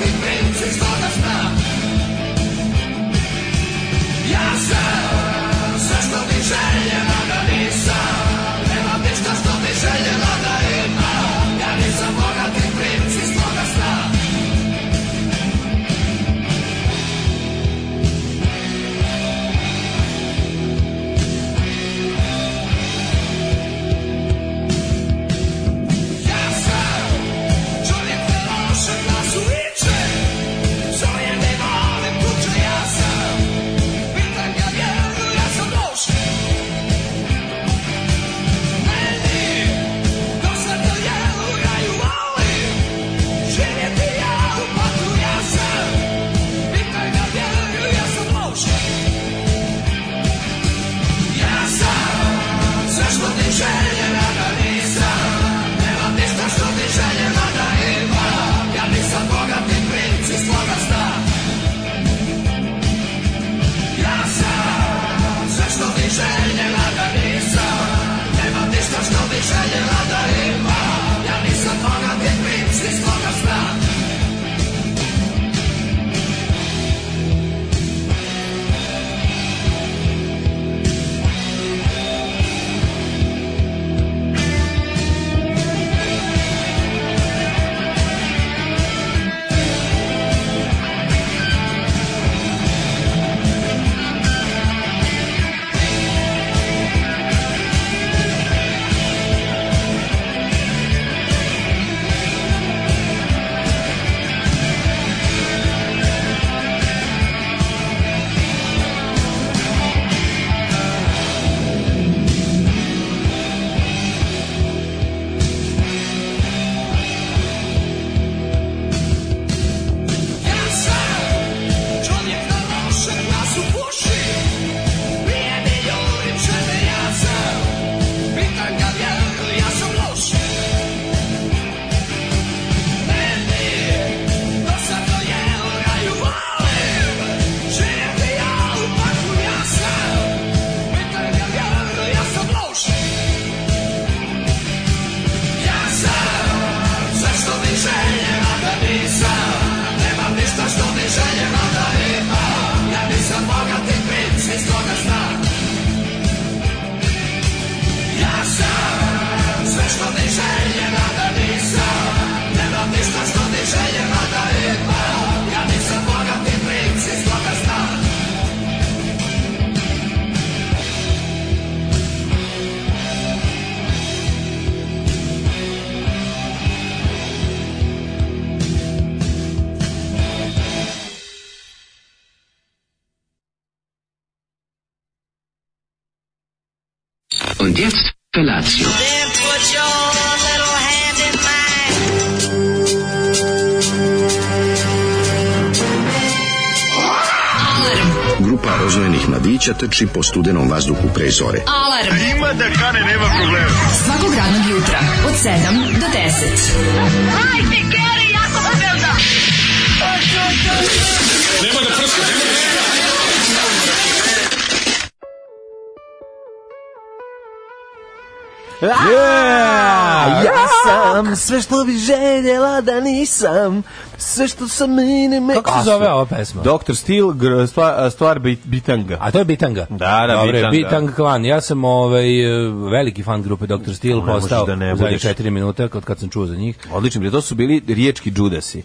mi princi što da zna Ja sam sve što ti željela da nisam Nemam ništa što ti željela da imam Ja nisam bogati princi što da zna Ja sam čovjek loše nas uliče Zovem da volim kuće ja sam Pitan ja vjeru ja sam loš Meni dosta to jelu ja ju volim Živjeti ja u paklu ja sam Pitan ja vjeru ja sam loš Ja sam sve što ti željela da nisam Nemam ništa što ti željela da imam Ja nisam bogat i princ iz svoga sna Ja sam sve što ti željela da nisam Nemam ništa što ti željela da imam Ja nisam bogat i princ iz svoga sna Ja sam čovjek na lošem glasu puši Nije mi ljubi čene ja sam Pitan ga vjeru ja sam loš Meni dosadno je oraju volim Živjeti ja u paklu ja sam Pitan ga vjeru ja sam loš ja sam sve što ti željela da nisam Nemam ništa što ti željela da imam Ja nisam bogat i princ iz toga znam Ja sam sve što ti željela da nisam Nemam ništa što ti željela da imam Ja nisam bogat i princ iz toga znam Und jetzt Felatio. Then put your little hand in mine. Grupa rozvojenih mladića trči po studenom vazduhu pre zore. Alarm. Ima da kane, nema problema. Svakog radnog jutra, od 7 do 10. Hajde, Keri, jako se belda. Ja sam sve što bi željela da nisam, sve što sam mene me... Kako se zove ova pesma? Doktor Stil, gr- stvar, stvar bit- bitanga. A to je Bitanga. Da, da, Dobro, Bitanga. Bitang klan. Ja sam ovaj, e, veliki fan grupe Dr. Steel, možeš postao da ne u zadnje budeš. 4 minuta kad, kad sam čuo za njih. Odlično, bre, to su bili riječki džudasi.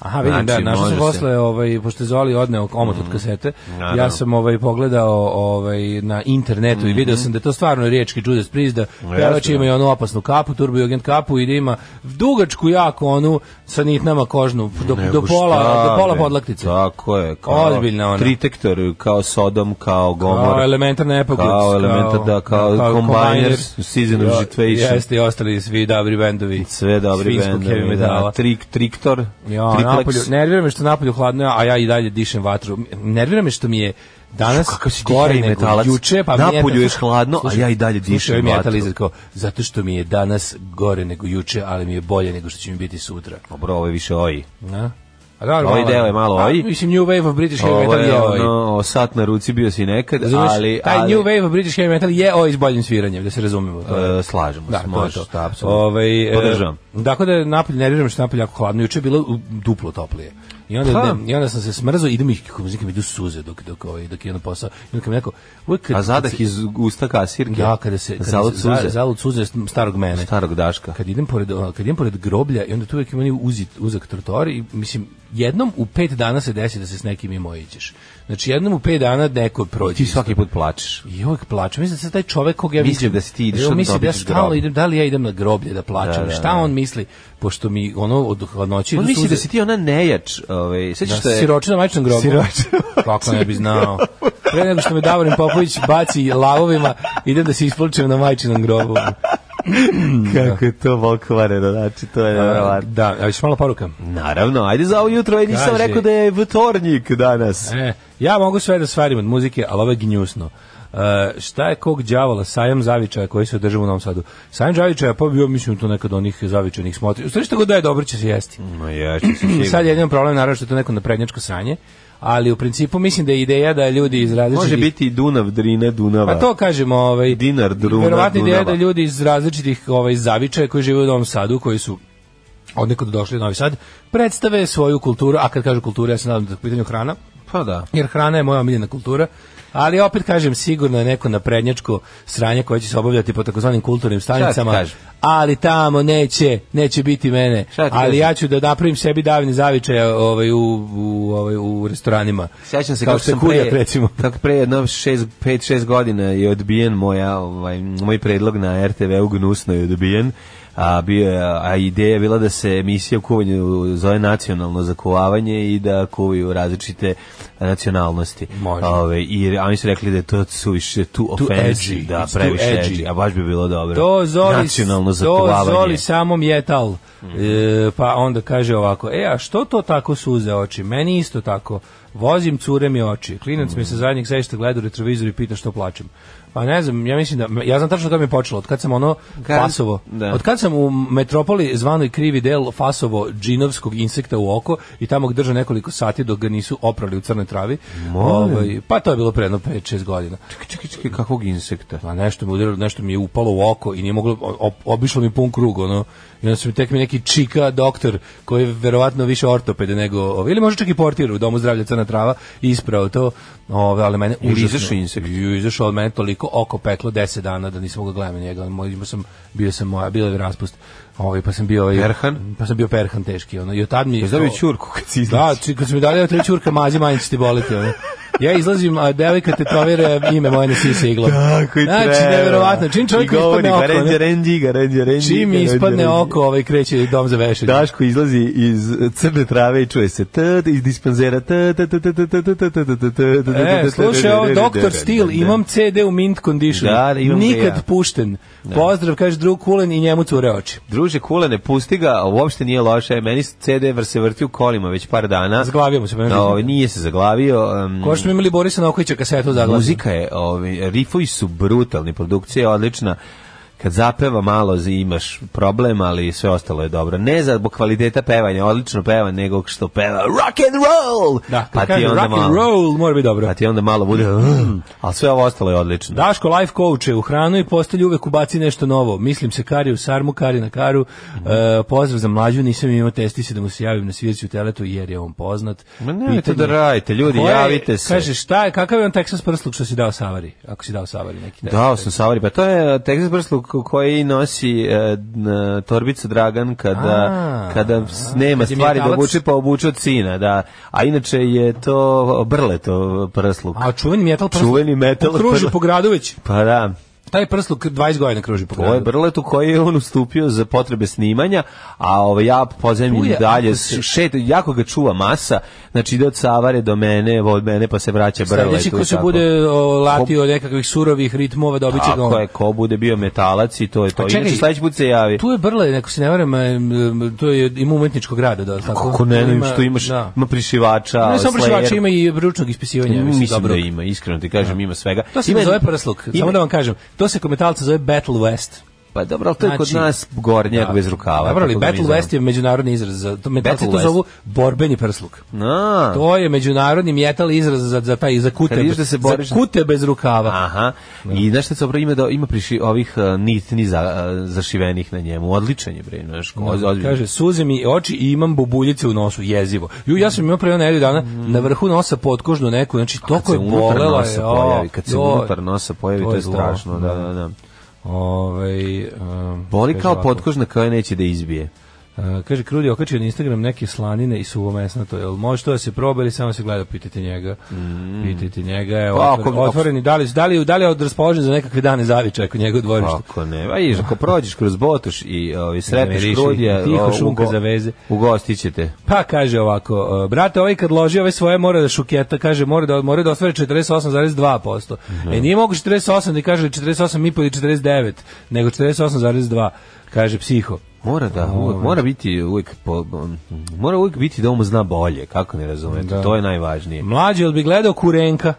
Aha, vidim, Znači, da, našao može sam se. Mm. Da, posle, ovaj, pošto je Zoli odneo omot od kasete, Naravno. ja sam ovaj, pogledao ovaj, na internetu i video Mhm. sam da je to stvarno riječki Judas Priest, da pevač jasno. ima i onu opasnu kapu, turbo i agent kapu i da ima dugačku jako onu sa nitnama kožnu, do, do pola, do pola podlaktice. Tako je. Ozbiljna ona. Tritektor, kao Sodom, kao Gomor. Kao elementarna epokups. Kao elementa, da, kao, Combiners, Season of Situation. Jeste i ostali svi dobri bendovi. Sve dobri Svinjskog heavy bendovi. Da, metala. trik, triktor, Ja, napolju, triplex. nervira me što napolju hladno, je, a ja i dalje dišem vatru. Nervira me što mi je danas Kakav si ti gore heavy nego metalac. juče, pa mi Napolju eto- je hladno, a ja i dalje slušaj, dišem ovaj mi je vatru. metalizat kao, zato što mi je danas gore nego juče, ali mi je bolje nego što će mi biti sutra. Dobro, ovo je više oji. Na? A dobro, Ovaj malo- deo je malo A, oj. Mislim, New Wave of British Heavy Ovo Metal je je ovaj, oj. Ovaj, ono, sat na ruci bio si nekad, Razumeš? ali... taj ali, New Wave of British Heavy Metal je oj s boljim sviranjem, da se razumemo. To je- e, slažemo Da, se, to je može, to. da, apsolutno. Ovaj, e, Podržavam. Tako da je napolje, ne vjerujem što je napolje jako hladno. Juče je bilo u- duplo toplije. I onda, Pa. ne, I onda sam se smrzao i idem i kako mi idu suze dok, dok, ovaj, dok je ono posao. I onda kad mi neko... Uvijek, kad- A kad zadah se- iz usta kasirke. Da, kada se... Kada Zalud se- suze. za- Zalud suze starog mene. Starog Daška. Kad idem pored, ono, kad idem pored groblja i onda tu uvijek ima onaj uzi- uzak trotoar i mislim, jednom u pet dana se desi da se s nekim imojićeš. Znači, jednom u pet dana neko prođe. Ti svaki put plačeš. I uvijek plačem. Mislim da se taj čovek kog ja Mislim vidim- da si ti ideš Evo, onda mislim da ja dobiješ stalno grob. idem, da li ja idem na groblje da plačem. Da, da, Šta da. on misli? Pošto mi ono od hladnoće On idu misli suze. da si ti ona nejač. Ovaj, sećaš Da, da, je... siročina na majčnom grobu. Siročina. Kako ne bi znao. Pre nego što me Davorin Popović baci lavovima, idem da se isplačem na majčinom grobu. Kako je to pokvareno, znači to je nevjerovatno. Da, a još malo poruka. Naravno, ajde za ovo jutro, ajde nisam Kaže- rekao da je vtornik danas. E, ja mogu sve da stvarim od muzike, ali ovo je gnjusno. E, šta je kog đavola sajam zavičaja koji se održava u Novom Sadu? Sajam zavičaja pa bio mislim to nekad onih zavičajnih smotri. U stvari što god da je dobro će se jesti. Ma ja ću se Sad je jedan problem naravno što je to neko naprednjačko sranje, ali u principu mislim da je ideja da ljudi iz različitih Može biti i Dunav, Drina, Dunava. Pa to kažemo, ovaj Dinar, druna, verovatno ideja Dunava. da ljudi iz različitih ovaj zavičaja koji žive u Novom Sadu, koji su od nekod došli u Novi Sad, predstave svoju kulturu, a kad kažu kulturu, ja se nadam da je u pitanju hrana, Pa da. jer hrana je moja omiljena kultura, ali opet kažem sigurno je neko naprednjačko sranje koje će se obavljati po takozvanim kulturnim Šta ti stanicama, kažem? ali tamo neće, neće biti mene. Šta ti Ali kažem? ja ću da napravim sebi davni zavičaj ovaj u u ovaj u restoranima. Sećam se Kao kako što je sam pre, Kuljak, recimo. kako pre jedno 6 5 6 godina je odbijen moja ovaj moj predlog na RTV u gnusno je odbijen. A, bio, je- a ideja je bila da se emisija u kuvanju zove nacionalno zakuvavanje i da kuvaju različite nacionalnosti. Može. Ove, i, a oni su rekli da je to suviše too, offensive, edgy, da, it's too previše edgy. edgy. A baš bi bilo dobro. To zoli, nacionalno Mhm. to zakuvavanje. zoli samo mjetal. E, pa onda kaže ovako, e, a što to tako suze oči? Meni isto tako. Vozim cure mi oči. Klinac Mhm. mi se zadnjeg sešta gleda u retrovizor i pita što plačem. Pa ne znam, ja mislim da, ja znam tačno kada mi je počelo, od kad sam ono Kad- Fasovo, da. od kad sam u metropoli zvanoj krivi del Fasovo džinovskog insekta u oko i tamo ga drže nekoliko sati dok ga nisu oprali u crnoj travi, Molim. ovaj, pa to je bilo predno 5-6 godina. Čekaj, čekaj, čekaj, kakvog insekta? Pa nešto mi udarilo, nešto mi je upalo u oko i nije moglo, o- o- obišlo mi pun krug, ono. I onda su mi tek mi neki čika doktor koji je verovatno više ortopede nego, ovaj, ili možda čak i portir u domu zdravlja Crna Trava i isprao to, ovaj, ali mene Ili užasno. izašao insekt? Ju, izašao od mene toliko oko peklo 10 dana da nisam mogao gledati njega, ali moj, imao sam, bio sam moja, bila je raspust. Ovaj, pa sam bio ovaj, Perhan? Pa Pa sam bio perhan teški, ono. I od tad mi... Jesi dobio ćurku kad si izašao? Da, či- kad su mi dali tri čurka, mazi manje će ti boliti. Ono. Ja izlazim, a devojka tetovira ime moje na sise iglom. Tako i znači, treba. neverovatno. Čim čovjeku I govori, ispadne oko, garenđa, ne? renđi, garenđa, renđi, Čim mi garenđa, ispadne renđi. oko, ovaj kreće dom za vešanje. Daško izlazi iz crne trave i čuje se t iz dispanzera t t t t t t t t t t t E, slušaj, ovo Dr. Steel, imam CD u mint condition. Da, da, imam ga Nikad ja. Da. pušten. Pozdrav, kaže drug Kulen i njemu cure oči. Druže, kule, ne pusti ga, a uopšte nije loše. Meni se CD vr- se vrti u kolima već par dana. Zaglavio mu se, pa ne Da, vidim. ovaj, nije se zaglavio. em, Ko što smo imali Borisa Nokovića kasetu zaglavio. Mm. Muzika je, ovi, rifovi su brutalni, produkcija je odlična. Kad zapeva malo zi- imaš problem, ali sve ostalo je dobro. Ne zbog kvaliteta pevanja, odlično peva, nego što peva rock and roll. Da, pa kad ti kaže onda rock and malo, roll, mora biti dobro. pa ti onda malo bude, "Mm", ali sve ovo ostalo je odlično. Daško life coach je u hranu i postelju uvek ubaci nešto novo. Mislim se kari u sarmu, kari na karu. Mhm. E, pozdrav za mlađu, nisam imao testi se da mu se javim na svirci u teletu jer je on poznat. Ma nemojte Pitanje- da radite, ljudi, Koje- javite se. Kaže, šta je, kakav je on Texas prsluk što si dao Savari? Ako si dao Savari neki tekst. Dao sam Savari, pa to je Texas prsluk koji nosi e, n- torbicu Dragan kada, A, kada s- nema kad je stvari da mjetalac. obuče, pa obuče od sina, da. A inače je to brleto prsluk. A čuveni metal prsluk. Čuveni metal On Kruži prsluk. po gradu već. Pa da, Taj prsluk 20 godina kruži po gradu. to je brletu koji je on ustupio za potrebe snimanja, a ovaj ja Tu pozemljim je, dalje, ako se- šet, jako ga čuva masa, znači ide od Savare do mene, od mene pa se vraća brletu. Sledeći ko i se tako. bude o, latio nekakvih surovih ritmova, dobit će ga on. Tako je, ko bude bio metalac i to je to. A čekaj, Inače, sledeći put se javi. Tu je Brle, ako se ne varam, em, to je ima umetničkog rada, da, tako. Kako ne, Tu ne, ima- što imaš, da. ima prišivača, Ne samo Ovaj, Slayer. prišivača, ima i ručnog ispisivanja, mislim, Mislim dobro. Da. da ima, iskreno ti kažem, ima svega. To se ima, ne zove da prsluk, ima- samo da vam kažem. To se kometalca zove Battle West. Pa dobro, ali to je kod Znači- nas gornjak bez rukava. Dobro, ali kako ga mi Battle zovemo. West je međunarodni izraz. Za, to, metalci Battle to West. zovu borbeni prsluk. Na. To je međunarodni metal izraz za, za taj za kute, Kad vidiš da se boriš- za kute bez rukava. Aha. I znaš šta dobro ima da ima priši ovih uh, nitni za, uh, zašivenih na njemu. Odličan je bre, znaš, ko- ozbiljan. Kaže, suze mi oči i imam bubuljice u nosu, jezivo. Ju, ja sam imao pre nedelju dana na vrhu nosa potkožnu neku, znači kad se toko je unutar bolela. nosa je, o, pojavi, kad se joj. unutar nosa pojavi, to je strašno, da, da, da. Ovaj, um, Boli kaže kao ovako, potkožna koja neće da izbije. uh, kaže, Krudi je okačio na Instagram neke slanine i suvo mesnato. Jel može to da se proba ili samo se gleda? Pitajte njega. Pitajte njega. Je Mm. Pa, otvor- ako- otvoreni. Da li, da li, da li je odraspoložen za nekakve dane zavičajku njegov dvorišta? Ako ne, a iš, ako prođeš kroz Botuš i ovi sretneš miriši, Krudija, tiho o, u šunka go- za veze. U gosti ćete. Pa kaže ovako, e, brate, ovaj kad loži ove svoje mora da šuketa, kaže mora da mora da ostvari 48,2%. Mhm. E nije mogu 48 da kaže 48,5 ili 49, nego 48,2 kaže psiho. Mora da, uvek, mora biti uvek po, mora uvek biti da on zna bolje, kako ne razumete, Da. to je najvažnije. Mlađi jel bi gledao Kurenka.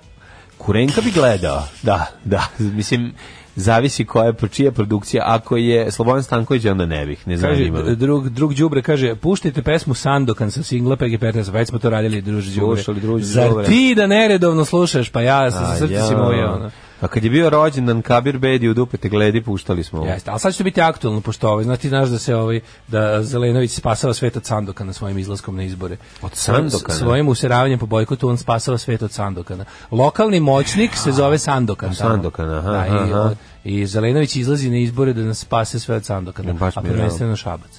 Kurenka bi gledao. Da, da. Mislim, zavisi koja je, čija je produkcija. Ako je Slobodan Stanković, onda ne bih. Ne Kaže zanima d- me. drug drug đubre kaže puštajte pesmu Sandokan sa singla PG15, već smo to radili druže đubre. Slušali, druže Zar đubre. ti da neredovno slušaš, pa ja sam A, sa srce si ja. moje ono. A kad je bio rođendan Kabir Bedi u dupe te gledi, puštali smo. ovo. Jeste, ali sad će to biti aktualno pošto ovaj, znaš ti znaš da se ovaj da Zelenović spasava svet od Sandokana svojim izlaskom na izbore. Od Sandokana? S- Svojim useravanjem po bojkotu on spasava svet od Sandokana. Lokalni moćnik se zove Sandokan. tamo. Sandokan, aha, Da, i, aha. i Zelenović izlazi na izbore da nas spase sve od Sandokana, Ja, baš a mi je prvenstveno Šabac.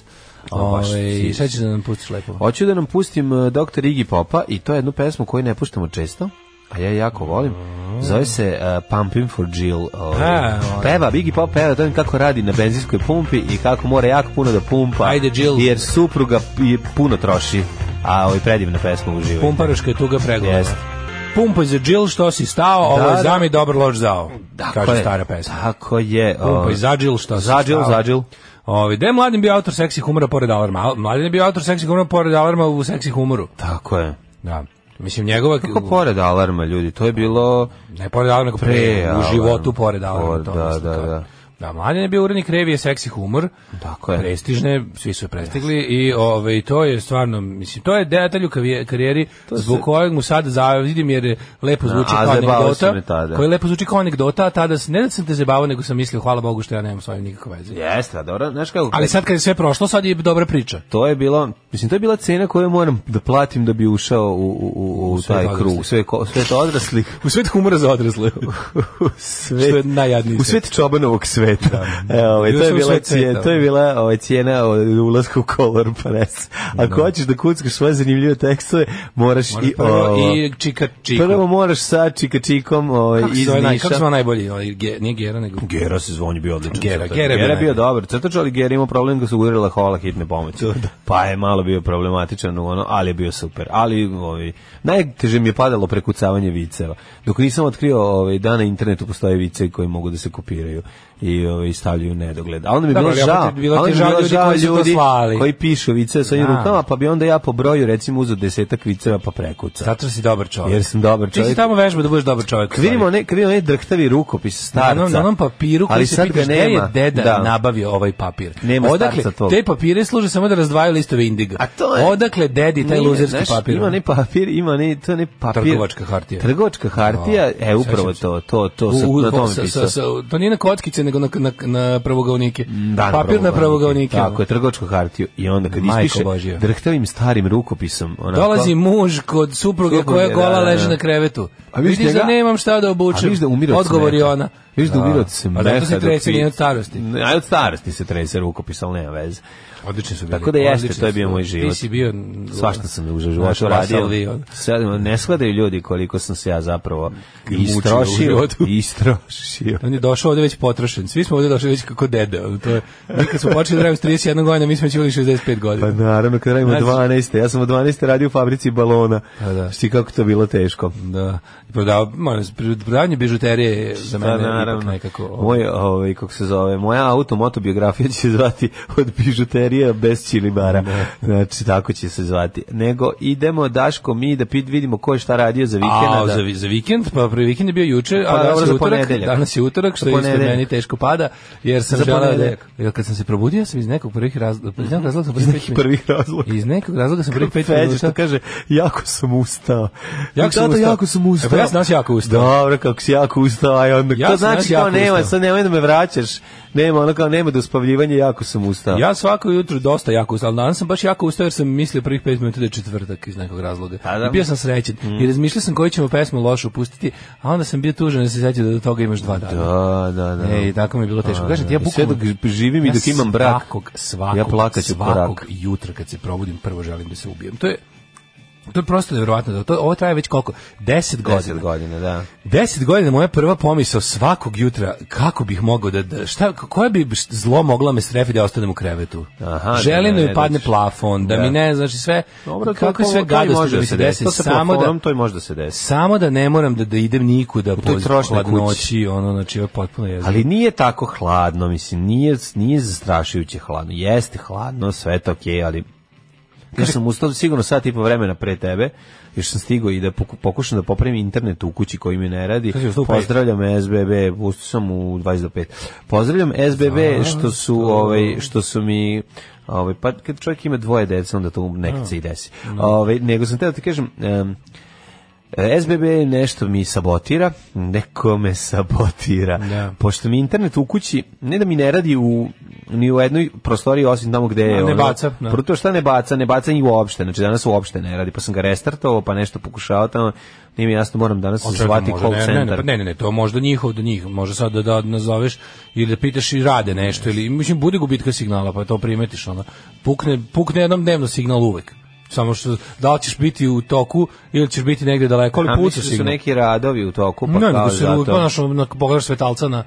A, baš Ovaj, si- šta ćeš da nam pustiš lepo? Hoću da nam pustim uh, Dr. Iggy Popa i to je jednu pesmu koju ne puštamo često, a ja je jako volim. Zove se uh, Pumping for Jill. ovaj. A, ono. peva, Iggy Pop peva o tome kako radi na benzinskoj pumpi i kako mora jako puno da pumpa. Ajde, Jill. Jer supruga je puno troši. A ovo je predivna pesma uživaju. Pumparoška je tuga pregovora. Jeste. Pumpaj za Jill, što si stao, ovo je da. zami, dobro lož zao. Tako kaže je. stara pesma. Tako je. Pumpaj ovaj. za Jill, što si Za Jill, stao. za Jill. Ovi, da je mladen bio autor seksi humora pored alarma. Al- Mladen je bio autor seksi humora pored alarma u seksi humoru. Tako je. Da. Mislim, njegova... Kako pored alarma, ljudi? To je bilo... Ne pored alarma, nego pre, Pre u alarma. životu pored alarma. Pored, to da, mislim, da, to. da. Da, mladen je bio urednik revije seksi humor. Tako je. Prestižne, svi su je prestigli i ovaj to je stvarno, mislim, to je detalj u kavije- karijeri zbog kojeg mu sad zavidim jer je lepo zvuči A, kao zajebavao si anegdota. me tada. Koji lepo zvuči kao anegdota, a tada s- ne da sam te zabavao, nego sam mislio hvala Bogu što ja nemam s ovim nikakve veze. Jeste, a dobro, znaš kako... Ali sad kad je sve prošlo, sad je dobra priča. to je bilo, mislim, to je bila cena koju moram da platim da bi ušao u, u, u, u U svet taj krug, u odraslih. svet, ko- u svet odraslih, U svet humora za odrasle. u svet, Što je najjadniji u svet čobanovog sveta. E, ovaj, to, Ušao je u bila svet cijena, sveta. da. to je bila ovaj, cijena od ulaska u Color Press. Ako hoćeš da kuckaš svoje zanimljive tekstove, moraš, Moraš i... prvo ovo. i čika čika. prvo moraš sa Čikačikom ovaj, kako iz se naj, Niša. kako se zove najbolji, ovaj, ge, nije Gera nego Gera se zvon je bio odličan. Gera, crtač. Gera je bio Gera je bio najbolji. da. dobar crtač, ali Gera imao problem da su udarila hola hitne pomoći. Pa je malo bio problematičan u ono, ali je bio super. Ali ovi, najteže mi je padalo prekucavanje viceva. Dok nisam otkrio ovaj, da na internetu postoje vicevi koji mogu da se kopiraju i ovaj, stavljaju u nedogled. A onda mi je Dobro, bilo ali opet žao. je bilo a onda ti mi je žao ljudi koji su to slali. koji pišu viceve svojim Da. rukama, pa bi onda ja po broju recimo uzeo desetak viceva pa prekucao. Zato si dobar čovjek. Jer sam dobar Ti si čovjek. tamo vežba da budeš dobar čovjek. Kad vidimo ne, kad vidimo ne drhtavi rukopis na starca. onom, na onom papiru koji ali se sad pitaš ga gde je nema. deda Da. nabavio ovaj papir. Nema Odakle, starca tog. te papire služe samo da razdvajaju listove indiga. A to je- Odakle dedi taj Nije, luzerski znaš, papir? Ima ne papir, ima ne, to je ne papir. Trgovačka hartija. Trgovačka hartija, Da. e, upravo Sećam se. to, to, to, U- sam u- na tome sa- sa- pisao. sa- to nije na kockice, nego na, na, na pravogaunike. Da, Papir na pravogaunike. Tako je, trgovačku hartiju. I onda kad Majko ispiše Božja. drhtavim starim rukopisom. Onako, Dolazi muž kod supruge da. Supruge, koja da, gola da, da. leži na krevetu. A vidiš Vidiš da njega? nemam šta da A obučem. vidiš da umire od Odgovor je smeha. ona. Vidiš da umire od A smeha. zato se dok trese, pi- nije od starosti. Ne, A od starosti se trese rukopis, ali nema veze. Odlični su bili. Tako da jeste, Odlični to je su. bio moj život. Ti si bio... Svašta sam u Znaš, životu Russell radio. Lee, on. Sad ne shvataju ljudi koliko sam se ja zapravo u istrošio. životu. Istrošio. Da On je došao ovde već potrošen. Svi smo ovde došli već kako dede. ono, To je, mi kad smo počeli da radimo s 31 godina, mi smo već imali 65 Pa godina. naravno, kad radimo Znači- 12. Ja sam od 12. radio u fabrici balona. Pa da. Šti kako to bilo teško. Da. I prodavao, moram, prodavanje bižuterije je za Pa mene ipak nekako. ovaj. Moj, ovaj, kako se zove, moja automotobiografija će se zvati od bižuterija bez čilibara. Da. Znači, tako će se zvati. Nego, idemo, Daško, mi da pit vidimo ko je šta radio za da A, vikenda. za, vi- za vikend, pa prvi vikend je bio juče, Pa, a dobro, danas za je utorak, ponedeljak. danas je utorak, što Za isto ponedeljak. meni teško pada, jer sam Za želeo da, ponedeljak. jer kad sam se probudio, ja sam iz nekog prvih razloga, iz nekog razloga sam prvih pet minuta- prvih razloga. iz nekog razloga sam prvih pet Feđa što minuta, kaže, jako sam ustao. Jako sam Tato, ustao. jako sam ustao. E, pa ja sam danas jako ustao. Dobro, kako si jako ustao, aj onda. Ja to sam znači danas kao jako nema, ustao. sad nemoj da me vraćaš. Nema, ono kao nema da uspavljivanje, jako sam ustao. ja svako jutro dosta jako ustao, ali danas sam baš jako ustao jer sam mislio prvih pet minuta da je četvrtak iz nekog razloga. Pa da. I bio sam srećen i razmišljao sam koju ćemo pesmu lošu pustiti, a onda sam bio tužan da se sjetio da do toga imaš dva dana. Da, da, da. Ej, tako mi je bilo teško. Kažem ti, ja I sve bukvalno... dok živim i Ja dok imam brak, Svakog, svakog, ja plakaću po svakog raku. jutra kad se probudim, prvo želim da se ubijem. To je To je prosto nevjerovatno. da To, ovo traje već koliko? 10 10 godina. godina, da. 10 godina moja prva pomisao svakog jutra kako bih mogao da, da šta koje bi št- zlo mogla me strefi da ostanem u krevetu. Aha, Želim da da, ne mi padne dođeš. plafon, da, mi ne, znači sve to- kako to- sve to i gadosti može da mi se desi. desi, To sa samo da plafonom, to i može da se desi. samo da ne moram da da idem nikuda To je po trošna kuća. hladnoći, ono znači ovo je potpuno jezivo. Ali nije tako hladno, mislim, nije, nije zastrašujuće hladno. Jeste hladno, sve je to okej, ali ja sam ustao sigurno sat i po vremena pre tebe, još sam stigao i da poku- pokušam da popravim internet u kući koji mi ne radi. Sad si ustao u pet? Pozdravljam SBB, ustao sam u 20 do 5. Pozdravljam SBB što su, ovaj, što su mi ovaj, pa kad čovjek ima dvoje dece, onda to nekad se i desi. Ovaj, nego sam te da ti kažem, em, E, SBB nešto mi sabotira, neko me sabotira. Da. Pošto mi internet u kući, ne da mi ne radi u, ni u jednoj prostoriji osim tamo gde je. Ne ono, baca, da. Prvo to šta ne baca, ne baca i uopšte. Znači danas uopšte ne radi, pa sam ga restartovao, pa nešto pokušavao tamo. Nije mi jasno, moram danas Ali čekaj, zvati možda call ne, centar. Ne, ne, ne, ne, to možda njihov do njih. Može sad da, da nazoveš ili da pitaš i rade nešto ili mislim bude gubitka signala, pa to primetiš ona. Pukne pukne jednom dnevno signal uvek. Samo što da li ćeš biti u toku ili ćeš biti negde daleko, ali A puca mislim da su pa signal. neki radovi u toku, pa ne, kao nego se zato. pa našo na pogledaš svetalca na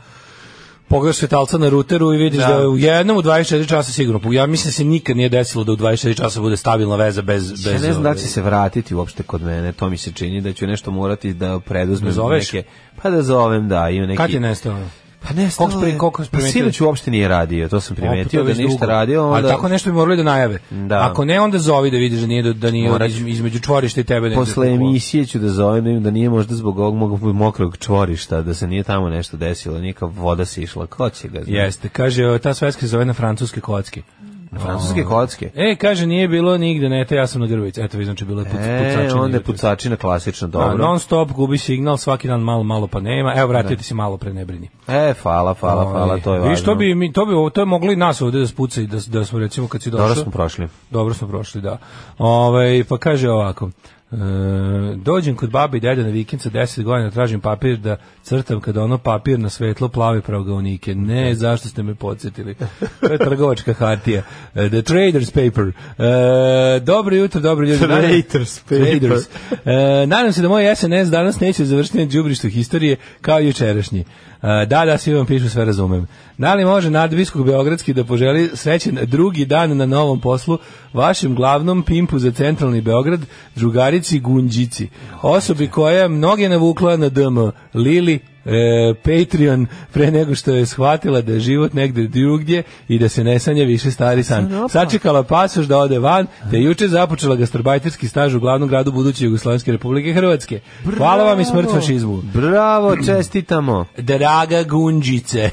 pogledaš svetalca na ruteru i vidiš Da. da, je u jednom u 24 časa sigurno. Ja mislim da se nikad nije desilo da u 24 časa bude stabilna veza bez bez Ja ne znam da li će ove- se vratiti uopšte kod mene, to mi se čini da ću nešto morati da preduzmem Da zoveš? neke... Pa da zovem, da, ima neki... Kad je nestalo? Pa ne, Koliko stalo je- pri- koliko si Pa primetio? sinoć uopšte nije radio, to sam Opet to primetio je da već ništa drugo. radio. Ali Onda, tako nešto bi morali da najave. Da. Ako ne, onda zovi da vidiš da nije, do- da nije Morat iz- ću. između čvorišta i tebe. negde Posle oko- emisije ću da zovem da im da nije možda zbog ovog mog mokrog čvorišta, da se nije tamo nešto desilo, neka voda se išla, ko će ga znati? Jeste, kaže, o, ta svetska se zove na francuske kocke. Na Francuske kocke. E, kaže, nije bilo nigde, ne, te ja sam na Grbici. Eto, vi znači, bilo je puc, E, pucačina. onda je pucačina klasično, Da, dobro. non stop, gubi signal, svaki dan malo, malo pa nema. Evo, vratio ti si malo pre, ne brini. E, hvala, Da. hvala, hvala, to je Vi važno. što bi, mi, to bi, to je moglo i nas ovde da spuca i da, da smo recimo kad si došao. Dobro smo prošli. Dobro smo prošli, da. Ovaj pa kaže ovako. E, dođem kod babi i dede na vikend sa 10 godina, tražim papir da crtam kad ono papir na svetlo plave pravgaonike. Ne, zašto ste me podsjetili? To je trgovačka hartija. E, the Trader's Paper. E, dobro jutro, dobro ljudi. Trader's paper. Traders. E, nadam se da moj SNS danas neće završiti na džubrištu historije kao jučerašnji. E, da, da, svi vam pišu, sve razumem. Da li može nadbiskog Beogradski da poželi srećen drugi dan na novom poslu vašem glavnom pimpu za centralni Beograd, drugarici Gunđici, osobi koja je mnoge navukla na DM, Lili, e, Patreon pre nego što je shvatila da je život negde drugdje i da se ne sanja više stari san. Sačekala pasoš da ode van, te je juče započela gastarbajterski staž u glavnom gradu buduće Jugoslovenske republike Hrvatske. Hvala vam i smrt fašizmu. Bravo, čestitamo. Draga Gunđice.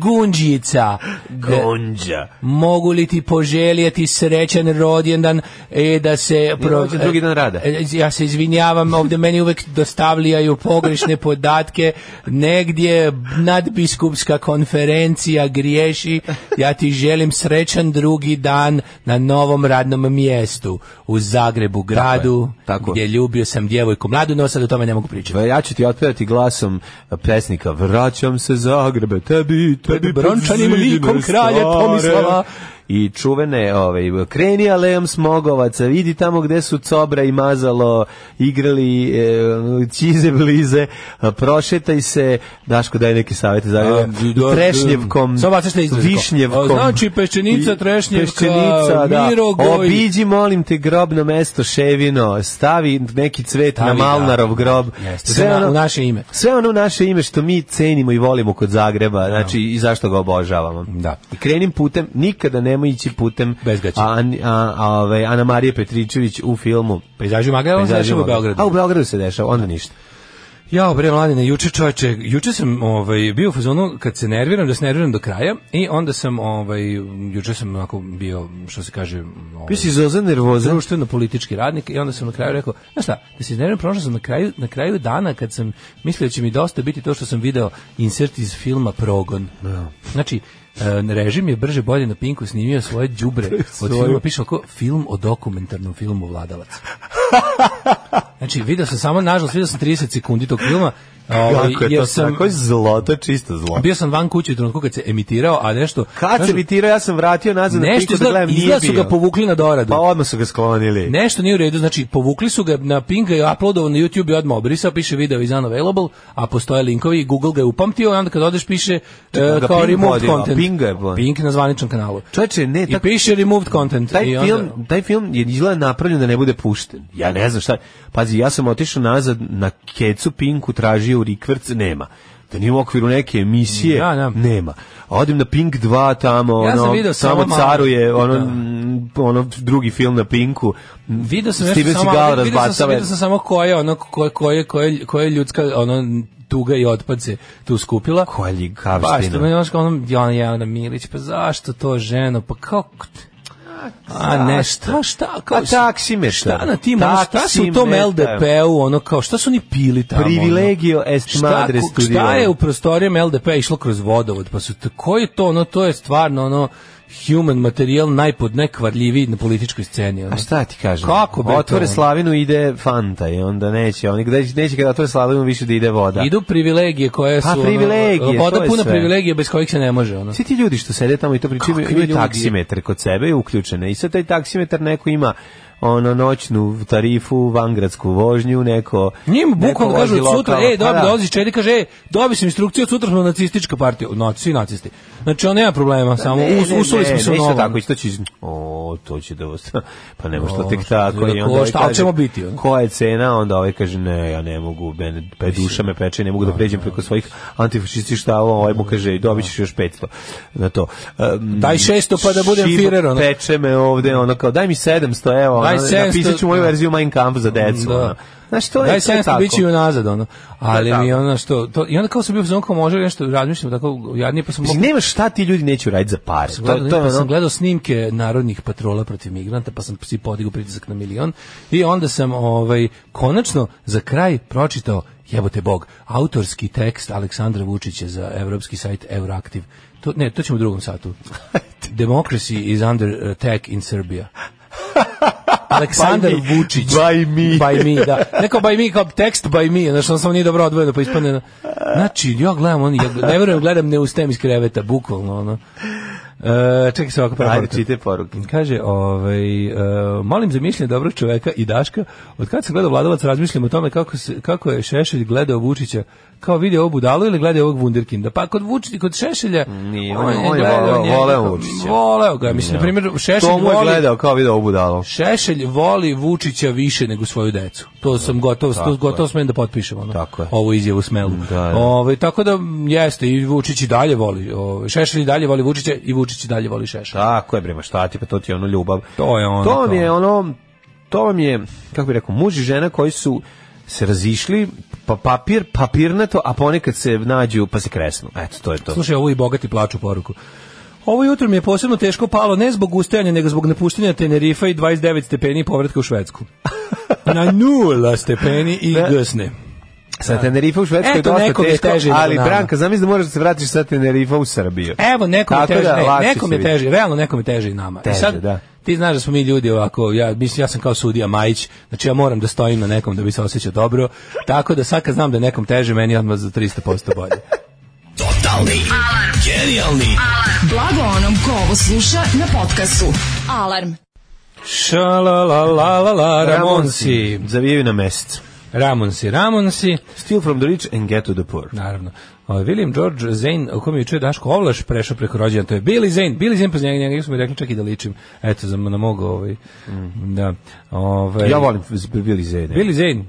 Gunđica. E, Gonđa. Mogu li ti poželjeti srećan rođendan e, da se... rođen, drugi dan rada. E, Ja se izvinjavam, ovde meni uvek dostavljaju pogrešne podatke. Negdje nadbiskupska konferencija griješi. Ja ti želim srećan drugi dan na novom radnom mjestu u Zagrebu, gradu, tako je. gdje ljubio sam djevojku mladu, no sad o tome ne mogu pričati. Ja ću ti otpevati glasom pesnika Vraćam se Zagrebe, tebi, tebi brončanim zidine likom kralja stare. Tomislava i čuvene ovaj, kreni alejom smogovaca, vidi tamo gde su cobra i mazalo igrali e, čize blize, a, prošetaj se, Daško daj neki savjet, za trešnjevkom, Samo bacaš te izraze. višnjevkom. A, znači, peščenica, I- trešnjevka, peščenica, da. mirogoj. Obiđi, molim te, grob na mesto Ševino, stavi neki cvet na Stavi, da. Malnarov grob. Jeste, sve na- u naše ime. Sve ono u naše ime što mi cenimo i volimo kod Zagreba, znači i zašto ga obožavamo. Da. I krenim putem, nikada nemoj ići putem Bez gaća. A, a, a, ovaj, Ana Marije Petričević u filmu. Pejzaži maga, on se Pejzaži dešava Pa u Magra. Beogradu. A Pa u Beogradu se dešava, onda ništa. Ja, bre, mladine, juče čoveče, juče sam ovaj, bio u fazonu kad se nerviram, da se nerviram do kraja i onda sam, ovaj, juče sam onako bio, što se kaže, ovaj, Bio si zozan, nervozan. društveno-politički radnik i onda sam na kraju rekao, znaš šta, da se iznerviram, prošao sam na kraju, na kraju dana kad sam mislio da će mi dosta biti to što sam video insert iz filma Progon. Da. Znači, e, režim je brže bolje na Pinku snimio svoje đubre od filma, piše oko film o dokumentarnom filmu Vladalac. Znači, video sam samo, nažalost, video sam 30 sekundi tog filma, ovaj, Kako je jer to sam, tako je zlo, to je čisto zlo. bio sam van kuće u trenutku kad se emitirao, a nešto... Kad se kažu, bitirao, ja sam vratio nazad na Nešto piku da izgleda, gledam, nije izgleda su bio. ga povukli na doradu. Pa odmah su ga sklonili. Nešto nije u redu, znači povukli su ga na Pinga i uploadovan na YouTube i odmah obrisao, piše video is unavailable, a postoje linkovi i Google ga je upamtio i onda kad odeš piše e, da ga kao Pink removed vodi, a content. Pink ga je vodi. Pink na zvaničnom kanalu. Čoveče, ne, I piše removed content. taj i onda- film, taj film je izgleda napravljen da ne bude pušten. Ja ne znam šta. je. Pazi, ja sam otišao nazad na Kecu Pinku, tražio Rikvrc, nema. Da nije u okviru neke emisije, Da, da. nema. A odim na Pink 2 tamo, Ja sam ono, video samo samo malo. caruje, ono, Da. mm, ono drugi film na Pinku. Video sam Steven nešto samo, Seagal ali vidio sam, razbacava- vidio sam samo koje, ono, koje, koje, koje, koje ljudska, ono, tuga i otpad se tu skupila. Koja ljigavština. Pa što meni ono kao ono, Jovana Jelena Milić, pa zašto to ženo, pa kako... A ne, šta, šta, kao... Pa taksimetar. Šta na tim, ono, šta su u tom Taksimetar. LDP-u, ono kao, šta su oni pili tamo? ono? da. Privilegio est madre ko- studio. Šta je u prostorijama LDP išlo kroz vodovod? Pa su, to- ko je to, ono, to je stvarno, ono, human materijal najpod najkvarljiviji na političkoj sceni. Ono. A Pa šta ti kažem? Kako bre to, Otvore ono? slavinu ide Fanta i onda neće. Oni gde neće kada otvore slavinu više da ide voda. Idu privilegije koje su... Pa, ono, privilegije, voda to je puna sve. privilegije bez kojih se ne može, ono. Svi ti ljudi što sede tamo i to pričaju Kakvi imaju ljudi? taksimetar kod sebe i uključene. I sad taj taksimetar neko ima ono noćnu tarifu, vangradsku vožnju, neko... Njim neko bukvalno vozi kažu od sutra, "E, lokalno. ej, Pa dobi, da. dolazi čedi, kaže, ej, dobi sam instrukciju, od sutra smo nacistička partija. Naci, nacisti. Znači, on nema problema, samo Pa Ne, us, ne, usuli ne, smo se u ništa novo. tako, to će iz... O, to će da vas... Pa ne može to O, tek tako. šta- I onda ovaj šta kaže, ćemo biti, ono? Koja je cena? Onda ovaj kaže, ne, ja ne mogu, mene, pe duša me peče, ne mogu da pređem preko svojih antifašisti štava, ovaj mu kaže, i dobit ćeš još 500 na to. Um, Daj 600 pa da budem šiba Führer, ono. Peče me ovde, ono kao, daj mi 700, evo, Daj ono, 700, napisat ću moju da. verziju Mein Kampf za decu, Da. ono. Znaš, to je, Daj to je se tako. bit će i unazad, ono. Ali Da, mi tako. ono što... To, I onda kao sam bio fazon kao može nešto, razmišljam tako jadnije, pa sam... Mislim, nema šta ti ljudi neće uraditi za pare. To, Gledao, to je pa sam ono, gledao snimke narodnih patrola protiv migranta, pa sam si podigao pritisak na milion i onda sam ovaj konačno za kraj pročitao jebote bog, autorski tekst Aleksandra Vučića za evropski sajt Euraktiv. To, ne, to ćemo u drugom satu. Democracy is under attack in Serbia. Aleksandar By me. Vučić. By me. By me, da. Neko by me, kao tekst by me, znači on samo nije dobro odvojeno, pa ispane. na- Znači, ja gledam, on, ja ne verujem, gledam, ne ustajem iz kreveta, bukvalno, ono. E, čekaj se ovako pravo. ajde, čite poruke. Kaže, ovaj, e, molim za mišljenje dobrog čoveka i Daška, od kad sam gledao Vladalac, razmišljam o tome kako, se, kako je Šešelj gledao Vučića, kao vidio ovo budalo ili gledao ovog Wunderkinda. Pa kod Vučića, kod Šešelja... Nije, on je- on je voleo- njega- voleo Vučića. Da. Voleo ga, mislim, na primjer, Šešelj To mu je voli... gledao kao video ovu budalo. Šešelj voli Vučića više nego svoju decu. To sam gotovo, to gotovo smem da potpišem ono. Da, Tako je. Ovu izjavu smelu. Da, da. Ovaj, tako da m, jeste i Vučić i dalje voli, ovaj, Šešelj i dalje voli Vučića i Vučić i dalje voli Šešelja. Tako je, brema, šta ti, pa to ti je ono ljubav. To je ono, To vam to. je ono, to vam je, kako bih rekao, muž i žena koji su se razišli, pa papir, papirnato, a ponekad se nađu, pa se kresnu. Eto, to je to. Slušaj, ovo i bogati plaču poruku. Ovo jutro mi je posebno teško palo, ne zbog ustajanja, nego zbog napuštenja Tenerifa i 29 stepeni i povratka u Švedsku. Na nula stepeni i gusne. Sa Tenerifa u Švedskoj je da. Eto, dosta nekog je teško, teže nego ali nama. Branka, zamisli da moraš da se vratiš sa Tenerifa u Srbiju. Evo, nekom je Tako teže, da, ne, lakše nekom se je vidi. teže, realno nekom je teže i nama. I Teže, da. Ti znaš da smo mi ljudi ovako, ja, mislim, ja sam kao sudija Majić, znači ja moram da stojim na nekom da bi se osjećao dobro, tako da sad kad znam da je nekom teže, meni je odmah za 300% bolje. Total Genijalni. Alarm. Genijalni. Blago onom ko ovo sluša na podcastu. Alarm. Šalalalala, Ramonsi. Zavijaju na mesec. Ramonsi, Ramonsi. Steal from the rich and get to the poor. Naravno. O, William George Zane, o kom je čuje Daško Ovlaš, prešao preko rođena, to je Billy Zane, Billy Zane, pa njega, njega njega su mi rekli čak i da ličim, eto, za, na mogu, ovaj, da, ovaj, Mm. Ja volim z- Billy Zane. Billy Zane,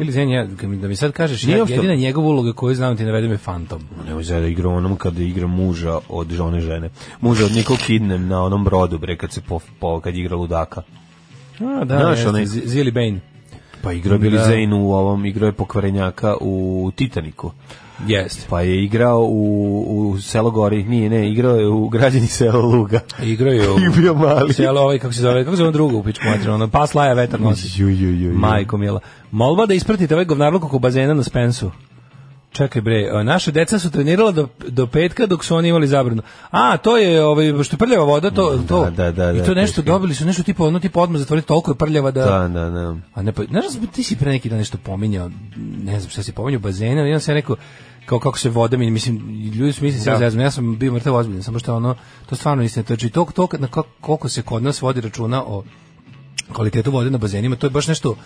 Billy Zane, ja, kad mi- da mi sad kažeš, ja, Mhm. Nije uopšte- jedina njegova uloga koju znam ti navedem je Fantom. Nemoj zajedno igra onom kada igra muža od žone žene. Muža od Nicole Kidman na onom brodu, bre, kad se po, po kad igra ludaka. A, da, Znaš, jeste, onaj- Z- Zilli Bane. Pa igrao je Billy Da. Zane u ovom, igrao je pokvarenjaka u Titaniku. Jeste. Pa je igrao u, u selo Gori, nije, ne, igrao je u građani selo Luga. Igraju I bio mali. Selo ovaj, kako se zove, kako se zove drugo u pičku materinu, ono, pas laja vetar nosi. Ju, ju, ju, ju. Majko mila. Molba da ispratite ovaj govnarluk oko bazena na Spensu. Čekaj bre, e, naše deca su trenirala do, do petka dok su oni imali zabranu. A, to je ovaj što je prljava voda, to to. da, da, I da, to to nešto je- dobili su nešto tipa, ono tipa odmah zatvoriti, toliko je prljava da Da, da, da. A ne, pa, znaš, da smo- ti si pre neki dan nešto pominjao, ne znam šta si pominjao, bazene, ali jedan sam ja rekao, kao kako se voda meni, mislim, ljudi su mislili, da. ja, zezam, ja sam bio mrtav ozbiljan, samo što ono, to stvarno istina, to je to, to, na kako- koliko se kod nas vodi računa o kvalitetu vode na bazenima, to je baš nešto,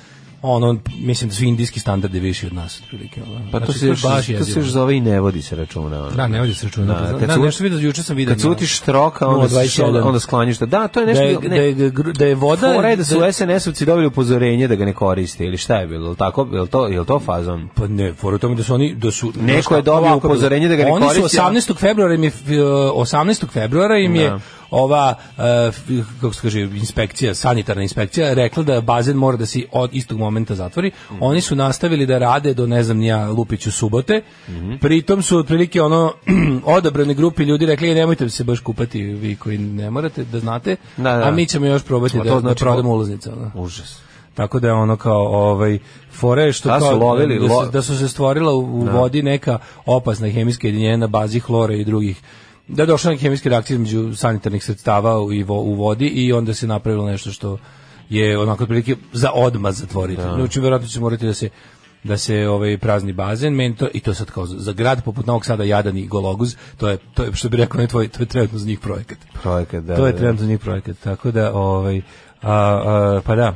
ono, mislim da su indijski standardi viši od nas, otprilike, ono. Pa to Znači, se još, baš to se jezivo. još zove i ne vodi se računa. ono. Da, ne vodi se računa. Da, Da, kad da, su- nešto vidio, juče sam vidio. Kad se utiš troka, onda, 0,21. onda skloniš to. Da, to je da nešto... je, ne. da je, gr- da je voda... Fora je da su SNS-ovci dobili upozorenje da ga ne koriste ili šta je bilo, jel tako, jel to, jel to fazon? Pa ne, fora u tome da su oni da su Neko znaš šta, je dobio ovako, upozorenje da ga ne Oni su koristi, a- 18. februara im je f- e, 18. februara im je Da. ova e, f- kako se kaže inspekcija, sanitarna inspekcija rekla da bazen mora da se od istog momenta zatvori. Mhm. Oni su nastavili da rade do ne znam ni ja Lupiću subote. Mhm. Pritom su otprilike ono odabrane grupi ljudi rekli "E, nemojte se baš kupati vi koji ne morate da znate, Da, da. a mi ćemo još probati A da, to znači- da prodamo ulaznice. ono. Užas. Tako da je ono kao ovaj fore što Da su kao, lovili, da, lo- Da. se, da su se stvorila u, u vodi neka opasna hemijska jedinjenja na bazi hlora i drugih da je došla neka hemijska reakcija između sanitarnih sredstava u, i vo- u vodi i onda se napravilo nešto što je onako otprilike za odmaz zatvoriti. Znači verovatno će morati da se da se ovaj prazni bazen meni to i to sad kao za- za grad poput Novog Sada Jadan i Gologuz to je to je što bi rekao ne tvoj to je trenutno za njih projekat Projekat, da. to je da. trenutno njih projekat. Tako da, ovaj, a, a, pa da,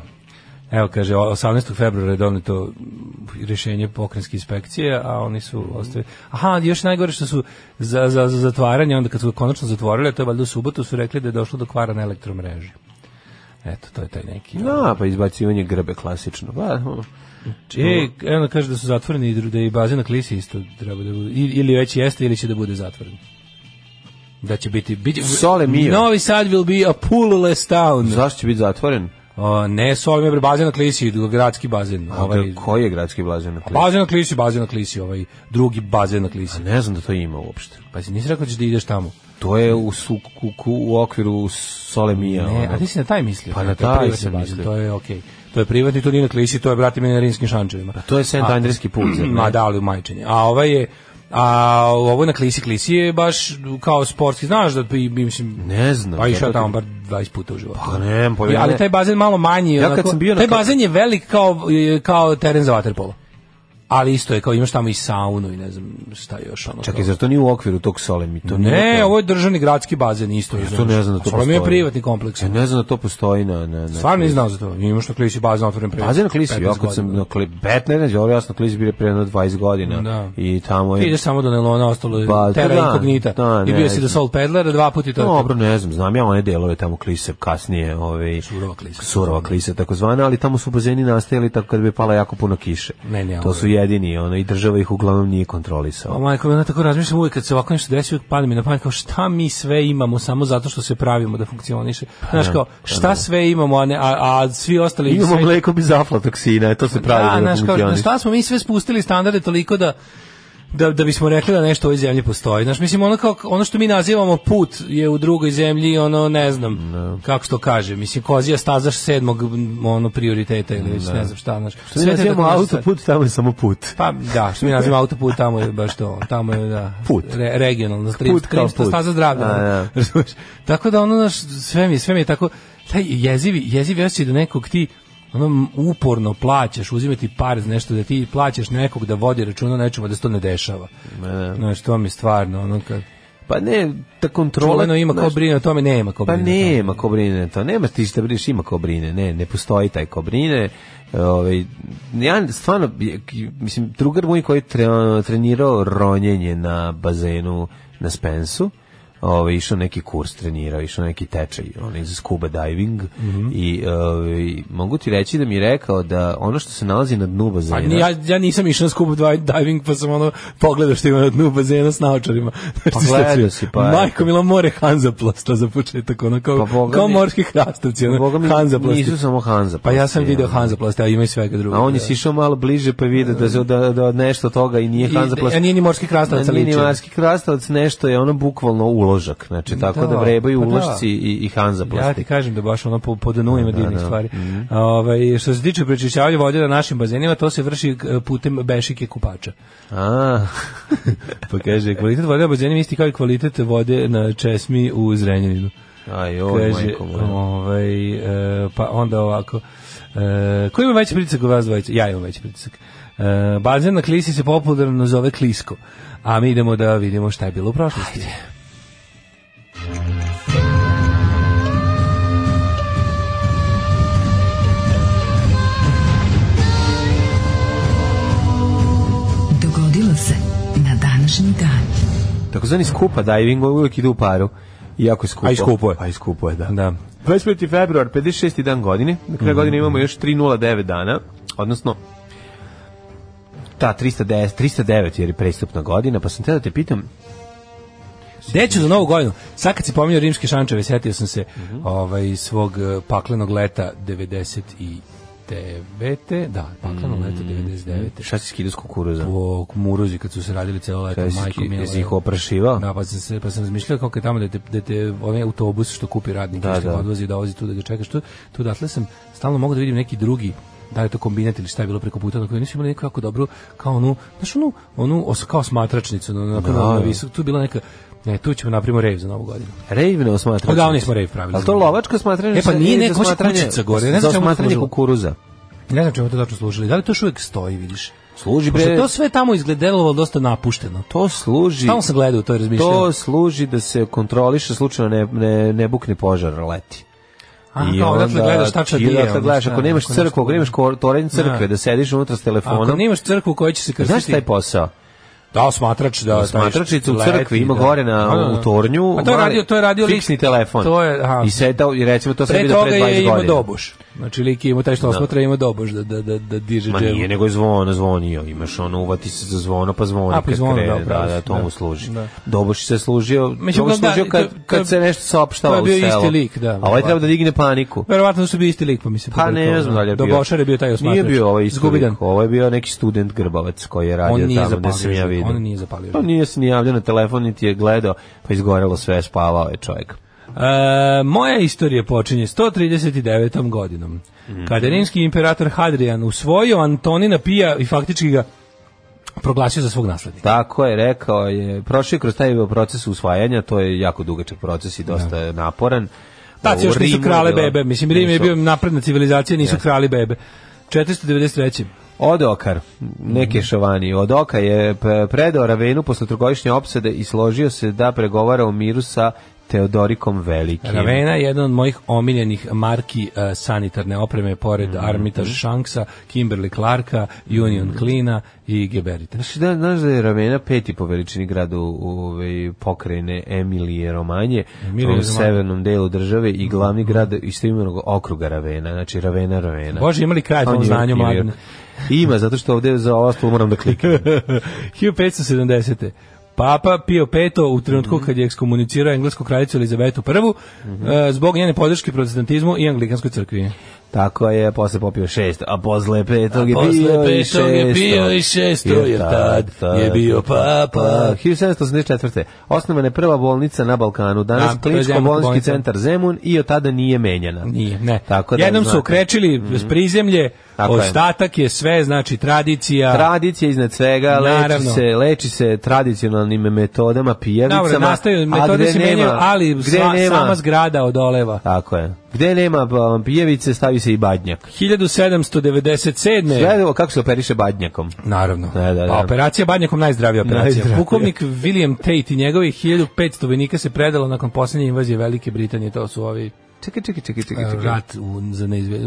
evo kaže, o- 18. februara je doneto rješenje pokrenjske inspekcije, a oni su Mhm. ostali... Aha, još najgore što su za, za, za zatvaranje, onda kad su ga konačno zatvorili, a to je valjda u subotu, su rekli da je došlo do kvara na elektromreži. Eto, to je taj neki... Da, pa izbacivanje grbe klasično. Pa, hm. E, evo kaže da su zatvoreni i dru- da je i bazen na klisi isto treba da bude. I- Ili već jeste, ili će da bude zatvoren. Da će biti... biti Sole mio. Novi Sad will be a poolless town. Zašto će biti zatvoren? O, ne s ovim je bazen na klisi, gradski bazen. A da, Ovaj, koji je gradski blazen na klasi? bazen na klisi, bazen na klisi, ovaj drugi bazen na klisi. Ne znam da to ima uopšte. Pa si nisi rekao da ćeš da ideš tamo. To je u, su, ku, ku- u okviru Solemija. Ne, ono. a ti si na taj mislio. Da, Pa na To je taj privatni sam bazen, mislio. To je okej. To je privatni, to nije na klisi, to je brati meni na rimskim šančevima. Pa To je Sent Andreski put. zar ne? Ma da, ali u majčenje. A ovaj je A ovo na klisi klisi je baš kao sportski, znaš da i, mislim Ne znam, Pa išao zato ti- tamo bar 20 puta u životu. Pa nemam pojma, Ali ne. taj bazen malo manji, Ja kad onako- sam bio na taj kla- bazen je velik kao kao teren za vaterpolo. Ali isto je kao imaš tamo i saunu i ne znam šta još ono. Čekaj, kao- zar to nije u okviru tog Solemi? To nije Ne, to. ovo je državni gradski bazen isto. Ja to ne znam da to Ovo mi je postoji. privatni kompleks. Ja ne znam da to postoji na... na, na Stvarno nisam znao za to. Imaš na klisi bazen otvoren pre. Bazen na klisi, ja 15 kad sam godina. na klisi, 15, ovo jasno klisi bio pre jedno 20 godina. Da. I tamo Pa je... Ti ideš samo do Nelona, ostalo je Ba, Terra da, Incognita. da, I ne, bio si do ne. Soul Peddlera dva puta i to je to. Dobro, ne znam, znam ja one delove tamo klise kasnije, ovaj Surova klisa. Surova klisa takozvana, ali tamo su bazeni nastajali tako kad bi pala jako puno kiše. Ne, ne, to ovo su jedini, ono i država ih uglavnom nije kontrolisala. O Pa, majko, ja tako razmišljam uvijek kad se ovako nešto desi, uvijek pada mi na pamet kao šta mi sve imamo samo zato što se pravimo da funkcioniše. Pa Znaš kao, šta sve imamo, a, ne, a, a svi ostali... da. Imamo sve- mleko bez aflatoksina, to se pravi Da, da, znaš kao, na funkcioniš. šta smo mi sve spustili standarde toliko da da, da bismo rekli da nešto u ovoj zemlji postoji. Znaš, mislim, ono, kao, ono što mi nazivamo put je u drugoj zemlji, ono, ne znam, Da. kako se to kaže. Mislim, kozija stazaš sedmog m, ono, prioriteta ili već ne, znam šta, znaš. Da. Mi Sve te nazivamo tako nešto- autoput, tamo je samo put. Pa da, što mi nazivamo autoput, tamo je baš to, tamo je da, Put. Re, regionalna Put kao krimska put. staza zdravlja. A, da. Razumeš? Tako da ono naš sve mi, sve mi je tako taj jezivi, jezivi osjećaj da nekog ti ono uporno plaćaš, uzimati par za nešto, da ti plaćaš nekog da vodi računa o nečemu, a da se to ne dešava. da. Znaš, to mi je stvarno, ono kad... Pa ne, ta kontrola... Čuveno ima ko znaš, brine o tome, nema ko Pa brine o tome. nema kobrine, to nema ti šta brineš, ima kobrine, ne, ne postoji taj kobrine. Ovaj ja stvarno mislim drugar moj koji je tre- trenirao ronjenje na bazenu na Spensu, ovaj išao neki kurs trenirao, išao neki tečaj, onaj za scuba diving Mhm. i ovaj, mogu ti reći da mi je rekao da ono što se nalazi na dnu Pa bazena. ni, ja, ja nisam išao na skup diving, pa sam ono pogledao što ima na dnu bazena s naočarima. Šta gledao ću? si, pa Majko eto. Milo more Hanzaplasta za početak, ono kao, Pa boga kao mi- pa morski hrastavci, ono, Boga mi, Hanzaplasti. nisu samo Hanza. Pa ja sam video Hanzaplasta, a ima i svega druga. A on je sišao malo bliže pa vidio da, se- da, da nešto od toga i nije I- da- Hanzaplast. a nije ni morski krastavac, Nije ni liči. morski krastavac, nešto je ono bukvalno uložak. Znači, tako da, Da, vrebaju pa da. uložci i, i Ja Hanzaplast. ti kažem da baš ono po, po dnu ima divnih da. stvari. Mhm. Ovaj, što se tiče prečišćavanja vode na našim bazenima, to se vrši eh, putem bešike kupača. A, Pa kaže, kvalitet vode na bazenima isti kao i kvalitet vode na česmi u Zrenjaninu. aj, oj, Kaže, majko moja. ovaj, e, pa onda ovako. E, ko ima veći pritisak od vas dvojice? Ja imam veći pritisak. E, bazen na klisi se popularno zove klisko. A mi idemo da vidimo šta je bilo u prošlosti. Dogodilo se na današnji dan. Takozvani skupa diving uvijek ide u paru. Iako je skupo. A i skupo je. A i skupo je, da. Mhm. Da. 25. februar, 56. dan godine. Na kraju godine imamo još 309 dana, odnosno ta 310, 309 jer je prestupna godina, pa sam te da te pitam, Deću za novu godinu. Sad kad si pominjao rimske šančeve, setio sam se Mhm. ovaj, svog eh, paklenog leta 99. Da, pakleno Mhm. leto 99. šta si skidao s kukuruza? Po Muruzi kad su se radili celo leto, Šta si majko ski- mila, jesi ih evo. oprašivao? Da, pa sam se pa sam razmišljao kako je tamo da te, da te onaj autobus što kupi radnik Da, da, što da. da. odvozi da vozi tu da ga čekaš tu. Tu odatle sam stalno mogu da vidim neki drugi da li je to kombinat ili šta je bilo preko puta na kojoj nisu imali neku jako dobru kao onu znaš onu onu os, kao smatračnicu na, Da, na, na, na visok, tu je bila neka ne tu ćemo napravimo rave za novu godinu Rejv ne osmatranje. Odavno Da, smo rejv pravili. Ali to lovačko smatranje? E, pa za- nije ili za neko, hoće smatranje- kućica gore, ne znam za čemu smatranje služi. kukuruza. ne znam čemu to tačno služili da li to još uvijek stoji vidiš Služi Pošto bre- je to sve tamo izgledalo dosta napušteno To služi... Stalno sam gledao to i razmišljao. To služi da se kontroliše slučajno ne, ne, ne bukne požar leti. A, kao odatle gledaš tačno i gdje je, odatle ono, gledaš, šta, ako nemaš ako crkvu, nešto- ako nemaš kor- toranj crkve, Da. da sediš unutra s telefonom. ako nemaš crkvu koja će se krstiti Pa Znaš taj posao? Da, smatrač, da. taj Smatračica u leti, crkvi ima da. gore na Da, da, da. u tornju. A to je mali- radio, to je radio lik- fiksni telefon. To je, aha. I sedao i recimo to sam pre vidio toga pre 20 je godina. imao doboš. Znači lik je imao taj što osmatra, ima doboš da, da, da, da diže Ma džemu. nije, nego je zvono zvonio. Imaš ono, uvati se za zvono, pa zvoni A, pa kad zvono, da, krene. Da, upravo si, da, to da. mu služi. Da. Doboš se služio, Mislim, Doboš da, služio to- kad, to- kad se nešto saopštava u to selu. je bio isti lik, da, A ovaj treba da verovatno. digne paniku. Verovatno su bili isti lik, pa mi se Pa ne pobrkao, znam da. da li je bio. Dobošar je bio taj osmatrač. Nije bio ovaj isti Zgubidan. lik. Ovo je bio neki student Grbavac koji je radio On nije tamo da zapalio sam ja žig, vidio. on nije zapalio Pa žig. nije se ni javljao na telefon, niti je gledao, pa izgorelo sve, spavao je čovjek. E, moja istorija počinje 139. godinom. Mhm. Kada je rimski imperator Hadrian usvojio Antonina Pija i faktički ga proglasio za svog naslednika. Tako je, rekao je, prošao je kroz taj proces usvajanja, to je jako dugačak proces i dosta je naporan. Tad U se Da. još nisu Rimu je krale bila- bebe. Mislim, Rim je nisu. bio napredna civilizacija, nisu krali bebe. 493. Odokar, neke šavani. Odoka je p- predao Ravenu posle trogodišnje opsade i složio se da pregovara o miru sa Teodorikom Velikim. Ravena je jedan od mojih omiljenih marki e, sanitarne opreme pored Mhm. Armitage Shanksa, Kimberly Clarka, Union Klina i Geberita. Znaš da, znaš da je Ravena peti po veličini gradu u ovaj, pokrajine Emilije Romanje, Emilije u Romanje. severnom delu države i glavni grad istoimenog okruga Ravena, znači Ravena Ravena. Bože, imali kraj Kao tom New York, znanju New York. mladine. Ima, zato što ovdje za ovo stol moram da kliknem. 1570. Papa Pio V u trenutku Mhm. kad je ekskomunicirao englesku kraljicu Elizabetu I e, zbog njene podrške protestantizmu i anglikanskoj crkvi. Tako je, posle popio šest, a posle petog je A posle bio i šesto. petog je bio i šesto, jer tad je bio papa. 1784. Osnovana je prva bolnica na Balkanu, danas Da, to je kliničko-bolnički Zemunska centar Zemun i od tada nije menjana. Nije, ne. Tako da, Jednom su znate. okrečili s prizemlje, Tako je. ostatak je. sve, znači tradicija. Tradicija iznad svega, leči Naravno. se, leči se tradicionalnim metodama, pijalicama. Dobro, nastaju, a metode gde se menjaju, nema- ali gde sva- nema- sama zgrada odoleva. Tako je. Gde nema um, pijevice, stavi se i badnjak. 1797. Gledaj kako se operiše badnjakom. Naravno. Da, da, da. Pa operacija Badnjakom najzdravija operacija. Najzdravija. Pukovnik William Tate i njegovih 1500 vojnika se predalo nakon posljednje invazije Velike Britanije, to su ovi Čekaj, čekaj, čekaj, čekaj. eh, čekaj. rat u, za neizve,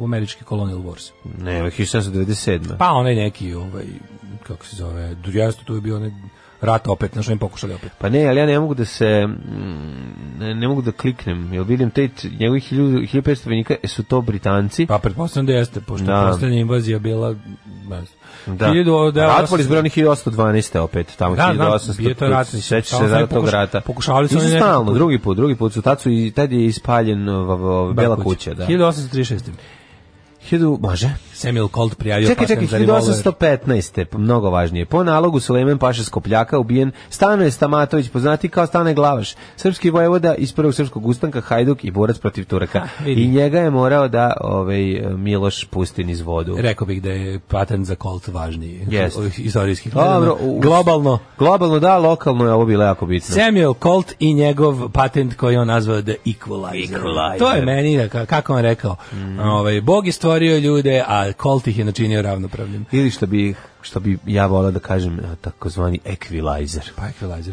u američki Colonial Wars. Ne, 1797. Pa onaj neki, ovaj, kako se zove, jasno tu je bio onaj rat opet, znaš, oni pokušali opet. Pa ne, ali ja ne mogu da se mm, ne, ne mogu da kliknem. Jel vidim te njegovih 1000 1500 vojnika, e, su to Britanci? Pa pretpostavljam da jeste, pošto Da. je poslednja invazija bila... Ne znam. da. 1000 A Rat voli izbrani 1812. opet, tamo Da, znam, 1800. bio je to rat, mislim, Sećaš stalno se su oni da tog pokuša- rata. pokušavali su Nisu oni nekako- stalno, drugi put, drugi put su tad su i tad je ispaljen ova, ova, Bela kuća, da. 1836. 1000 može. Samuel Colt prijavio Čekaj, patent čekaj, za revolver. 1815. pa Mnogo važnije. Po nalogu Sulejmen Paša Skopljaka ubijen Stanoje Stamatović, poznati kao Stane Glavaš, srpski vojvoda iz prvog srpskog ustanka, Hajduk i borac protiv Turaka. vidi. I njega je morao da ovaj, Miloš pusti niz vodu. Rekao bih da je patent za Colt važniji Jeste. ovih istorijskih. Pa Dobro, u- globalno Globalno da, lokalno je ovo bilo jako bitno. Samuel Colt i njegov patent koji je on nazvao The Equalizer. Equalizer. Mm. To je meni, da, ka- kako on rekao, ovaj, Bog je stvorio ljude, a Colt ih je načinio ravnopravnim. Ili što bi, što bi ja volao da kažem, takozvani equalizer. Pa Equalizer.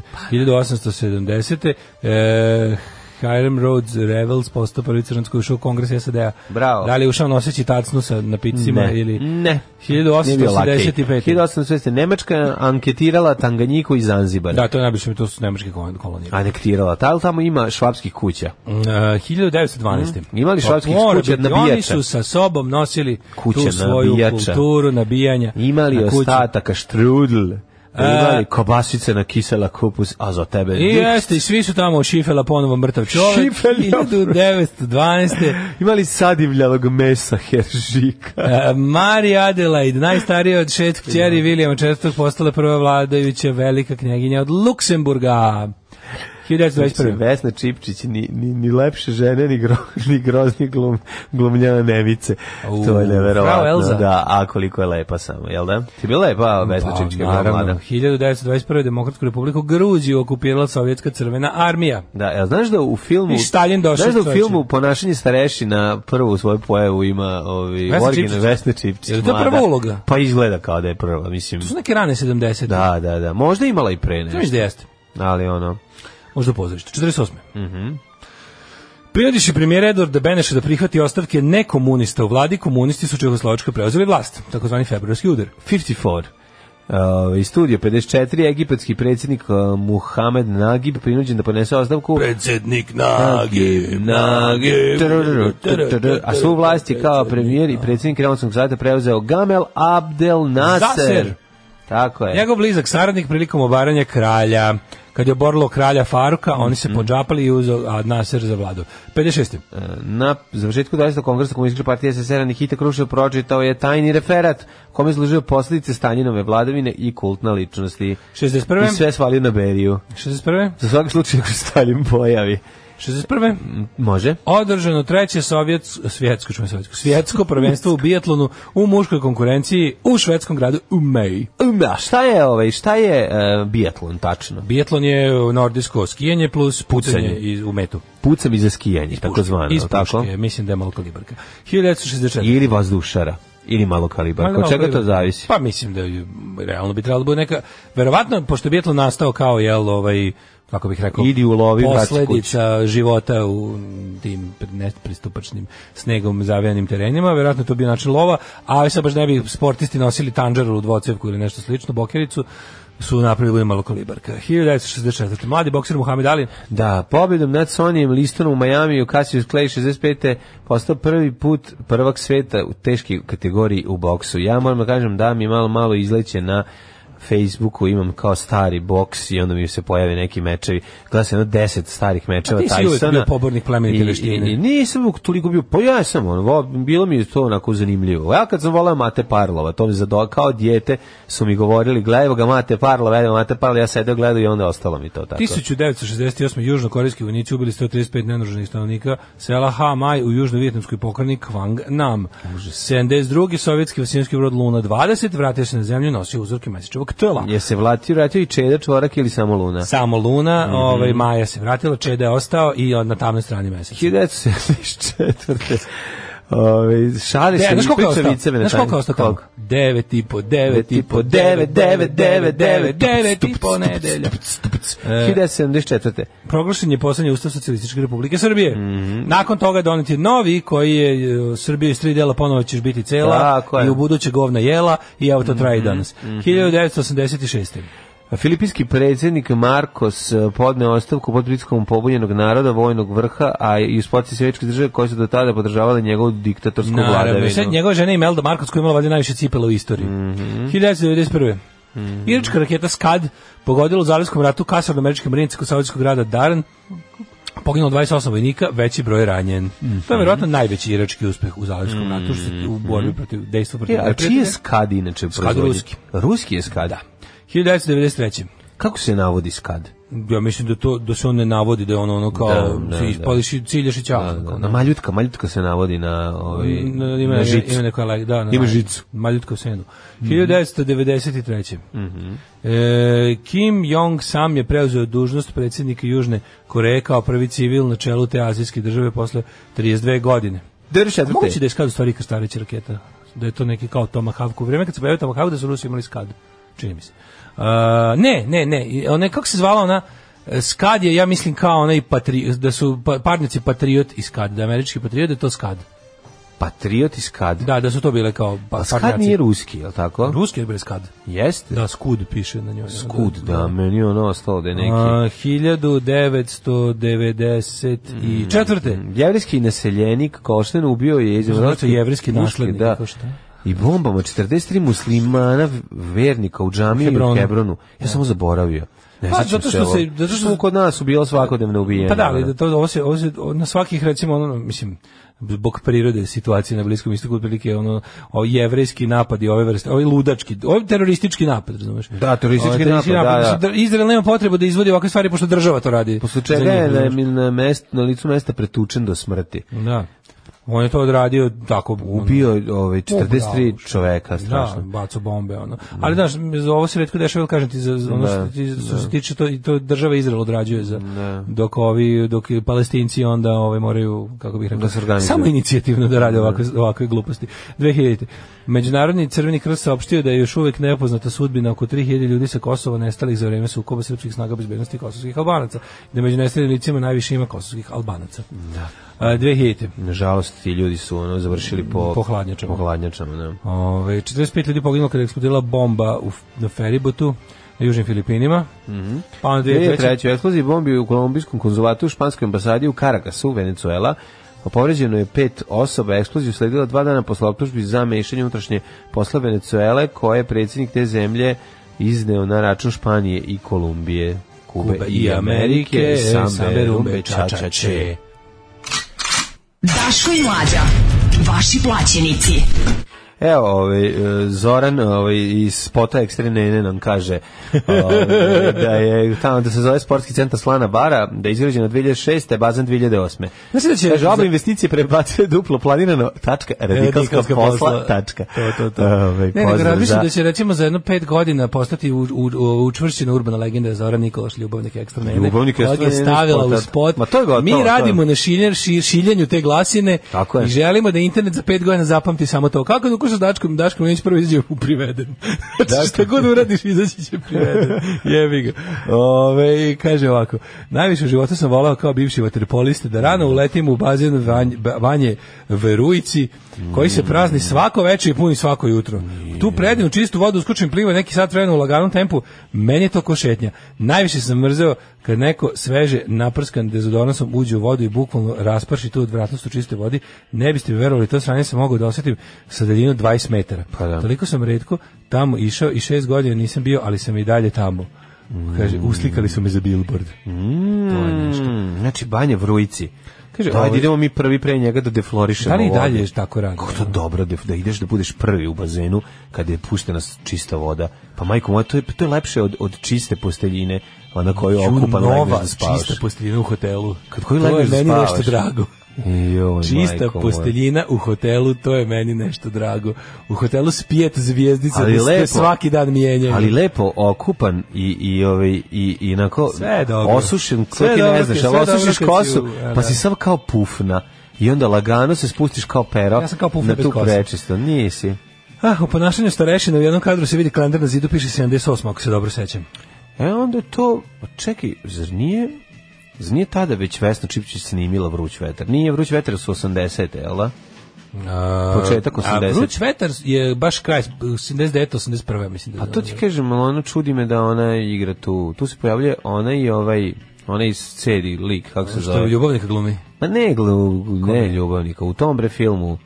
1870. E, Hiram Rhodes Revels postao prvi crnac koji je ušao u kongres SAD-a. Bravo. Da li je ušao noseći tacnu sa napicima ili... ne. Nije bio lakej. 1885. 1885. Nemačka anketirala Tanganjiku i Zanzibar. Da, to je najbolje, to su nemačke kolon- kolonije. anektirala. Ta li tamo ima švapskih kuća? Uh, 1912. Mm. Imali švapskih Pa, mora kuća biti, nabijača. Oni su sa sobom nosili Kuće tu svoju nabijača. kulturu nabijanja. Imali na E. kuću. ostataka štrudl, imali kobasice na kisela kupus, a za tebe I ništa. jeste, i svi su tamo šifela ponovo mrtav čovjek. Šifel je- 1912. Imali sadivljavog mesa heržika. E, Mary Adelaide, najstarija od šest kćeri Vilijama IV. postala prva vladajuća velika knjeginja od Luksemburga. 1921. Vesna Čipčić, ni, ni, ni lepše žene, ni, gro, ni grozni glum, glumljana nevice. U, to je frau neverovatno. Elza. Pa, Da, a koliko je lepa samo, jel da? Ti je bila lepa Vesna Čipčić kad je bila mlada? 1921. Demokratsku republiku Gruziju okupirala Sovjetska crvena armija. Da, jel znaš da u filmu... I Stalin došao, Znaš da u čoveče. filmu ponašanje starešina prvu svoju pojavu ima ovi, Vesna original Čipčić. Vesna Čipčić. Je li to mlada. prva uloga? Pa izgleda kao da je prva, mislim. To su neke rane 70. Da, da, da. Možda je imala i pre Znaš nešto. da jeste. da Ali ono... Možda u pozorištu. 48. Mm Prijadiši premijer Edward Beneša da prihvati ostavke nekomunista u vladi, komunisti su Čehoslovačka preuzeli vlast, takozvani februarski udar. 54. Uh, iz studio 54, egipatski predsjednik uh, Muhammed Nagib prinuđen da ponese ostavku. Predsjednik Nagib, Nagib. Trrrr, trrrr, trrrr. A svu vlast je kao premijer i predsjednik Remonskog savjeta preuzeo Gamel Abdel Nasser. Zaser. Tako je. Njegov blizak saradnik prilikom obaranja kralja. Kad je oborilo kralja Faruka, oni se podžapali i uzeo Ad Nasser za vladu. 56. Na završetku 20. kongresa Komunističke partije SSR Nikita Krušev pročitao je tajni referat kome je služio posljedice Staljinove vladavine i kultna ličnosti. 61. I sve svalio na Beriju. 61. Za svaki slučaj ako se Staljin pojavi. 61. Može? Održano treće sovjetsko, svjetsko, čujem sovjetsko, svjetsko prvenstvo u bijatlonu u muškoj konkurenciji u švedskom gradu Umej. Um, A šta je, ovaj, šta je uh, biatlon tačno? Bijatlon je nordijsko skijanje plus pucanje Pucanje. iz, u metu. Pucam iza skijanje, takozvano. Iz tako? puške, mislim da je malo kalibarka. 1964. Ili vazdušara. Ili malo Pa, kalibarka. Od malo čega to kalibar. zavisi? Pa mislim da je, realno bi trebalo da bude neka verovatno pošto je Beatle nastao kao jel ovaj kako bih rekao Idi ulovi, vrati kući. posledica života u tim nepristupačnim snegom zavijanim terenima, verovatno je to bio način lova, a sad baš ne bi sportisti nosili tanđaru u dvocevku ili nešto slično, bokericu su napravili malo kalibarka. 1964. Mladi bokser Muhammed Ali Da, pobjedom nad Sonijem Listonom u Majamiju Cassius Clay 65. postao prvi put prvak sveta u teškoj kategoriji u boksu. Ja moram da kažem da mi malo malo izleće na Facebooku imam kao stari boks i onda mi se pojave neki mečevi. Gleda se jedno 10 starih mečeva A ti si uvek Tysona. bio pobornik plemenite I- i- veštine. i Nisam uvek toliko bio, pa ja sam, ono, vo- bilo mi je to onako zanimljivo. Ja kad sam volao Mate Parlova, to mi zado, kao dijete su mi govorili, gledaj evo ga Mate Parlova, evo Mate Parlova, ja sedeo gledao i onda ostalo mi to tako. 1968. južnokorejski vojnici ubili 135 nenaruženih stanovnika sela Ha Mai u južno-vjetnamskoj pokrajini Kvang Nam. 72. sovjetski vasinski brod Luna 20 vratio se na zemlju i nosio uzorke mesečevog koktela. Je se vratio, vratio i Čeda čvorak ili samo Luna? Samo Luna, Mhm. ovaj, Maja se vratila, Čeda je ostao i on na tamnoj strani meseca. 1974. Ove, šali Ne, se znaš i koliko je priča ostao? viceve na Znaš koliko je tajni. ostao tamo? Koliko? 9 i po, 9 i po, 9, 9, 9, 9, 9 i po nedelja. E. 1974. Proglašen je poslednji ustav Socijalističke republike Srbije. Mhm. Nakon toga donet je novi koji je e, Srbija iz tri dela ponovo ćeš biti cela Tako je. Mhm, i u buduće govna jela i evo to traje i danas. 1986. Filipinski predsjednik Marcos eh, podneo ostavku pod pritiskom pobunjenog naroda, vojnog vrha, a i uz potice sjevečke države koje su do tada podržavale njegovu diktatorsku Naravno, i sad vladavinu. njegova žena Imelda Marković koja je imala valjda najviše cipela u istoriji. Mhm. 1991. Iračka raketa Skad pogodila u Zalijskom ratu kasar američke marinice kod saudijskog grada Daran. Poginulo 28 vojnika, veći broj je ranjen. Mhm. To je verovatno najveći irački uspeh u Zalijskom ratu što se u borbi protiv dejstva protiv Ja, E, a čiji je neprijatelja. skad inače u Skad proizvodnji? ruski. Da. Ruski je skad? 1993. Kako se navodi skad? Ja mislim da to da se on ne navodi da je ono ono kao Da, da, se da. ispališ i ciljaš i ćao. tako, Na da. maljutka, maljutka se navodi na, ovaj, Ima, na, ima, žicu. ima neko like, da, na, Ima žicu. Mhm. Maljutka u senu. 1993. e, Kim Jong-sam je preuzeo dužnost predsjednika Južne Koreje kao prvi civil na čelu te azijske države posle 32 godine. A 94. Moguće da je skad u stvari Krstarića raketa, da je to neki kao Tomahawk. U vreme kad se pojavio Tomahawk da su Rusi imali skad, čini mi se. E, ne, ne, ne, i ona, je- kako se zvala ona, e, Skad je, ja mislim, kao onaj patri, da su pa- parnici Patriot i Skad, da je američki Patriot, da je to Skad. Patriot i skad. Da, da su to bile kao A pa, skad parnjaci. nije ruski, je li tako? Ruski je bre skad. Jeste. Da, skud piše na njoj. Skud, da, meni je ono ostalo da je neki. A, Mm. 1994. Jevrijski naseljenik Košten ubio je Zato izraelski je jevrijski naslednik, da. tako šta? I bombama 43 muslimana vernika u džamiji Hebronu. Da. u Hebronu. Ja sam samo zaboravio. Ne, Pa, sećam zato što ovo. se- zato što- Što kod nas su bila svakodnevno ubijena. Pa da, ali da to, ovo se, ovo se, na svakih recimo, ono, mislim, zbog prirode situacije na Bliskom istoku otprilike ono o jevrejski napad i ove vrste, ovaj ludački, ovaj teroristički napad, razumeš? Da, teroristički napad, da, da. mislim, Izrael nema potrebu da izvodi ovakve stvari pošto država to radi. Posle čega za njih, je na, razumeš? na, mest, na licu mesta pretučen do smrti. Da. On je to odradio tako ono, Ubio je ovaj, 43 bravo. čoveka, strašno. Da, baco bombe ono. Ali znaš, za ovo se retko dešava, ali kažem ti za za ono Da, što, ti, što se tiče to i to država Izrael odrađuje za dok ovi dok Palestinci onda ovaj moraju kako bih rekao Da se organizuju. samo inicijativno da rade ovakve ovakve gluposti. 2000. Međunarodni crveni krst saopštio da je još uvek nepoznata sudbina oko 3000 ljudi sa Kosova nestalih za vreme sukoba srpskih snaga bezbednosti i kosovskih Albanaca. Da među nestalim licima najviše ima kosovskih Albanaca. Da. 2000. Nažalost, ti ljudi su ono, završili po, Po hladnjačama. Po hladnjačama, da. Ove, 45 ljudi poginulo kada je eksplodirala bomba u, na Feribotu na južnim Filipinima. Mhm. Pa onda 2003. 2003. u eksploziji bombi u kolumbijskom konzulatu u španskoj ambasadi u Caracasu, Venezuela, Povređeno je pet osoba, eksploziju sledila dva dana posle optužbi za mešanje unutrašnje posla Venezuele, koje je predsjednik te zemlje izneo na račun Španije i Kolumbije, Kube, i Amerike, Sambe, Rumbe, Čačače. Daško i Mlađa. Vaši plaćenici. Evo, ovaj, e, Zoran ovaj, iz spota Ekstremene nam kaže ovaj, da je tamo da se zove sportski centar Slana Bara, da je izgrađeno 2006. a bazan 2008. Znači da će- Kaže, oba investicije prebacuje duplo planirano tačka, radikalska posla, tačka. To, to, to. Ovaj, ne, nego pozdrav razmišljam za- da će recimo za jedno pet godina postati u, u, u, učvršćena urbana legenda Zoran Nikolaš, ljubavnik ekstra nene. Ljubavnik kojeg ekstra je nene, stavila u spot, spot. ma to je gotovo, Mi to je. radimo na šiljer, ši- šiljenju te glasine Tako je. i želimo da internet za pet godina zapamti samo to. Kako dok sa Dačkom, Daškom Milinović prvo izađe u priveden. Znači, šta god uradiš, izaći će priveden. Jebi ga. Ove, kaže ovako, najviše u životu sam volao kao bivši vaterpolista da rano uletim u bazen vanj, ba- vanje Verujci, koji se prazni svako večer i puni svako jutro. Tu predivnu čistu vodu uskučim pliva neki sat vremena u laganom tempu, meni je to košetnja. Najviše sam mrzeo kad neko sveže naprskan dezodoransom uđe u vodu i bukvalno rasprši tu odvratnost u čistoj vodi. Ne biste mi verovali, to sranje sam mogao da osetim sa daljinom 20 metara. Pa da. Toliko sam redko tamo išao i šest godina nisam bio, ali sam i dalje tamo. Kaže, uslikali su me za billboard. Mm, znači, Banje Vrujci. Kaže, Dajde, ovo- idemo mi prvi pre njega da deflorišemo Da li i vodu. dalje tako radi? Kako to dobro da, da ideš da budeš prvi u bazenu kada je puštena s- čista voda. Pa majko moja, to je, to je lepše od, od čiste posteljine, ona koju Ju, okupan legneš nova, da spavaš. čista posteljina u hotelu. Kad koju To je legneš da meni spavaš? nešto drago. Joj, Čista majko moja. posteljina u hotelu, to je meni nešto drago. U hotelu s pjet zvijezdica, Ali da ste lepo. svaki dan mijenjaju. Ali lepo okupan i i ovaj i i onako Sve je dobro. osušen, Sve je sve ti dobro ne kad- znaš, sve ali je dobro osušiš kad si kosu, u- a, pa da. si sam kao pufna. I onda lagano se spustiš kao pero Ja sam kao pufna na bez tu kose. prečisto. Nisi. Ah, u ponašanju starešina u jednom kadru se vidi kalendar na zidu, piše 78, ako se dobro sećam. E onda to, čekaj, zar nije, zar nije tada već Vesna Čipčić snimila Vruć vetar? Nije Vruć vetar su 80. jel da? Početak A 80. Vruć vetar je baš kraj, 79, 81, mislim. Da A Pa to ti kažem, ali ono čudi me da ona igra tu. Tu se pojavljuje ona i ovaj, ona iz cedi lik, kako se Što je zove. ljubavnika glumi. Ma ne, glu, ne ljubavnika, u tom bre filmu.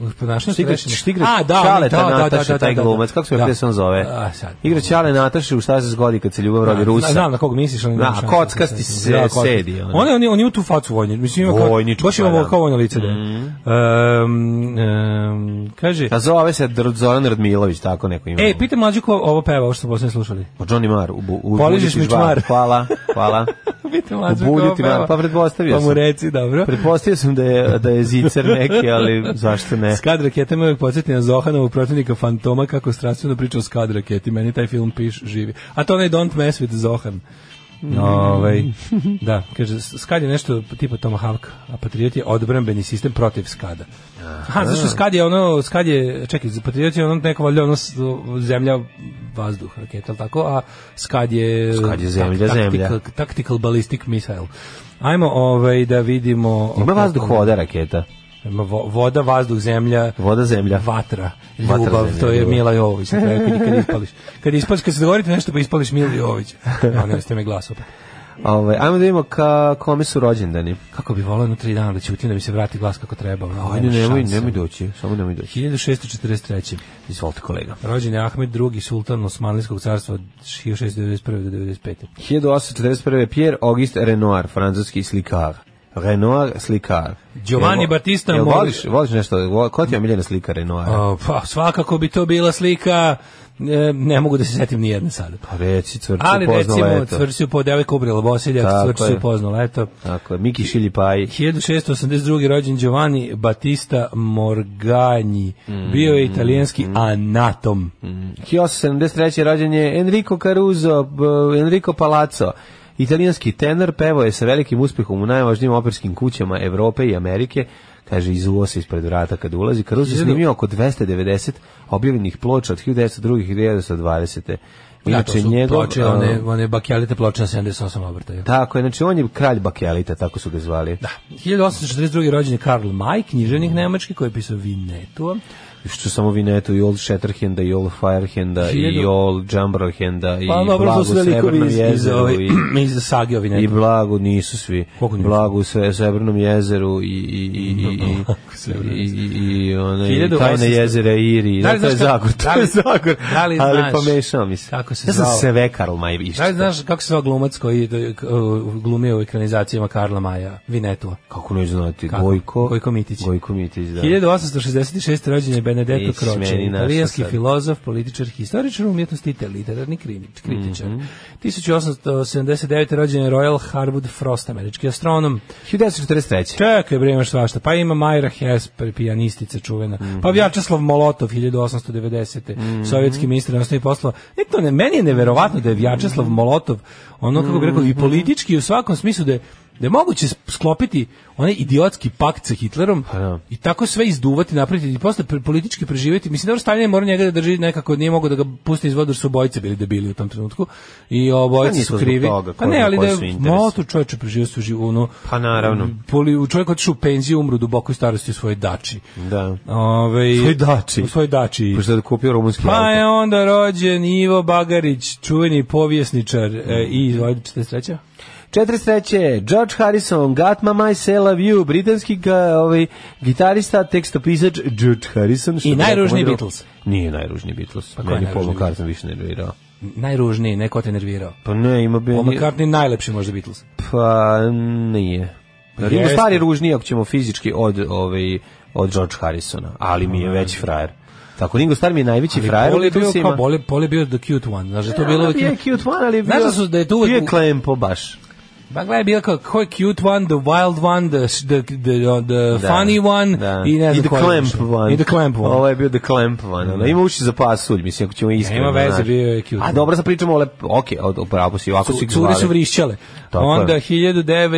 U ponašanju Što igra, starešina. što igra A, da, on- Čale, da, da, da, Nataša, da, taj da, da. glumac, kako se Da. da. on zove? A, sad. Igra Čale Nataše, u šta se zgodi kad se ljubav rodi Da, Rusa? Znam na koga misliš, ali Da, nemam šanse. kockasti se Da, kockasti. sedi, ono. On je, on je, on je u tu facu vojni. Mislim, ima kao, Vojničko, baš ima pa da. kao vojno lice. Da. je. Um, um, kaže, A zove se Dr- Zoran Radmilović, tako neko ima. e, pita mlađu ko ovo peva, ovo što smo poslednje slušali. O, Pa Johnny Marr, u, bu- u, Poližeš budiš mi žvar. čmar. Hvala, hvala. pita mlađu ko ovo Obuditi peva. me, pa pretpostavio Pa mu sam. reci, dobro. Pretpostavio sam da je, da je zicer neki, ali zašto ne? Skad raketa me uvek podsjeti na Zohanovog protivnika Fantoma kako strastveno priča o Skad raketi. Meni taj film piš živi. A to onaj Don't Mess with Zohan. Mm. Ovaj, da, kaže, Skad je nešto tipa Tomahawk, a Patriot je odbrambeni sistem protiv Skada. Aha, zašto Skad je ono, Skad je, čekaj, Patriot je ono neko valjda ono s- zemlja, vazduh, raketa, ali tako, a Skad je... Skad je zemlja, zemlja. Tactical, tactical ballistic missile. Ajmo ovaj, da vidimo... Ima vazduh voda raketa. Ima vo- voda, vazduh, zemlja, Voda zemlja. vatra, Vatra, ljubav, zemlja, to je ljubav. Mila Jovović, na kraju kad, kad ispališ. Kad ispališ, kad se dogovorite nešto, pa ispališ Mila Jovović. A ne, ste me glas opet. Ovaj, ajmo da vidimo ka, kome su rođendani. Kako bi volao na tri dana da ćutim da mi se vrati glas kako treba. ono, Pa Ajde, nema nemoj, šanse. nemoj doći, samo nemoj doći. 1643. Izvolite kolega. Rođen je Ahmed II. sultan Osmanlijskog carstva od 1691. do 95. 1841. Pierre Auguste Renoir, francuski slikar. Renoir slikar. Giovanni Jel vo- Battista jel Mor- voliš, voliš nešto? Vo- Ko ti je omiljena slika Renoira? O, pa, svakako bi to bila slika, e, ne mogu da se setim ni jedne sada. Pa reci, cvrču Ali poznala recimo, je to. cvrsi po devojku ubrila Bosiljak, Tako cvrsi je. pozno leto. Tako je, Miki Šiljipaji. 1682. rođen Giovanni Battista Morgagni. Bio je italijanski anatom. 1873. rođen je Enrico Caruso, b- Enrico Palazzo. Italijanski tenor pevao je sa velikim uspehom u najvažnijim operskim kućama Evrope i Amerike. Kaže, izuo se ispred vrata kad ulazi. Caruso je snimio oko 290 objavljenih ploča od 1902. i 1920. Da, to Inače, su njegov... ploče, a, one, one bakelite ploče na 78 obrtaja. Tako je, znači on je kralj bakelita, tako su ga zvali. Da. 1842. rođen je Karl May, književnik nemački koji je pisao Vinetu. Što samo vi neto, i Old Shatterhanda, i Old Firehanda, i Hiljadu- Old Jumbrahanda, i Pa dobro, Blago to su velikovi Srebrnom iz, iz, jezeru, ove, i- iz sage o I Vinetu. blago nisu svi. E, Koliko nisu? Blago u sve Srebrnom jezeru i i i i i i, i, i one Hiljadu tajna osamsto- jezera Iri. Da li Da, to je znaš kako- Zagor, da to li- je Zagor. da li Ali znaš pomešao mi se. kako se ja sam zvao? se vekarl maj i Da li znaš kako se zva glumac koji je uh, glumio u ekranizacijama Karla Maja, Vinetua? Kako neću znati? Kako? Gojko. Gojko Mitić. Gojko Mitić, da. 1866. rođen je Benedetto Nisi Croce, meni našao italijanski sad. filozof, političar, historičar umjetnosti te literarni krimič- kritičar. Mhm. 1879. rođen je Royal Harwood Frost, američki astronom. 1943. Čekaj, bre, imaš svašta. Pa ima Majra Hesper, pijanistica čuvena. Mhm. Pa Vjačeslav Molotov, 1890. Sovjetski ministar osnovnih poslova. Ne, to ne, meni je neverovatno da je Vjačeslav Mhm. Molotov, ono kako bi rekao, i politički i u svakom smislu da je da je moguće sklopiti onaj idiotski pakt sa Hitlerom da. i tako sve izduvati, napraviti i posle pre- politički preživjeti. Mislim, dobro, Stalin je morao njega da drži nekako, nije mogao da ga pusti iz vodu, jer su obojice bili debili u tom trenutku. I obojice nisu su Pa zbog krivi. toga, pa ne, ko- ali da koji je su interesi? Molotov čovječe preživio su živu, ono, Pa naravno. Mm. Poli, u čovjek otišao u penziju, umru u dubokoj starosti u svojoj dači. Da. Ove, U svojoj dači? U svojoj dači. Pošto je kupio rumunski Pa je auto. onda rođen Ivo Bagarić, čuveni povjesničar e, Mm. i izvojde 43. 43. George Harrison, Got My Mind, Say Love You, britanski ga, ovaj, gitarista, tekstopisač George Harrison. što I bi rekao najružniji moj drug- Beatles. Nije najružniji Beatles. Pa ko je Meni Paul najružniji McCartney više nervirao. Najružniji, neko te nervirao. Pa ne, ima bi... Paul McCartney najlepši možda Beatles. Pa nije. Ringo Pa jeste. Starr je ružniji ako ćemo fizički od, ovaj, od George Harrisona, ali mi je veći frajer. Tako, Ringo Starr mi je najveći frajer. Paul je u bio Beatlesima. kao, Paul je, Paul je bio the cute one. Znaš da je to bilo Ja, uvijek... bio je cute one, ali je Znaš bio- da su- da je to uvek- bio je klempo baš. Pa gledaj, bilo kao, ko je cute one, the wild one, the, the, the, the funny one Da. i ne znam the koji clamp više. one. I the clamp one. Ovo je bio the clamp one. Ono. Ima uši za pasulj, mislim, ako ćemo iskreno. Nema veze, znaš. bio je cute. A dobro, sad pričamo o lep... Ok, od, upravo si, ovako si Cu- ih Cure zvali. su vrišćale. Tako je. Onda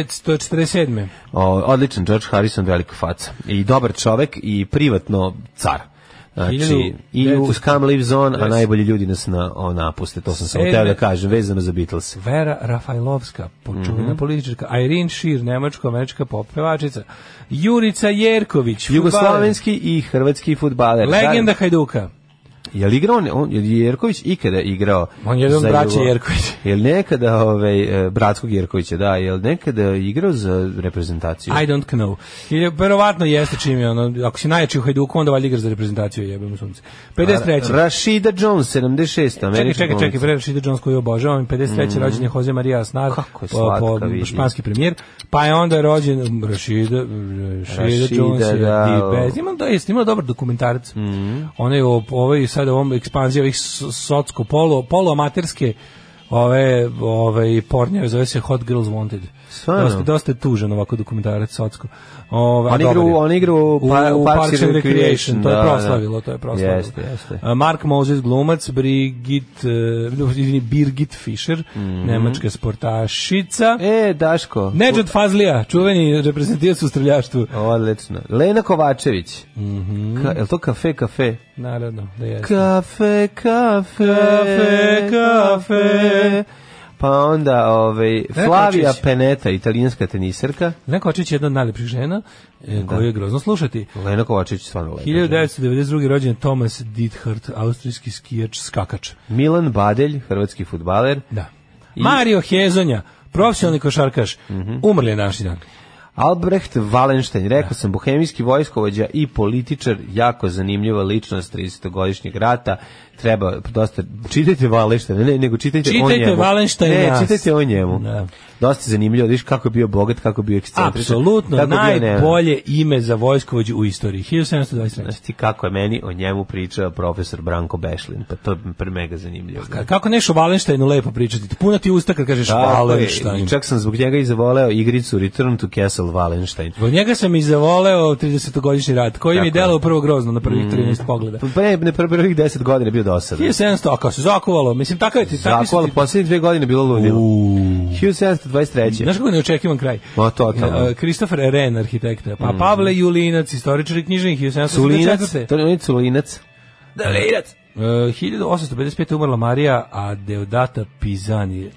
1947. O, odličan George Harrison, velika faca. I dobar čovek i privatno car. Znači, Hiljadu- i u Scam Lives On, a Yes. E, najbolji ljudi nas na, o, napuste. To sam samo Sedme. teo da kažem, vezano za Beatles. Vera Rafajlovska, počuvena Mhm. političarka, Irene Shear, nemačko-američka pop pevačica, Jurica Jerković, fudbaler, Jugoslavenski i hrvatski futbaler. legenda Hajduka. Je li igrao on, on je li Jerković ikada igrao? On je jedan za braće Jugo- Jerković. Je li nekada ovaj e, bratskog Jerkovića, da, je li nekada igrao za reprezentaciju? I don't know. Ili verovatno jeste čim je ono, ako si najjači u Hajduku, onda valjda igraš za reprezentaciju, jebem u sunce. 53. Rashida Jones 76, Čekaj, američki. čekaj, glumac. čekaj, pre Rashida Jones koju obožavam, 53. rođen je Jose Maria Aznar, Mhm. Kako je po, po, slatka, vidi. španski premijer, pa je onda rođen Rashida, Rashida, Rashida, Jones, je da, di- o. Mhm. bez, imam da jeste, imao dobar dokumentarac. Mm Ona je ovaj sad ovom ekspanzija ovih so- socko polo, poloamaterske ove, ove pornjeve, zove se Hot Girls Wanted. Stvarno? Dosta, dosta je tužan ovako dokumentarac socko. Ove, a On igra dobar u- je. on igra u Pa- u Parks Parks and and Recreation, to je da, da. proslavilo, to je proslavilo. Jeste, jeste. A, Mark Moses glumac, Brigit, uh, izvini, Birgit Fischer, nemačka sportašica. Mhm. E, Daško. Nedžad Fazlija, čuveni reprezentativac u streljaštvu. Odlično. Lena Kovačević. Mhm. Ka, je li to kafe, kafe? Naravno, da je. Kafe, kafe, Kafe, kafe. Pa onda ovaj, Flavija Kočić. Peneta, italijanska teniserka. Lena Kočić je jedna od najlepših žena, e, Da. koju je grozno slušati. Lena Kovačević stvarno lepa. žena. 1992. rođen je Thomas Dithart, austrijski skijač, skakač. Milan Badelj, hrvatski futbaler. Da. Mario Hezonja, profesionalni košarkaš, Mhm. umrli je naši dan. Albrecht Wallenstein, rekao sam, bohemijski vojskovođa i političar, jako zanimljiva ličnost 30-godišnjeg rata. Treba dosta, čitajte Wallenstein, ne, nego čitajte, o Čitajte njemu. Wallensteina. Ne, čitajte o njemu. Da. Dosta zanimljivo, vidiš kako je bio bogat, kako je bio ekscentričan. Apsolutno, kako je bio nevan. najbolje ime za vojskovođu u istoriji. 1723. Znaš ti kako je meni o njemu pričao profesor Branko Bešlin, pa to je pre mega zanimljivo. Ka- Kako nešto o Valenštajnu lepo pričati? Puna ti usta kad kažeš Tako je, Valenštajn. i Čak sam zbog njega i zavoleo igricu Return to Castle Wallenstein. Zbog njega sam i zavoleo 30-godišnji rat, koji mi je Tako je. delao prvo grozno na prvih 13 pogleda. Pa ne, ne pre prvih 10 godina je bio dosadan. 1700, a kao se zakuvalo, mislim, tako je ti, tako Zakon, su ti... poslednje dve godine bilo ludilo. 1723. Znaš kako neočekivan kraj? Ma, da. totalno. E, Kristofer Ren, arhitekta, Mhm. pa Pavle Julinac, istoričar i knjižnik, 1784. Culinac, to je Culinac. E, 1855. umrla Marija, a Deodata Pizani,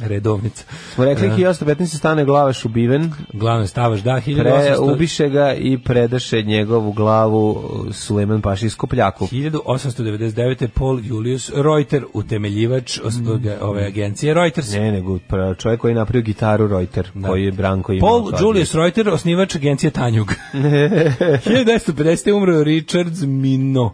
redovnica. Smo Da. rekli 1815 stane glavaš ubiven, Glavno stavaš, da, 1800... pre, ubiše ga i predaše njegovu glavu uh, Suleman Paši iz Kopljaku. 1899. Paul Julius Reuter, utemeljivač os- oge- ove agencije Reuters. Mm. Ne, nego pra- čovjek koji je napravio gitaru Reuter, koji je Branko imao. Da. Paul kao Julius Reuter, osnivač agencije Tanjug. 1950. umro Richards Mino. Uh,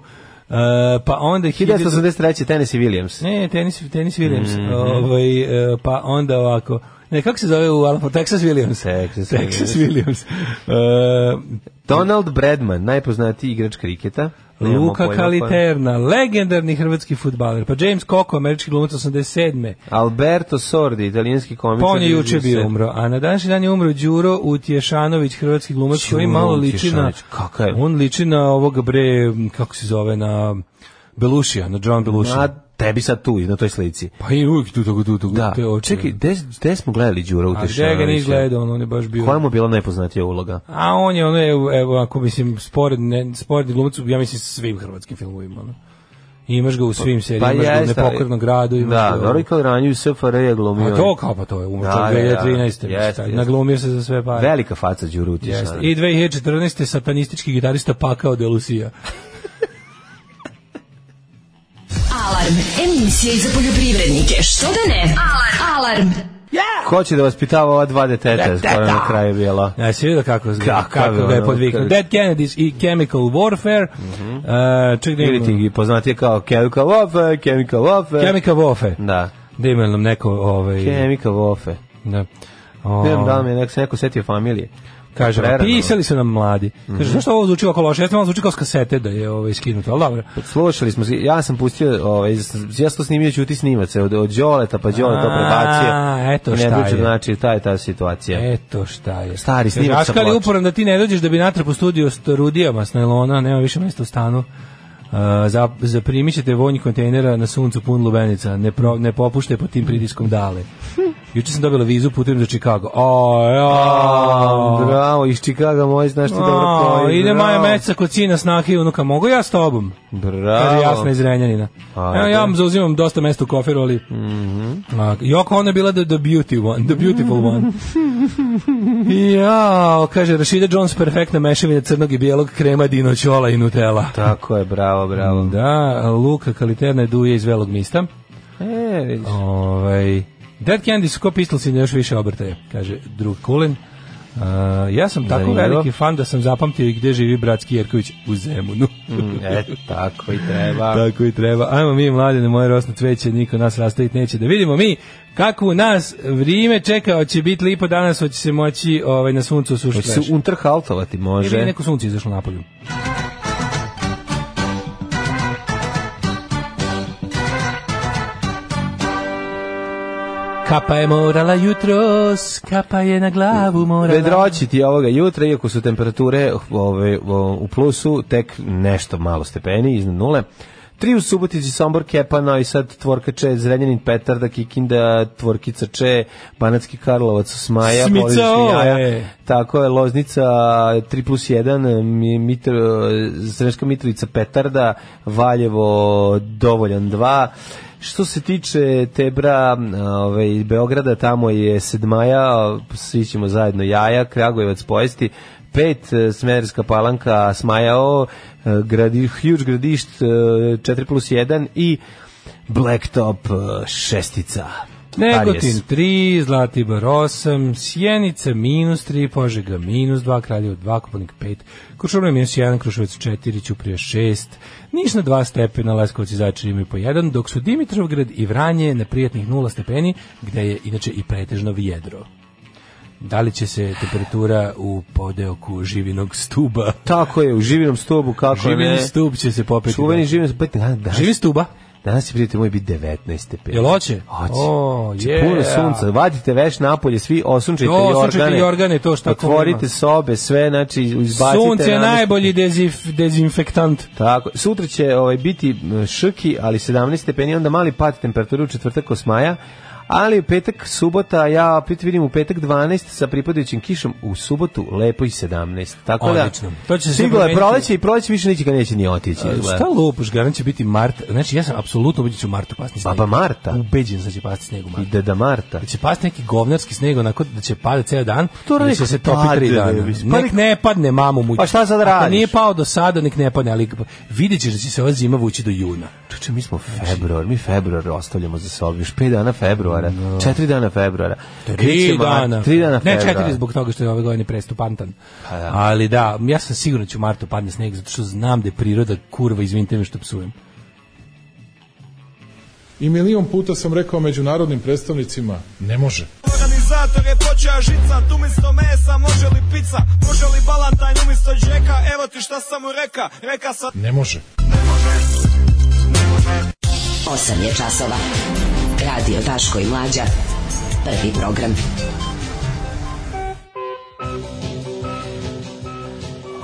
pa onda... 1900 1983. Tennessee Williams. Ne, tenis, tenis Williams. Mhm. ovaj, e, pa onda ovako... Ne, kako se zove u Alamo? Texas Williams. Texas Texas Williams. E, Donald Bradman, najpoznatiji igrač kriketa. Nemamo Luka pojma, pa- Kaliterna, legendarni hrvatski futbaler. Pa James Coco, američki glumac 87. Alberto Sordi, italijanski komičar. Pa on je juče bio režiser. umro, a na današnji dan je umro Đuro Utješanović, hrvatski glumac koji Đuro malo liči na Utješanović, kakav je? on liči na ovoga bre, kako se zove, na Belušija, na John A Belušija. tebi sad tu, na toj slici. Pa i uvijek tu tako tu tako Da, te oči. čekaj, gde, gde smo gledali Đura a gde ga nije Utešanovića? gledao, on, on je baš bio. Koja mu je bila najpoznatija uloga? A on je ono, evo, evo ako mislim, spored, ne, spored glumac, ja mislim svim hrvatskim filmovima. Ono. Imaš ga u svim serijama, imaš ga u Pa jeste, ali- nepokornom gradu. Imaš Da, ga, dobro i kao ranju u SFRJ je glumio. A to kao pa to je umro Da, da, da. 2013. Da, Jeste, jeste. Naglumio se za sve pare. Velika faca Đura Jeste. Utešanovića. I 2014. satanistički gitarista pakao Delusija. Alarm. Emisija i za poljoprivrednike. Što da ne? Alarm. Ko će da vaspitava ova dva deteta, skoro na kraju bila? Ja se vidio kako, kako, Kakav je kako ga je ono, podviknuo. kako- Dead Kennedys i Chemical Warfare. uh, ček da Ili imam- ti poznatije kao Chemical Warfare, Chemical Warfare. Chemical Warfare. Da. Da ima nam neko... Ovaj, Chemical Warfare. da. O, Ne znam da li me nek se neko setio familije. Kaže, pa a Prerano. pisali su nam mladi. Mhm. Kaže, zašto ovo zvuči ovako loše? Ja sam malo zvuči kao s kasete da je ovaj, skinuto, ali dobro. Slušali smo, ja sam pustio, ovaj, ja sam to snimio ćuti snimac, od, od Đoleta, pa Đole to A, prebacio. eto I ne šta pričam, je. E, Znači, ta je ta situacija. Eto šta je. Stari snimak sa Aškali ploče. uporan da ti ne dođeš da bi natrag u studiju s rudijama s najlona, nema više mesta u stanu. Uh, za, zaprimit ćete vonj kontejnera na suncu pun lubenica. Ne, pro, ne popuštaj pod tim pritiskom dale. Juče sam dobila vizu putujem za Chicago. O, A, ja. bravo, iz Čikaga moj, znaš ti dobro O, plovi. ide bravo. maja meseca kod sina, snake i unuka. Mogu ja s tobom? Kaže Bravo. jasna iz Renjanina. Ajde. Evo, ja vam zauzimam dosta mesta u koferu, ali... A, Joko ona je bila the, the beauty one, the beautiful one. ja, kaže, Rashida Jones perfektna mešavina crnog i bijelog krema, dino čola i nutella. Tako je, bravo, bravo. Da, Luka Kaliterna je duje iz Velog mista. E, vidiš. Ovaj Dead Candy su ko Pistolsi još više obrtaje, kaže drug Kulin. A, ja sam tako Zanimljivo. veliki fan da sam zapamtio i gde živi bratski Jerković u Zemunu. E, tako i treba. Tako i Da, treba. Ajmo mi, mladine, moje rosno cveće, niko nas rastaviti neće. Da vidimo mi kako nas vrijeme čeka, hoće biti lipo danas, hoće se moći ovaj, na suncu sušiti. Hoće se unterhaltovati, Ili je može. neko sunce izašlo napolju. Kapa je morala jutros, kapa je na glavu morala. Vedroći ti ovoga jutra, iako su temperature ove, o, u plusu, tek nešto malo stepeni, iznad nule. Tri u Subotici, Sombor, Kepa, Novi Sad, Tvorkače, Zrenjanin, Petarda, Kikinda, Tvorkica Če, Banatski Karlovac, Smaja, Smica, Polički ove. jaja. Tako je, Loznica 3 plus 1, Mi- Mitr, Sremska Mitrovica, Petarda, Valjevo, Dovoljan 2, Što se tiče Tebra, ovaj, Beograda, tamo je sedmaja, svi ćemo zajedno jaja, Kragujevac pojesti, pet, eh, Smederska palanka, Smajao, eh, gradi, Huge gradišt, eh, 4 plus 1 i Blacktop eh, šestica. Negotin Arijes. 3, Zlatibor 8, Sjenica minus 3, Požega minus 2, Kraljevo 2, Koponik 5, Kuršumlja minus 1, Krušovac 4, Ćuprija 6, Niš na 2 stepena, Leskovac i Zajčar imaju po 1, dok su Dimitrovgrad i Vranje na prijatnih 0 stepeni, gde je inače i pretežno vjedro. Da li će se temperatura u podeoku živinog stuba? Tako je, u živinom stubu, kako ne. Živini stub će se popeti. Čuveni živim, pa danas, danas, Živi stuba. danas će prijatelj moj biti 19 stepeni. Jel hoće? Hoće. O, Će je. puno sunca. Vadite veš napolje, svi osunčajte Jo, jorgane. osunčajte jorgane, to šta ko Otvorite ima. sobe, sve, znači izbacite. Sunce je namest- najbolji dezif, dezinfektant. Tako, sutra će ovaj, biti m, šrki, ali 17 stepeni, onda mali pad temperature u četvrtak osmaja, ali u petak, subota, ja opet vidim u petak 12 sa pripadajućim kišom, u subotu lepo i 17. Tako Odlično. da, To će se stiglo je promeniti. E, proleće i proleće više neće ga neće ni otići. izgleda. Šta lupaš, garant će biti Mart. Znači, ja sam apsolutno ubeđen da će u Martu pasti sneg. Baba Marta. Ubeđen sam da će pasti sneg u I Martu. deda Marta. Da će pasti neki govnarski sneg, onako da će padati ceo dan, To to da nek će se topi padne, tri dana. da bi- pa nek- Nek ne padne, mamu mu. Pa šta sad Ako radiš? nije pao do sada, nek ne padne, ali vidjet ćeš da će se ova zima vući do juna. Čuče, mi smo Znači- februar, mi februar ostavljamo za sobom, još 5 dana februara, 4 dana februara. Tri dana. 3 dana ne, februara. četiri zbog toga što je ove godine prestupantan. da. Ali da, ja sam sigurno da će u martu padne sneg, zato što znam da je priroda kurva, izvinite me što psujem. I milion puta sam rekao međunarodnim predstavnicima, ne može. Organizator je počeo žica, tu umjesto mesa može li pizza, može li balantajn umjesto džeka, evo ti šta sam mu reka, reka sam... Ne može. 8 je časova. Radio Daško i Mlađa. Prvi program.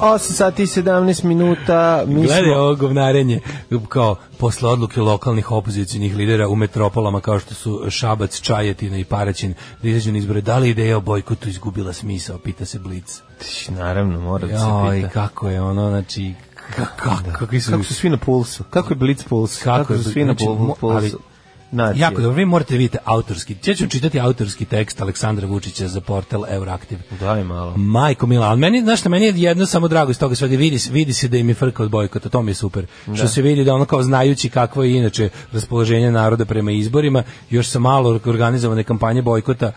8 sati i 17 minuta, mi Gledaj smo... ovo govnarenje, kao posle odluke lokalnih opozicijenih lidera u metropolama kao što su Šabac, Čajetina i Paraćin, da izađu na izbore, da li ideja o bojkotu izgubila smisao, pita se Blic. Tš, Naravno, mora da se Joj, pita. kako je ono, znači, ka- ka- kakvi su... Kako su svi na pulsu? Kako je Blitz puls? Kako Kako, je su Blitz- svi na znači, mo- pul- ali- pulsu? Znači, Nacije. Jako dobro, vi morate vidjeti autorski. Ja ću čitati autorski tekst Aleksandra Vučića za portal Euraktiv. Daj malo. Majko Mila, ali meni, znaš šta, meni je jedno samo drago iz toga svega, vidi, se- vidi se da im je frka od bojkota, to mi je super. Što se vidi da ono kao znajući kakvo je inače raspoloženje naroda prema izborima, još sa malo organizovane kampanje bojkota,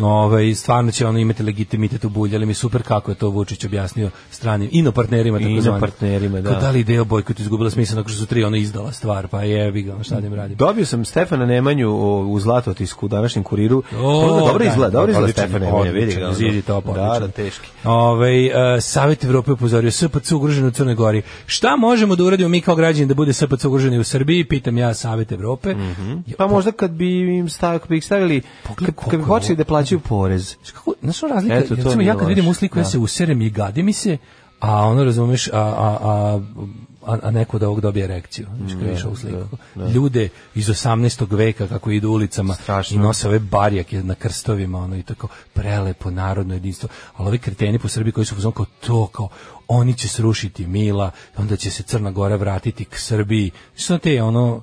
Ove, stvarno će ono imati legitimitet u bulji, ali mi je super kako je to Vučić objasnio stranim inopartnerima, tako Inopartnerima, da. Da li ideja o bojkotu izgubila smisla nakon što su tri ono izdala stvar, pa jebi ga, ono, šta da im radim. Dobio sam Stefana Nemanju o, u Zlatotisku, u današnjem kuriru. O, O, dobro da. izgleda, dobro izgleda Odličan, Stefan Nemanja, vidi ga. odličan, ono. zidi top, Da, odličan. da, teški. Ovaj e, Savet Evrope upozorio SPC ugrožen u Crnoj Gori. Šta možemo da uradimo mi kao građani da bude SPC ugrožen i u Srbiji? Pitam ja Savet Evrope. Jo, Pa možda kad bi im stavili, kad bi ih stavili, kad, Pogledaj kad bi koliko počeli da plaćaju porez. znaš kako, znaš ono razlika, Eto, to recimo nije ja kad loše, vidim u sliku, ja da. se userem i gadi mi se, a ono razumeš, a, a, a, a, a neko od ovog dobije erekciju. Znaš Mm, kada išao da, u sliku. Ljude iz 18. veka kako idu ulicama Strašno. i nose ove barijake na krstovima, ono i tako prelepo narodno jedinstvo. Ali ovi kreteni po Srbiji koji su uzom kao to, kao oni će srušiti Mila, onda će se Crna Gora vratiti k Srbiji. Što te ono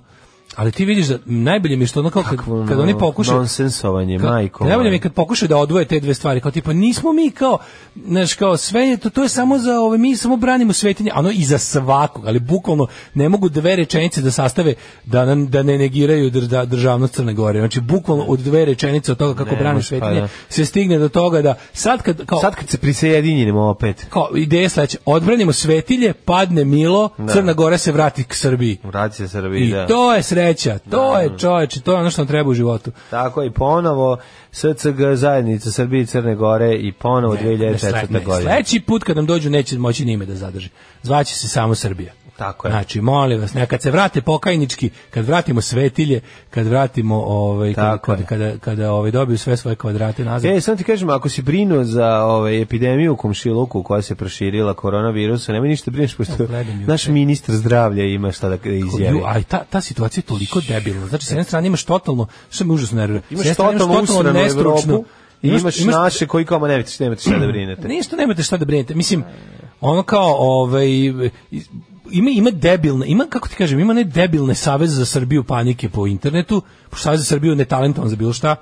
Ali ti vidiš da najbolje mi je što ono kao kad, Kakvo, kad ono, oni pokušaju nonsensovanje, Ka- majko ovaj. Najbolje moja. mi je kad pokušaju da odvoje te dve stvari, kao tipa nismo mi kao, znaš, kao sve je to, to je samo za ove, mi samo branimo svetinje, a ono i za svakog, ali bukvalno ne mogu dve rečenice da sastave da, nam- da ne negiraju dr- da, državnost Crne Gore. Znači, bukvalno od dve rečenice od toga kako Ne, brani može, pa svetinje da. se stigne do toga da sad kad, kao, Sad kad se prisejedinimo opet, kao ideja je sledeća, odbranimo svetilje, padne Milo, Da. Crna Gora se vrati k Srbiji. vrati se Srbiji, I da. to je sreća, to je čoveče, to je ono što nam treba u životu. Tako i ponovo SCG zajednica Srbije i Crne Gore i ponovo Ne, ne, 2004. godine. Sledeći put kad nam dođu neće moći ni ime da zadrži. Zvaće se samo Srbija. Tako je. Znači, molim vas, ne, kad se vrate pokajnički, kad vratimo svetilje, kad vratimo ovaj kad, Tako kad, je. kada kada ovaj dobiju sve svoje kvadrate nazad. E, samo ti kažem, ako si brinuo za ovaj, epidemiju u komšiluku koja se proširila koronavirusa, nemoj ništa brineš, pošto gledam juče. naš ministar zdravlja ima šta da izjavi. Ju, a i ta, ta situacija je toliko debilna. Znači, s jedne strane imaš totalno, što me užasno nervira, s Imaš jedne strane totalno usranu Evropu i imaš- imaš, imaš naše koji kao, ma nemate, šta- nemate šta da brinete. Ništa nemate šta da brinete. Mislim, ono kao, ovaj, iz- ima, ima debilne, ima, kako ti kažem, ima ne debilne saveze za Srbiju panike po internetu, pošto savez za Srbiju ne talentovan za bilo šta,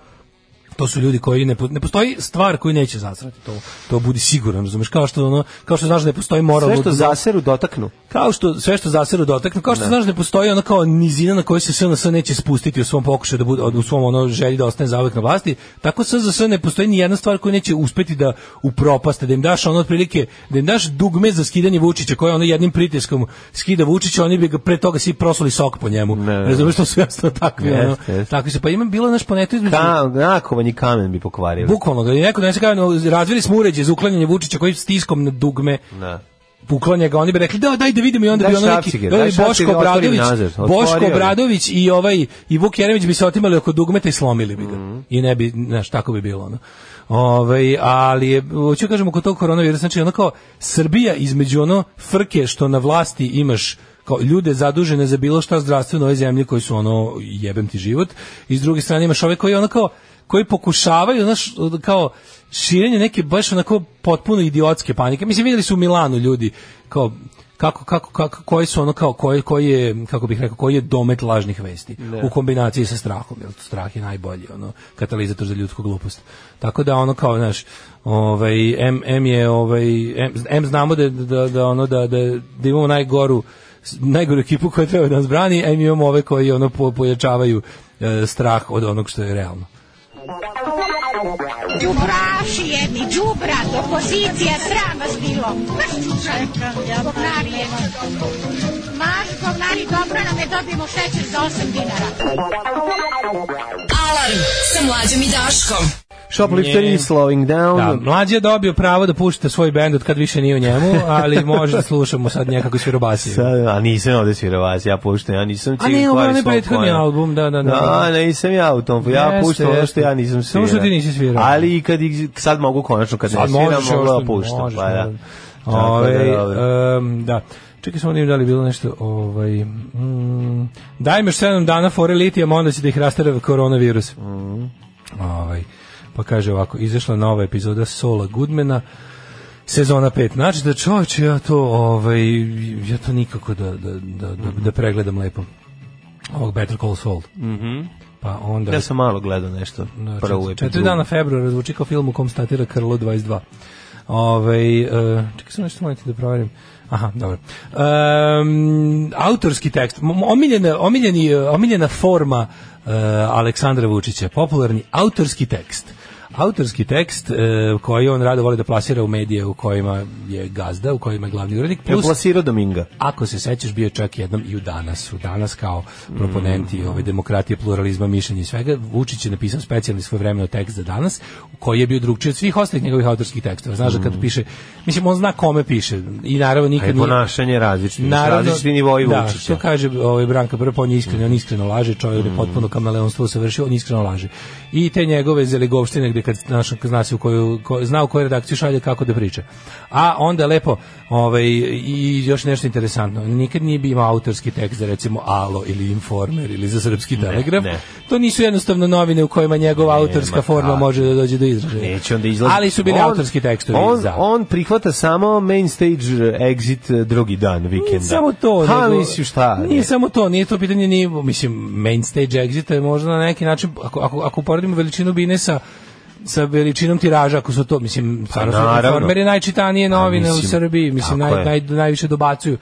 to su ljudi koji ne, po- ne postoji stvar koju neće zasrati to to budi siguran razumeš kao što ono kao što znaš da ne postoji moralno Sve što zaseru dotaknu. kao što sve što zaseru dotaknu, kao što znaš da postoji ono kao nizina na kojoj se SNS neće spustiti u svom pokušaju da bude u svom ono želji da ostane zauvek na vlasti, tako SZS ne postoji ni jedna stvar koju neće uspeti da upropaste, da im daš ono otprilike, da im daš dugme za skidanje Vučića, koje ono jednim pritiskom skida Vučića, oni bi ga pre toga svi prosuli sok po njemu. Ne. Razumeš što su jasno takvi, ono, Jeste, jeste. takvi su. Pa imam bilo naš poneto između... Ka, nakovanji kamen bi pokvarili. Bukvalno, da je neko donese kao, no, razvili smo uređaj za uklanjanje Vučića koji stiskom na dugme Da. uklanja ga, oni bi rekli da daj da vidimo i onda Daj bi ono neki šrapciger, da daj bi Boško šrapciger, otvori Obradović nazad, otvori Boško ovaj. Obradović i ovaj i Vuk Jeremić bi se otimali oko dugmeta i slomili bi ga i ne bi znaš tako bi bilo ono Ovaj, ali je, hoću da kažem oko tog koronavirusa, znači ono kao Srbija između ono frke što na vlasti imaš kao ljude zadužene za bilo šta zdravstveno u ovoj zemlji koji su ono jebem ti život i s druge strane imaš ove koji ono kao koji pokušavaju znaš kao širenje neke baš onako potpuno idiotske panike. Mislim vidjeli su u Milanu ljudi kao kako kako kako koji su ono kao koji koji je kako bih rekao koji je domet lažnih vesti u kombinaciji sa strahom jel strah je najbolji ono katalizator za ljudsku glupost tako da ono kao znaš ovaj M, M je ovaj M, M znamo da, da, da ono da, da, da imamo najgoru s- najgoru ekipu koja treba da nas brani M imamo ove koji ono po, pojačavaju e, strah od onog što je realno Đubraši jedni, đubrat, opozicija, sram vas bilo. Maš čekam, govnari jedni. Maš govnari, dobro nam je, dobijemo šećer za 8 dinara. Alarm sa mlađom i Daškom. Shoplifter Nje. is slowing down. Da, mlađi je dobio pravo da pušta svoj bend od kad više nije u njemu, ali može da slušamo sad nekako svirobasije. Sad, a nisam ovde svirao vas, ja puštam, ja nisam Da, A ne, Cigan ovo je Kvar onaj svog prethodni konja. album, da, da, da. Da, nisam ja u tom, ja Jeste, puštam ono što jeste. ja nisam svirao. Samo što ti nisi svirao. Ali i kad, ih- sad mogu konačno, kad ne Sad sviram, možeš mogu ovo da što- puštam, možeš, pa da. naravno. Tako da, Ovaj, dobro. em, da. Čekaj samo da vidim da li je bilo nešto, ovaj, mm, daj mi još 7 dana fore litijama, onda će da ih rastara koronavirus. Mhm. Ovaj, pa kaže ovako, izašla nova epizoda Sola Goodmana, sezona 5. Znači da čovječe, ja to, ovaj, ja to nikako da, da, da, da, Mhm. da pregledam lepo. Ovog Better Call Saul. Pa onda... Mhm. Ja sam malo gledao nešto, Da, prvu čet- epizodu. Četiri dana februara zvuči kao film u kom statira Krlo 22. Ove, e, čekaj sam nešto molite da proverim. Aha, dobro. Em, autorski tekst. M- m- Omiljena, omiljeni, e, omiljena forma e, Aleksandra Vučića. Popularni autorski tekst. Autorski tekst e, koji on rado voli da plasira u medije u kojima je gazda, u kojima je glavni urednik, Je plus plasirao Dominga. ako se sećaš bio je čak jednom i u danas u danas kao proponenti ove demokratije pluralizma mišljenja i svega Vučić je napisao specijalni svojevremeno tekst za danas koji je bio drugčiji od svih ostalih njegovih autorskih tekstova znaš da kad piše mislim on zna kome piše i naravno A i nikad nije ponašanje različito. znači, Naravno, različiti nivoi da, Vučića. Mm. što kaže ovaj Branka Brpa, on je iskreno, on iskreno laže, čovjek je potpuno kameleonstvo savršio, on iskreno laže. I te njegove zeligovštine gde kad naš, zna se u koju, ko, zna u koju redakciju šalje kako da priča. A onda lepo, ovaj, i još nešto interesantno, nikad nije bio autorski tekst za recimo Alo ili Informer ili za Srpski telegraf. ne. To nisu jednostavno novine u kojima njegova ma autorska forma kako. može da dođe do izražaja. Neće onda izlazi. Ali su bili On- autorski tekstovi On, za. on prihvata samo main stage eh, exit eh, drugi dan vikenda. Nije samo to. Ha, nego- mislim šta? Nije samo to, nije to pitanje ni, mislim, main stage exita je možda na neki način, ako, ako, ako poredimo veličinu Bine sa sa veličinom tiraža, ako su to, mislim, stvarno su Pa naravno. Pa Informer je najčitanije novine mislim, u Srbiji, mislim, tako naj, je. naj, najviše dobacuju.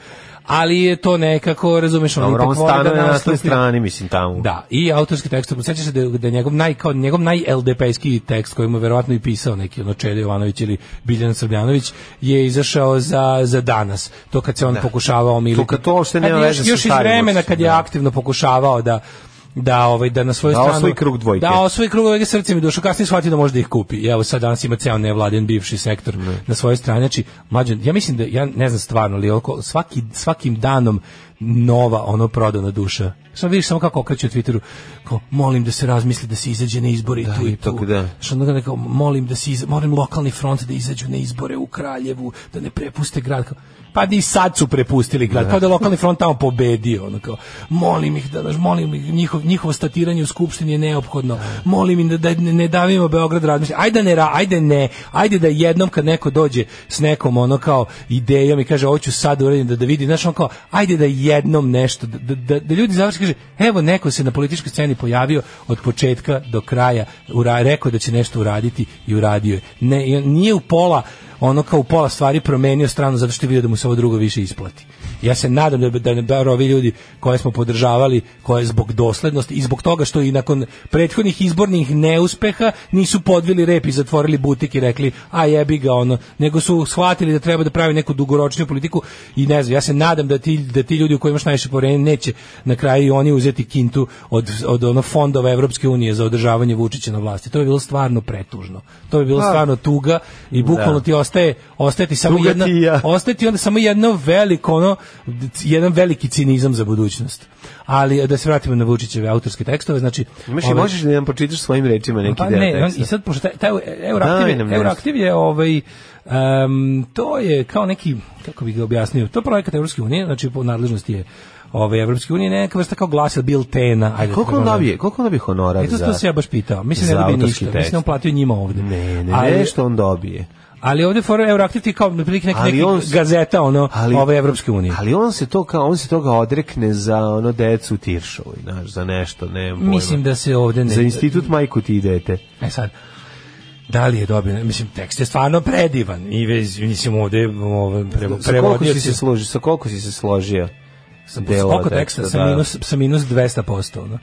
Ali je to nekako, razumeš, on Dobro, ipak on voli stane na nasnoj da nastupi. strani, mislim, tamo. Da, i autorski tekst, sećaš se da, je- da je njegov naj kao njegov naj LDP-ski tekst koji mu je verovatno i pisao neki ono Čelje Jovanović ili Biljan Srbljanović je izašao za, za danas. To kad se on pokušavao omiliti. Da. To kad to uopšte Kad nema je veze još, sa još iz starim vremena Vučićem, kad je da. aktivno pokušavao da da ovaj da na svoju Da stranu osvoji krug dvojke. Da osvoji krug dvojke srcem i dušom, kasnije shvati da može da ih kupi. I evo sad danas ima ceo nevladin bivši sektor na svojoj strani. Znači, mlađan, ja mislim da ja ne znam stvarno, ali oko svaki svakim danom nova ono prodana duša. Samo vidiš samo kako okreće u Twitteru, kao molim da se razmisli da se izađe na izbore i tu i ipak tu. da. Što onda kao molim da se iza, molim lokalni front da izađu na izbore u Kraljevu, da ne prepuste grad. Kao, Pa ni sad su prepustili grad, kao da je lokalni front tamo pobedio, ono kao, molim ih da, znaš, molim ih, njihov, njihovo statiranje u Skupštini je neophodno, molim im da, da ne, ne davimo Beograd razmišlja, ajde da ne, ra- ajde ne, ajde da jednom kad neko dođe s nekom ono kao idejom i kaže ovo ću sad uredim da, da vidi, znaš, ono kao, ajde da jednom nešto, da, da, da, da ljudi završi kaže, evo neko se na političkoj sceni pojavio od početka do kraja, ura, rekao da će nešto uraditi i uradio je. Ne, i on nije u pola, ono kao u pola stvari promenio stranu zato što je vidio da mu se ovo drugo više isplati. Ja se nadam da da, da ovi ljudi koje smo podržavali, koje zbog doslednosti i zbog toga što i nakon prethodnih izbornih neuspeha nisu podvili rep i zatvorili butik i rekli a jebi ga ono, nego su shvatili da treba da pravi neku dugoročniju politiku i ne znam, ja se nadam da ti, da ti ljudi u kojima imaš najviše poverenja neće na kraju i oni uzeti kintu od, od ono fondova Evropske unije za održavanje Vučića na vlasti. To je bilo stvarno pretužno. To je bilo stvarno tuga i bukvalno Pa. Da. ti ostaje ostati samo Tuga jedna ti i ja. ostati onda samo jedno veliko ono jedan veliki cinizam za budućnost. Ali da se vratimo na Vučićeve autorske tekstove, znači Imaš i ovaj- možeš da nam počitaš svojim rečima neki pa deo ne, on, teksta. i sad pošto taj, taj Euraktiv, Daj je, nam nešto. Euraktiv je ovaj em, to je kao neki kako bih ga objasnio, to je projekat Evropske unije, znači po nadležnosti je ove Evropske unije neka vrsta kao glasa biltena, ajde. Koliko tako on da- dobije? Koliko on dobije honorar E to, za... to se ja baš pitao. Mislim za da ne dobije autorski ništa. Mislim da on tekst? platio njima ovde. Ne, ne, Ali- nešto on dobije. ali ovde for Euraktiv ti je kao prilike neki, Ali neki on- gazeta ono ali- ove Evropske unije. Ali on se to kao on se toga odrekne za ono decu u Tiršovoj, znaš, za nešto, ne, pojma. Mislim da se ovde ne... za institut majku ti idete. E sad, da li je dobio, mislim, tekst je stvarno predivan i vez, mislim, ovde ovo, pre, Sa koliko si se prevodioci složio? Sa koliko si se složio? sa dela koliko teksta, sa da. minus, sa minus 200%. Ono.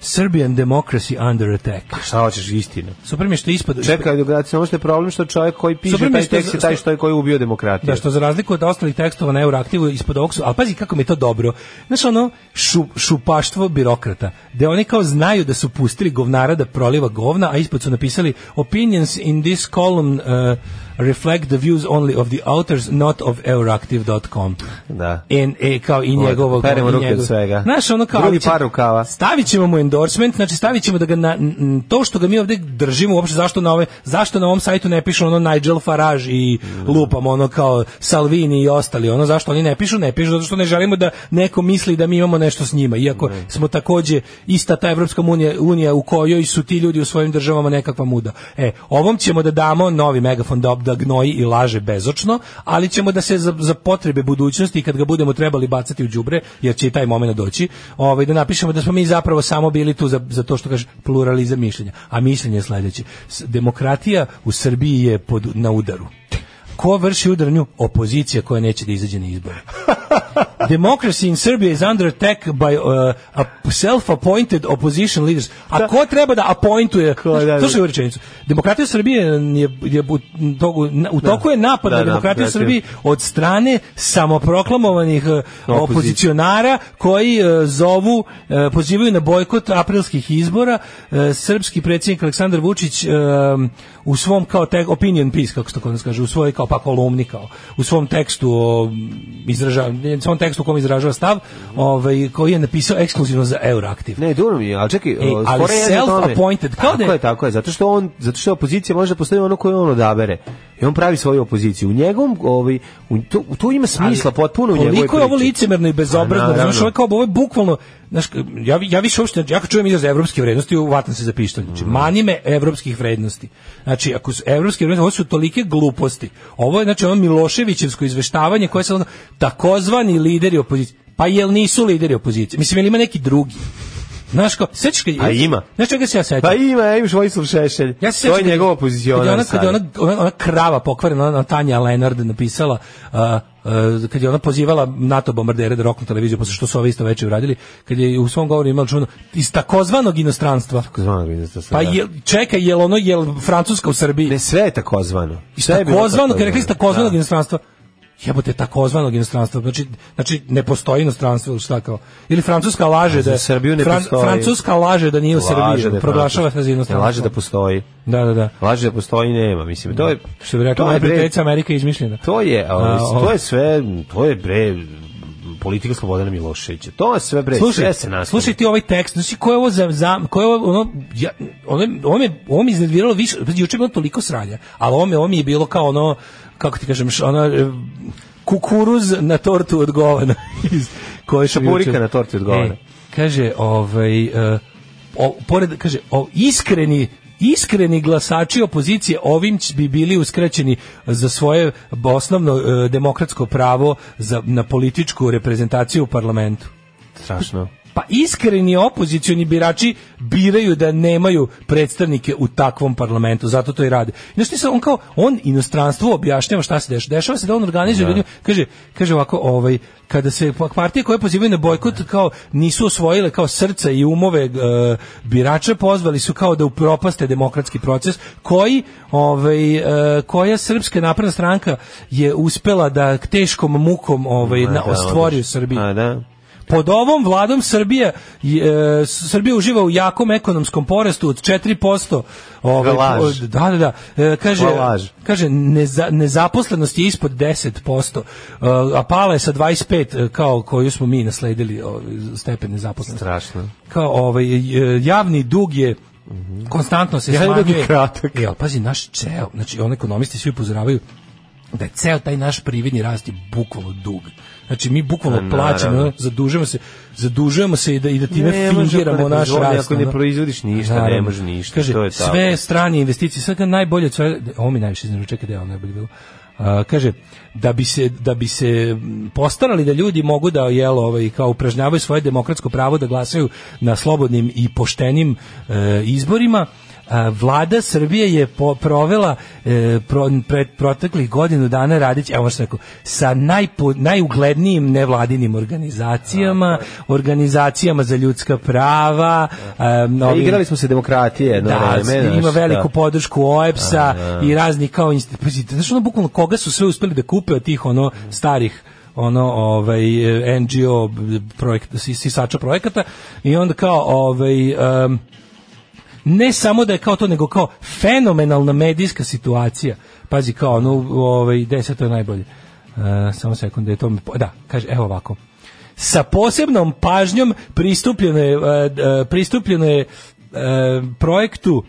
Serbian democracy under attack. Šta hoćeš istina? Super mi je što je ispod... Čekaj, demokracija, ono što je problem što čovjek koji piše Super, taj mislim, tekst je što- taj što je koji je ubio demokratiju. Da, što za razliku od ostalih tekstova na Euroaktivu ispod ovog su, ali pazi kako mi je to dobro. Znaš ono, šu, šupaštvo birokrata, gde oni kao znaju da su pustili govnara da proliva govna, a ispod su napisali opinions in this column uh, reflect the views only of the authors, not of euraktiv.com. Da. En, e, kao i Ovo, njegovog. peremo i ruke od njegov- svega. Znaš, ono kao... Drugi ali će- par rukava. Stavit ćemo mu endorsement, znači stavit ćemo da ga na, n- to što ga mi ovde držimo, uopšte zašto na, ove, zašto na ovom sajtu ne pišu ono Nigel Farage i Mm. lupam ono kao Salvini i ostali, ono zašto oni ne pišu, ne pišu, zato što ne želimo da neko misli da mi imamo nešto s njima, iako smo takođe ista ta Evropska unija, unija u kojoj su ti ljudi u svojim državama nekakva muda. E, ovom ćemo da damo novi megafon da, da gnoji i laže bezočno, ali ćemo da se za, za potrebe budućnosti i kad ga budemo trebali bacati u đubre, jer će i taj momenat doći, ovaj da napišemo da smo mi zapravo samo bili tu za, za to što kaže pluralizam mišljenja. A mišljenje je sledeće. S- Demokratija u Srbiji je pod, na udaru. Ko vrši udar na nju? Opozicija koja neće da izađe na izbore. Democracy in Serbia is under attack by uh, a self-appointed opposition leaders. A ko treba da appointuje? Ko, da, da. Slušaj ovu rečenicu. Demokratija Srbije je, je u toku- u toku je napad Da, na da, demokratiju u demokratiju. Srbiji od strane samoproklamovanih e, opozicionara koji e, zovu, e, pozivaju na bojkot aprilskih izbora. E, Srpski predsjednik Aleksandar Vučić e, u svom kao tek, opinion piece, kako se to kod nas kaže, u svojoj kao pa kolumni kao, u svom tekstu o, izražava, ne, svom tekstu u kom izražava stav, ovaj, koji je napisao ekskluzivno za Euraktiv. Ne, dobro mi je, ali čekaj, e, ali fora je u tome- self-appointed, kao da tako je- je, tako je, zato što on, zato što opozicija može da postoji ono koje on odabere. I on pravi svoju opoziciju. U njegovom, ovaj, u, to, to ima smisla potpuno u njegovoj Koliko je ovo priči. licemerno i A, bezobrazno, naravno. znaš, ovo je kao ovo je bukvalno, znaš, ja, vi- ja više uopšte, ja kad čujem izraz evropskih vrednosti, uvatam se za pištolj, znači, Mm. mani me evropskih vrednosti. Znači, ako su evropske vrednosti, ovo su tolike gluposti. Ovo je, znači, ono Miloševićevsko izveštavanje koje se ono, takozvani lideri opozicije, pa jel nisu lideri opozicije? Mislim, jel ima neki drugi? Znaš, kao, sećaš kad... Pa ima. Znaš čega se ja sećam? Pa ima, ja imaš Vojislav Šešelj. Ja se to je sećam njegov kad- kad je ona, opozicionar. kad je ona, ona, ona krava pokvarena, ona Tanja Lenard napisala, a, a, kad je ona pozivala NATO bombardere da roknu televiziju, posle što su ovi isto večer uradili, kad je u svom govoru imala čuveno, iz takozvanog inostranstva. da Pa je, čekaj, jel ono, jel Francuska u Srbiji? Ne, sve je takozvano. Iz Sve je bilo takozvanog, kad rekli iz takozvanog Da. inostranstva, jebote, takozvanog inostranstva, znači, znači ne postoji inostranstvo ili šta kao. Ili Francuska laže da... za Srbiju ne postoji. Francuska laže da nije u Laže Srbiji, da je proglašava Francuska. se za inostranstvo. Ne, Laže da postoji. Da, da, da. Laže da postoji nema, mislim. To je Što bi rekao, to je, bre, najprijateljica Amerika je izmišljena. to je, ovaj, A, to je sve, to je bre politika Slobodana Miloševića. To je sve bre, Slušaj, sve se nastavlja. slušaj ti ovaj tekst, znači ko je ovo za, za ko je ovo, ono, ja, ono, ono me, ovo me iznerviralo više, pazi, juče je bilo toliko sranja, ali ovo, me, ovo mi je bilo kao ono, kako ti kažem, š- ono, e, kukuruz na tortu od govana. iz- koje sam Šaburika juče- na torti od govana. E, kaže, ovaj, e, o, pored, kaže, o, iskreni iskreni glasači opozicije ovim će- bi bili uskraćeni za svoje osnovno e, demokratsko pravo za, na političku reprezentaciju u parlamentu. strašno. Pa iskreni opozicioni birači biraju da nemaju predstavnike u takvom parlamentu, zato to i rade. Znaš ti se, on kao, on inostranstvu objašnjava šta se dešava. Dešava se da on organizuje ljudima, kaže, kaže ovako, ovaj, kada se pa- partije koje pozivaju na bojkot kao nisu osvojile kao srca i umove e, birača, pozvali su kao da upropaste demokratski proces koji ovaj e, koja srpska napredna stranka je uspela da teškom mukom ovaj na, Da, stvori u odlično. Srbiji. A, da. Pod ovom vladom Srbija je, e, Srbija uživa u jakom ekonomskom porastu od 4%. Ovaj Laž. po- da da da. E, kaže Sva laž. kaže neza, nezaposlenost je ispod 10%, e, a pala je sa 25 e, kao koju smo mi nasledili ovaj, stepen nezaposlenosti. Strašno. Kao ovaj e, javni dug je konstantno se Javni dug je smanjuje. kratak. E, ali pazi, naš ceo, znači on ekonomisti svi upozoravaju da je ceo taj naš privredni rast je bukvalno dug. Znači mi bukvalno naravno. plaćamo, ono, zadužujemo se, zadužujemo se i da i da time Ne može ako fingiramo ne naš proizvodi, rast. ako ne ono. proizvodiš ništa, ne Naravno. može ništa, Kaže, to je tako. sve strane investicije, sad kad najbolje od svega, ovo mi najviše znači, čekaj da je ovo najbolje bilo. A, kaže da bi se da bi se m, postarali da ljudi mogu da jelo ovaj kao upražnjavaju svoje demokratsko pravo da glasaju na slobodnim i poštenim e, izborima a, vlada Srbije je po, provela e, pro, pred proteklih godinu dana radić, evo što sam rekao, sa najpo, najuglednijim nevladinim organizacijama, organizacijama za ljudska prava, em, Da, ovim- igrali smo se demokratije jedno da, vreme, ima znaš, da. veliku podršku OEPS-a i razni kao institucije. Znaš, ono bukvalno koga su sve uspeli da kupe od tih ono starih ono ovaj eh, NGO projekt si- sisača projekata i onda kao ovaj em, ne samo da je kao to nego kao fenomenalna medijska situacija pazi kao ono ovaj deseto je najbolje E, samo sekunde to mi po- da kaže evo ovako sa posebnom pažnjom pristupljeno je, e, d- e, pristupljeno je e, projektu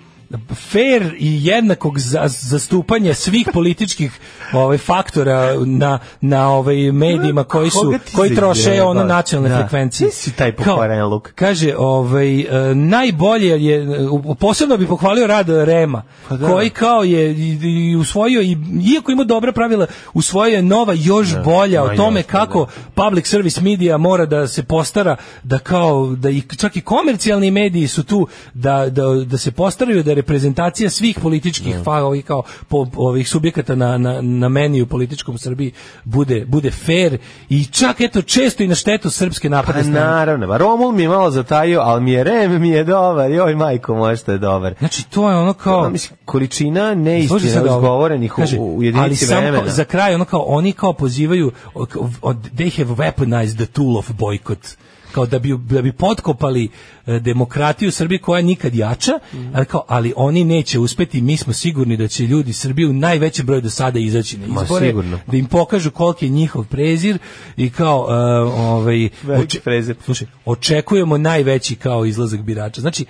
fair i jednakog za- zastupanja svih političkih ovaj faktora na na ovaj medijima koji su Koga ti koji troše zajebaš? ono nacionalne Da. frekvencije. Ti si taj Kao, pokvaren luk. Kaže, ovaj, e, najbolje je, e, u- posebno bi pohvalio rad Rema, Pa da. koji kao je i, i usvojio, i, iako ima dobra pravila, usvojio je nova, još bolja, o ma tome jasno, kako public service media mora da se postara, da kao, da i, čak i komercijalni mediji su tu, da, da, da se postaraju da reprezentacija svih političkih fa, ovih kao po, ovih subjekata na, na, na meniju političkom u Srbiji bude bude fair i čak eto često i na štetu srpske Pa napade strane. naravno, ba, Romul mi je malo zatajio, ali mi je Rem mi je dobar, joj majko moja što je dobar. Znači to je ono kao Pa, mislim, količina neistina Slušaj sad ovo. izgovorenih u, Kaže, u jedinici ali vremena. Kao, za kraj, ono kao, oni kao pozivaju, o- k- o- they have weaponized the tool of boycott kao da bi, da bi potkopali e, demokratiju u Srbiji koja je nikad jača, Mhm. ali, kao, ali oni neće uspeti, mi smo sigurni da će ljudi Srbiju u najveći broj do sada izaći na Ma, izbore, sigurno. da im pokažu koliki je njihov prezir i kao e, ovaj, Veliki oče- prezir. slušaj, očekujemo najveći kao izlazak birača. Znači,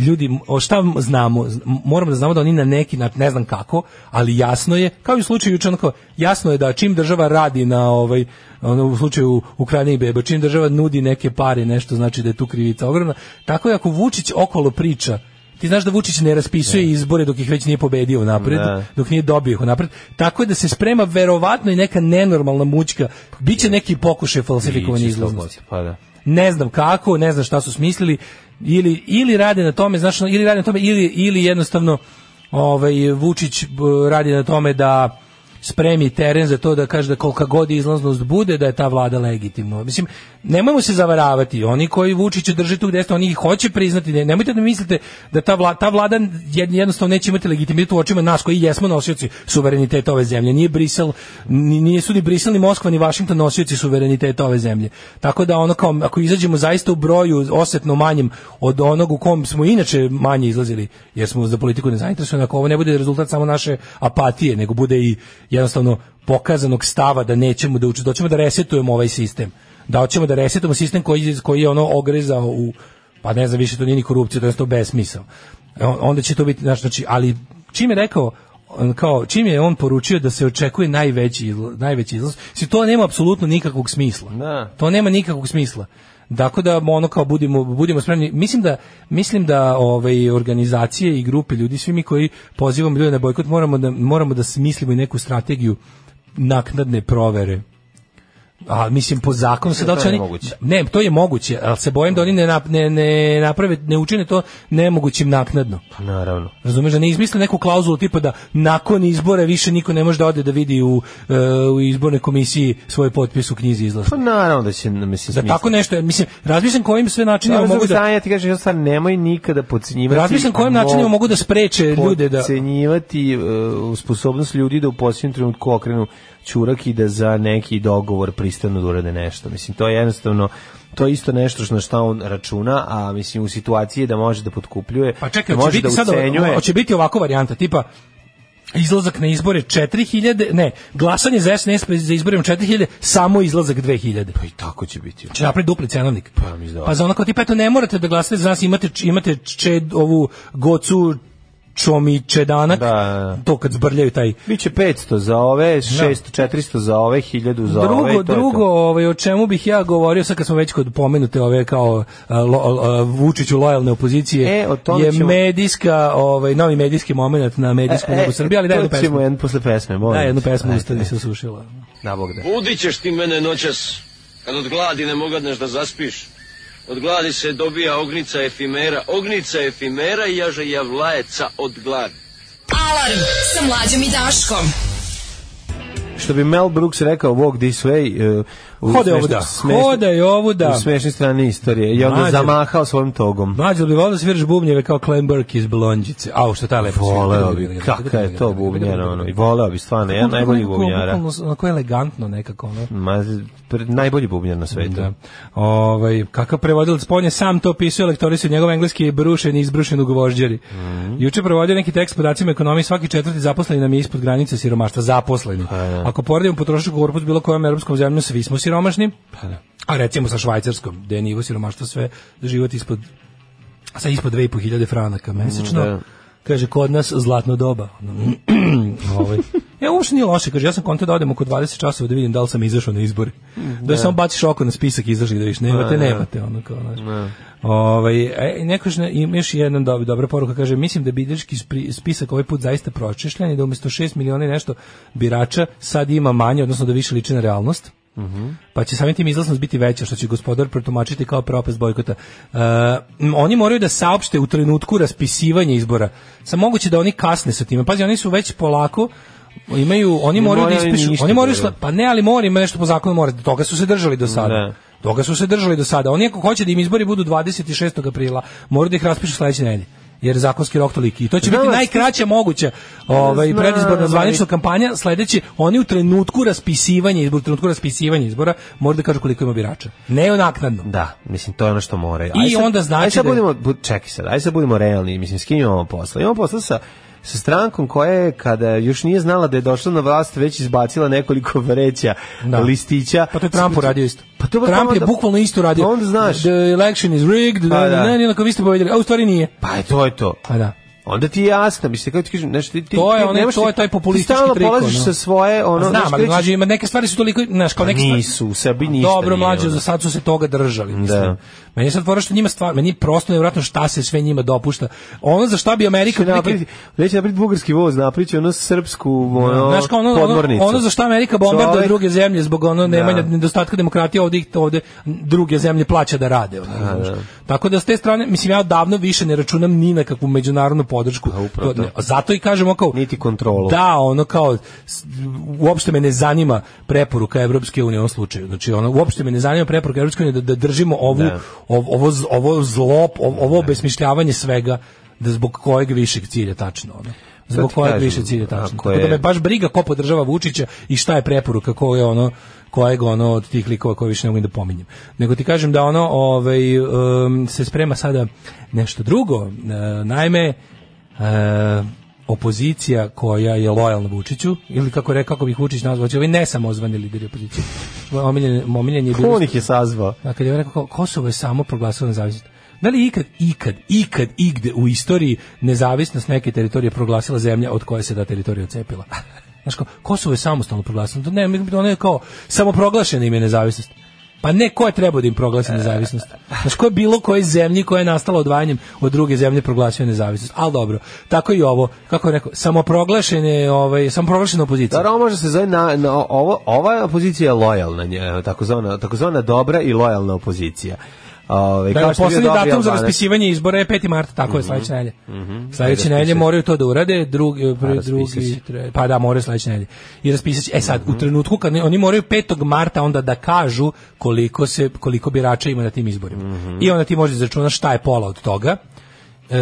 ljudi, o šta znamo, Z- moramo da znamo da oni na neki, na, ne znam kako, ali jasno je, kao i u slučaju juče, onako, jasno je da čim država radi na ovaj, ono, u slučaju Ukrajine i Beba, čim država nudi neke pare, nešto znači da je tu krivica ogromna, tako je ako Vučić okolo priča, Ti znaš da Vučić ne raspisuje izbore dok ih već nije pobedio napred, Da. dok nije dobio ih napred. Tako je da se sprema verovatno i neka nenormalna mučka. Biće neki pokušaj falsifikovanja Biće izlaznosti slobodno, Pa da. ne znam kako, ne znam šta su smislili ili ili rade na tome, znaš, ili rade na tome ili ili jednostavno ovaj Vučić b, radi na tome da spremi teren za to da kaže da kolika god izlaznost bude da je ta vlada legitimna. Mislim, nemojmo se zavaravati, oni koji Vučića drže tu gde ste, oni ih hoće priznati, ne- nemojte da mislite da ta vlada, ta vlada jed- jednostavno neće imati legitimitet u očima nas koji jesmo nosioci suvereniteta ove zemlje. Nije Brisel, ni, nije su ni Brisel, ni Moskva, ni Washington nosioci suvereniteta ove zemlje. Tako da ono kao, ako izađemo zaista u broju osetno manjem od onog u kom smo inače manje izlazili, jer smo za politiku nezainteresovani, ako ovo ne bude rezultat samo naše apatije, nego bude i jednostavno pokazanog stava da nećemo da uči, da hoćemo da resetujemo ovaj sistem. Da hoćemo da resetujemo sistem koji, koji je ono ogrezao u pa ne znam, više to nije ni korupcija, to je to besmisao. On- Onda će to biti, znaš, znači, ali čim je rekao, on kao, čim je on poručio da se očekuje najveći, izla- najveći izlaz, si to nema apsolutno nikakvog smisla. Da. To nema nikakvog smisla. Dakle da ono kao budimo budimo spremni. Mislim da mislim da ovaj organizacije i grupe ljudi svi mi koji pozivamo ljude na bojkot moramo da moramo da smislimo i neku strategiju naknadne provere. A mislim po zakonu se da li to je će oni moguće. ne, to je moguće, ali se bojim da oni ne, nap- ne, ne naprave, ne učine to nemogućim naknadno. Pa naravno. Razumeš da ne izmisle neku klauzulu tipa da nakon izbora više niko ne može da ode da vidi u, e, u izbornoj komisiji svoj potpis u knjizi izlaska. Pa naravno da će, mislim, Za tako nešto, mislim, razmišljam kojim sve načinima ne mogu mogu da Ja ti kažem, jednostavno, nemoj nikada podcenjivati. razmišljam kojim načinima mogu da spreče ljude da Podcenjivati uh, sposobnost ljudi da u posljednjem trenutku okrenu čurak i da za neki dogovor pristanu da urade nešto. Mislim, to je jednostavno to je isto nešto što na šta on računa, a mislim u situaciji da može da potkupljuje, Pa čekaj, da hoće može da biti sad ucenjuje. hoće biti ovako varijanta tipa izlazak na izbore 4000, ne, glasanje za SNS pre- za izborom 4000, samo izlazak 2000. Pa i tako će biti. će napraviti dupli cenovnik. Pa, mislim da. Pa za onako tipa, eto, ne morate da glasate za nas, imate, imate čed, ovu gocu čomi čedanak, Da, da, da. to kad zbrljaju taj Biće 500 za ove, 600, 400 za ove, 1000 za Da. drugo, ove. i Da, to je drugo, to. ovaj o čemu bih ja govorio sad kad smo već kod pomenute ove kao a, lo, a, Vučiću lojalne opozicije E, o tome je ćemo- medijska ovaj novi medijski momenat na medijskom nebu Srbije, ali daj jednu E, to ćemo pesmu. jednu posle pesme, molim. Daj jednu te. pesmu Ajde, usta mi se sušila. Na Bog da. Budićeš ti mene noćas, kad od gladi ne mogadneš da zaspiš. Od gladi se dobija ognica efimera, ognica efimera i jaže javlajeca od gladi. Alarm sa mlađom i Daškom. Što bi Mel Brooks rekao, walk this way, uh, u Hodaj smešno- ovuda, smešno- hodaj ovuda. U smešnoj strani istorije. I onda Da. Mlađe. zamahao svojim togom. Mlađe bi volio da sviraš bubnjeve kao Clem Burke iz Blondjice. Au, što ta lepo svira. Voleo da bi, kakav je to bubnjar, ono. I voleo bi stvarno, ja najbolji bubnjara. Bukvalno, Onako elegantno nekako, ono. Ma, pre- najbolji bubnjar na svetu. Da. Ovaj kakav prevodilac Pon je sam to pisao, lektori su njegov engleski je brušen i izbrušen u gvožđeri. Juče prevodio neki tekst s podacima ekonomije, svaki četvrti zaposleni nam je ispod granice siromaštva zaposleni. Ako poredimo potrošački korpus bilo kojom evropskom zemljom, svi smo siromašni. A recimo sa Švajcarskom, gde je nivo siromaštva sve život ispod sa ispod 2.500 franaka mesečno. da. Kaže, kod nas zlatno doba. ovaj. Ja uopšte nije loše, kaže, ja sam konta da odem oko 20 časova da vidim da li sam izašao na izbore. Da samo baciš oko na spisak izašli da viš, nemate, nemate, ono kao, znaš. Ovaj, e, neko još ne- ima još jedan dobi, dobra poruka, kaže, mislim da je bilješki spisak ovaj put zaista pročešljan i da umjesto 6 miliona i nešto birača sad ima manje, odnosno da više liči na realnost. pa će samim tim izlasnost biti veća, što će gospodar protumačiti kao propast bojkota. E, m, oni moraju da saopšte u trenutku raspisivanja izbora. Sa moguće da oni kasne sa time. Pazi, oni su već polako imaju, oni Ne moraju da moraju ispišu, ništa oni moraju, da sla- pa ne, ali mora, ima nešto po zakonu mora, toga su se držali do sada. Da. Toga su se držali do sada. Oni ako hoće da im izbori budu 26. aprila, moraju da ih raspišu sledeće nedelje. Jer zakonski rok toliki. I to će Znam biti vas, najkraća moguća ovaj, Znam, predizborna ali- zvanična kampanja. Sledeće, oni u trenutku raspisivanja izbora, u trenutku raspisivanja izbora moraju da kažu koliko ima birača. Ne onaknadno. Da, mislim to je ono što moraju. I onda znači aj sad da je- budemo bu, čekaj sad, aj sad budemo realni, mislim s kim imamo posla? Imamo posla sa sa strankom koja je kada još nije znala da je došla na vlast već izbacila nekoliko vreća Da. listića. Pa to je Trump uradio isto. Pa to Trump je onda- bukvalno isto uradio. Da- Pa onda znaš. The election is rigged, Pa pa, da. da. ne, ne, onako vi ste pobedili. A u stvari nije. Pa je to je to. Pa da. Onda ti je jasno, mislim kako ti kažem, znači ti ti To je ti onaj- nemaš to je ti- taj populistički Ti stalno trik, polaziš ono. sa svoje ono Pa Znam, znaš, ali krećeš- mlađi, ima neke stvari su toliko, znaš, kao Pa neke stvari- nisu, u sebi ništa Dobro, nije, mlađi, ono. za sad su se toga držali. mislim. Da. Meni je sad fora što njima stvar, meni je prosto nevjerojatno šta se sve njima dopušta. Ono za šta bi Amerika... Neće otprilike- napraviti, neće napraviti bugarski voz, napraviti ono srpsku ono, Da. Znaš kao ono, ono, podmornicu. ono za šta Amerika bombarduje Čovek- druge zemlje zbog ono nemanja Da. nedostatka demokratije ovdje ih ovde druge zemlje plaća da rade. ono, znaš. Tako da s te strane, mislim ja davno više ne računam ni na kakvu međunarodnu podršku. Pa, upravo To- to. ne, zato i kažemo kao Niti kontrolu. Da, ono kao s- uopšte me ne zanima preporuka Evropske unije u ovom slučaju. Znači ono uopšte me ne zanima preporuka Evropske unije da, da držimo ovu Da. ov- ovo z- ovo zlo, ov- ovo obesmišljavanje svega da zbog kojeg višeg cilja tačno ono. Zbog ti kojeg kažem, više cilja tačno. ako Tako da je- me baš briga ko podržava Vučića i šta je preporuka ko je ono kojeg ono od tih likova koje više ne mogu ni da pominjem. Nego ti kažem da ono ovaj em, se sprema sada nešto drugo. E, naime e, opozicija koja je lojalna Vučiću ili kako re kako bih Vučić nazvao, znači ovi ne samo ozvani lideri opozicije. Omiljen, omiljen je bio On ih je sazvao. a kad je on rekao kao, Kosovo je samo proglasilo nezavisnost. Da li je ikad, ikad, ikad, igde u istoriji nezavisnost neke teritorije proglasila zemlja od koje se ta teritorija ocepila? Znaš kao, Kosovo je samostalno proglasilo. To Ne, ono je kao, samoproglašena im je nezavisnost. Pa ne, ko je trebao da im proglasi nezavisnost? Znaš, ko je bilo koje zemlji koja je nastala odvajanjem od druge zemlje proglasio nezavisnost? Ali dobro, tako i ovo, kako je rekao, samoproglašene, ovaj, samoproglašena opozicija. Dobro, ovo može se zove na, na ovo, ova opozicija je lojalna, nje, takozvana, takozvana dobra i lojalna opozicija. Ove, Da, poslednji datum za raspisivanje raspisivanje izbora je 5. marta, tako je sledeće nedelje. Sledeće Ajde, nedelje raspisaj. moraju to da urade, drugi prvi, raspisaj drugi, se. tre- pa da moraju sledeće nedelje. I raspisaće. E sad, u trenutku kad ne- oni moraju 5. marta onda da kažu koliko se koliko birača ima na tim izborima. Mhm. I onda ti možeš izračunati šta je pola od toga e,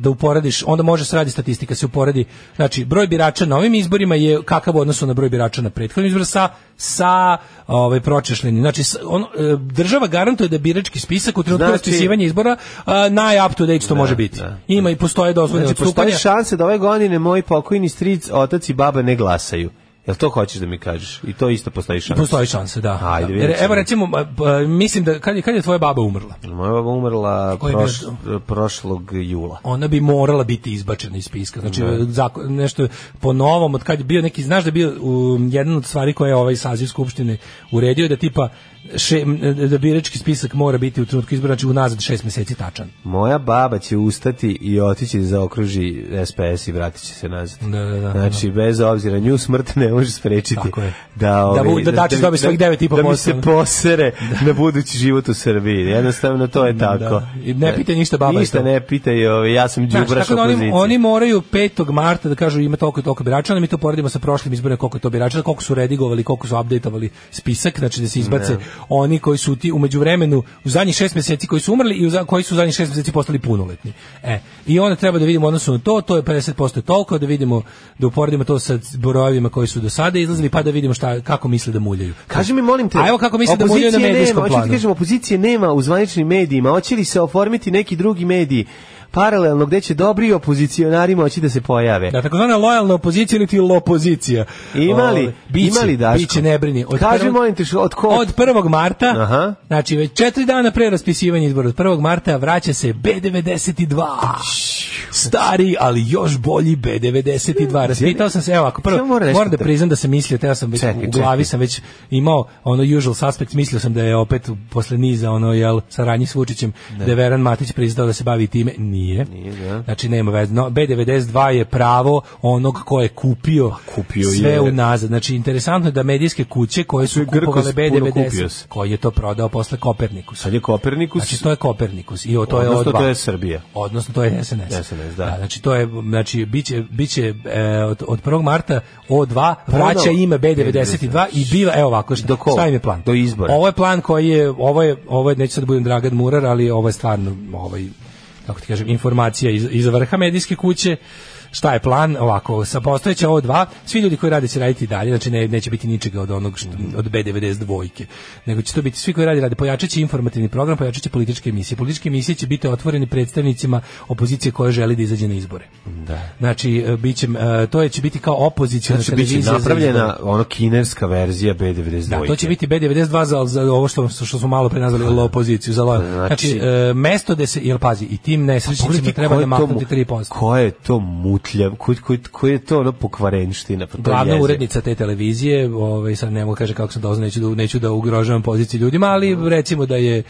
da uporediš, onda može se radi statistika, se uporedi, znači broj birača na ovim izborima je kakav u odnosu na broj birača na prethodnim izborima sa, sa ovaj, pročešljenim. Znači, s- ono, e, država garantuje da birački spisak u trenutku Znači- raspisivanja izbora a, naj up to date što može biti. da, Ima i postoje dozvoljene Znači, postoje odstupanja. šanse da ove godine moji pokojni stric, otac i baba ne glasaju. Jel to hoćeš da mi kažeš? I to isto postoji šansa. Postoji šanse, da. Ajde, Da. vidjet Jer, ćemo. Evo recimo, a, a, mislim da, kad je, kad je tvoja baba umrla? Moja baba umrla Koji je proš, bio- prošlog jula. ona bi morala biti izbačena iz spiska. Znači, Da. zako- nešto po novom, od kad je bio neki, znaš da je bio um, jedan od stvari koje je ovaj saziv Skupštine uredio, da tipa še, m, da birački spisak mora biti u trenutku izbora, znači unazad šest meseci tačan. Moja baba će ustati i otići da zaokruži SPS i vratit će se nazad. Da, da, da, znači, bez obzira, nju smrt ne može sprečiti. Tako je. Da, Da bu- ovaj, da Dačić dobi svojih devet i po Da mi posto, se Da. ono. posere na budući život u Srbiji. Jednostavno, to je tako. Da. Da. I ne pita ništa baba i Ništa to. ne pita i ovaj, ja sam Znaš, džubraš tako da oni, opozicije. oni moraju 5. marta da kažu ima toliko i toliko birača, onda mi to poredimo sa prošlim izborima koliko je to birača, da koliko su redigovali, koliko su updateovali spisak, znači da se izbace oni koji su ti u međuvremenu u zadnjih šest mjeseci koji su umrli i u za- koji su u zadnjih šest mjeseci postali punoletni. E, i onda treba da vidimo u odnosu na to, to je 50% toliko, da vidimo da uporedimo to sa brojevima koji su do sada izlazili, pa da vidimo šta kako misle da muljaju. Kaži mi, molim te, A evo kako misle da opozicije muljaju na nema, medijskom hoću ti planu. kažem, opozicije nema u zvaničnim medijima, hoće li se oformiti neki drugi mediji paralelno gde će dobri opozicionari moći da se pojave? Da, takozvana lojalna opozicija ili ti lopozicija. Imali, Ove, biće, imali Daško. Biće, ne brini. Od Kaži, prvog- molim te, što- od kog? Od 1. marta, Aha. znači već četiri dana pre raspisivanja izbora, od 1. marta vraća se B92. stari, ali još bolji B92. Raspitao sam se, evo, ako prvo, Ja moram moram, nešto da da- priznam da sam mislio, teo sam već, Čekaj, u glavi čekaj. sam već imao ono usual suspect, mislio sam da je opet posle niza, ono, jel, saradnji s Vučićem, da je Veran Matić priznao da se bavi time. Nije. da. Znači, nema veze. No, B92 je pravo onog ko je kupio, kupio sve je. unazad. Znači, interesantno je da medijske kuće koje su je Grkos kupovale puno kupio B90, se. koji je to prodao posle Koperniku. Sad je Kopernikus, Znači to je Kopernikus i o, to je Da, odnosno O2. to je Srbija. Odnosno to je SNS. SNS, da. znači to je znači biće biće e, od, od 1. marta O2 vraća Ponovo? ime B92 i biva evo ovako šta, Znači, Do koga? šta im je plan? Do izbora. Ovo je plan koji je ovo je ovo je neću sad da budem Dragan Murar, ali ovo je stvarno ovaj kako ti kažem informacija iz, iz vrha medijske kuće šta je plan ovako sa postojeća O2 svi ljudi koji rade će raditi i dalje znači ne, neće biti ničega od onog što, od B92 dvojke nego će to biti svi koji rade rade pojačaće informativni program pojačaće političke emisije političke emisije će biti otvorene predstavnicima opozicije koja želi da izađe na izbore da. znači e, biće e, to je će biti kao opoziciona Znači, biće televizija za napravljena izbore. ono kinerska verzija B92. Da, to će biti B92 za, za ovo što, što smo malo pre nazvali lo opoziciju. Za lo, znači, Da. Znači- e, mesto gde se, jel pazi, i tim nesrećnicima Pogledajte treba ko da je to mu- maknuti 3%. Ko je to mutljav, ko, ko, ko je to ono pokvarenština? Pa to je glavna jezivo. urednica te televizije, ovaj sad ne mogu kaže kako sam doznao, neću da neću da ugrožavam poziciju ljudima, ali Mhm. recimo da je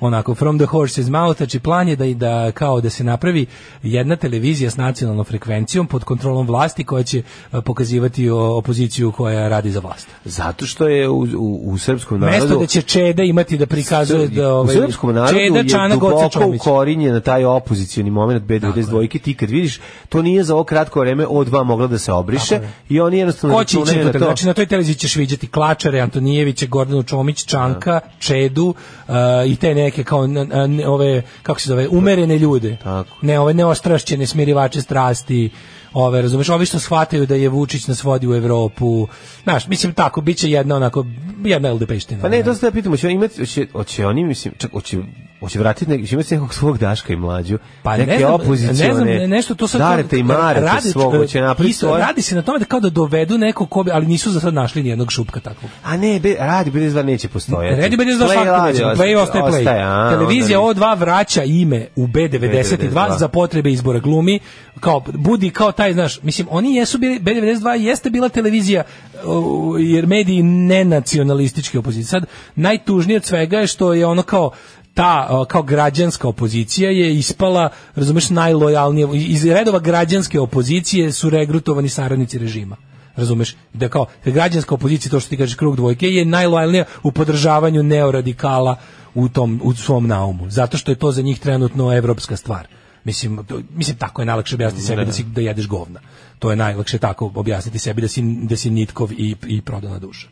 onako from the horse's mouth, znači plan je da i da kao da se napravi jedna televizija s nacionalnom frekvencijom pod kontrolom vlasti koja će eh, pokazivati o- opoziciju koja radi za vlast. Zato što je u, u, u srpskom narodu... Mesto da će Čeda imati da prikazuje da ovaj u srpskom narodu Čeda je Čana Goca duboko Čomić. ukorinje na taj opozicioni moment B92 ti kad vidiš to nije za ovo kratko vreme O2 mogla da se obriše i oni jednostavno Ko će ići računaju na to? na to. Znači na toj televiziji ćeš vidjeti Klačare, Antonijevića, Gordanu Čomić, Čanka, Da. Čedu uh, i te neke kao n- n- ove kako se zove, umerene ljude. Tako. Ne ove neostrašćene smirivače strasti. Ove, razumeš, ovi što shvataju da je Vučić nas vodi u Evropu. Znaš, mislim tako, bit će jedna onako, jedna LDP-ština. Pa ne, to se da pitamo, će oni imati, će, hoće oni, mislim, čak, hoće, hoće vratiti nek, će imati nekog svog Daška i mlađu, Pa neke ne znam, opozicione, ne znam, ne- nešto to sad darete i marete radi- svog, hoće napraviti isto, svoje. Radi se na tome da kao da dovedu nekog ko bi, ali nisu za sad našli ni jednog šupka takvog. A ne, be, radi B92 neće postojati. Red je B92 Pa Play svakako radi, neće. Play ostaje play. a, Televizija onda O2 vraća ime u B92, B92. za potrebe izbora glumi. Kao, budi kao taj, znaš, mislim, oni jesu bili, B92 jeste bila televizija o, jer mediji nenacionalistički opozicije. Sad, najtužnije od svega je što je ono kao ta o, kao građanska opozicija je ispala, razumeš, najlojalnije iz redova građanske opozicije su regrutovani saradnici režima razumeš, da kao građanska opozicija, to što ti kažeš krug dvojke, je najlojalnija u podržavanju neoradikala u, tom, u svom naumu, zato što je to za njih trenutno evropska stvar. Mislim, to- mislim tako je najlakše objasniti sebi da, si, da jedeš govna. To je najlakše tako objasniti sebi da si, da si nitkov i, i prodana duša.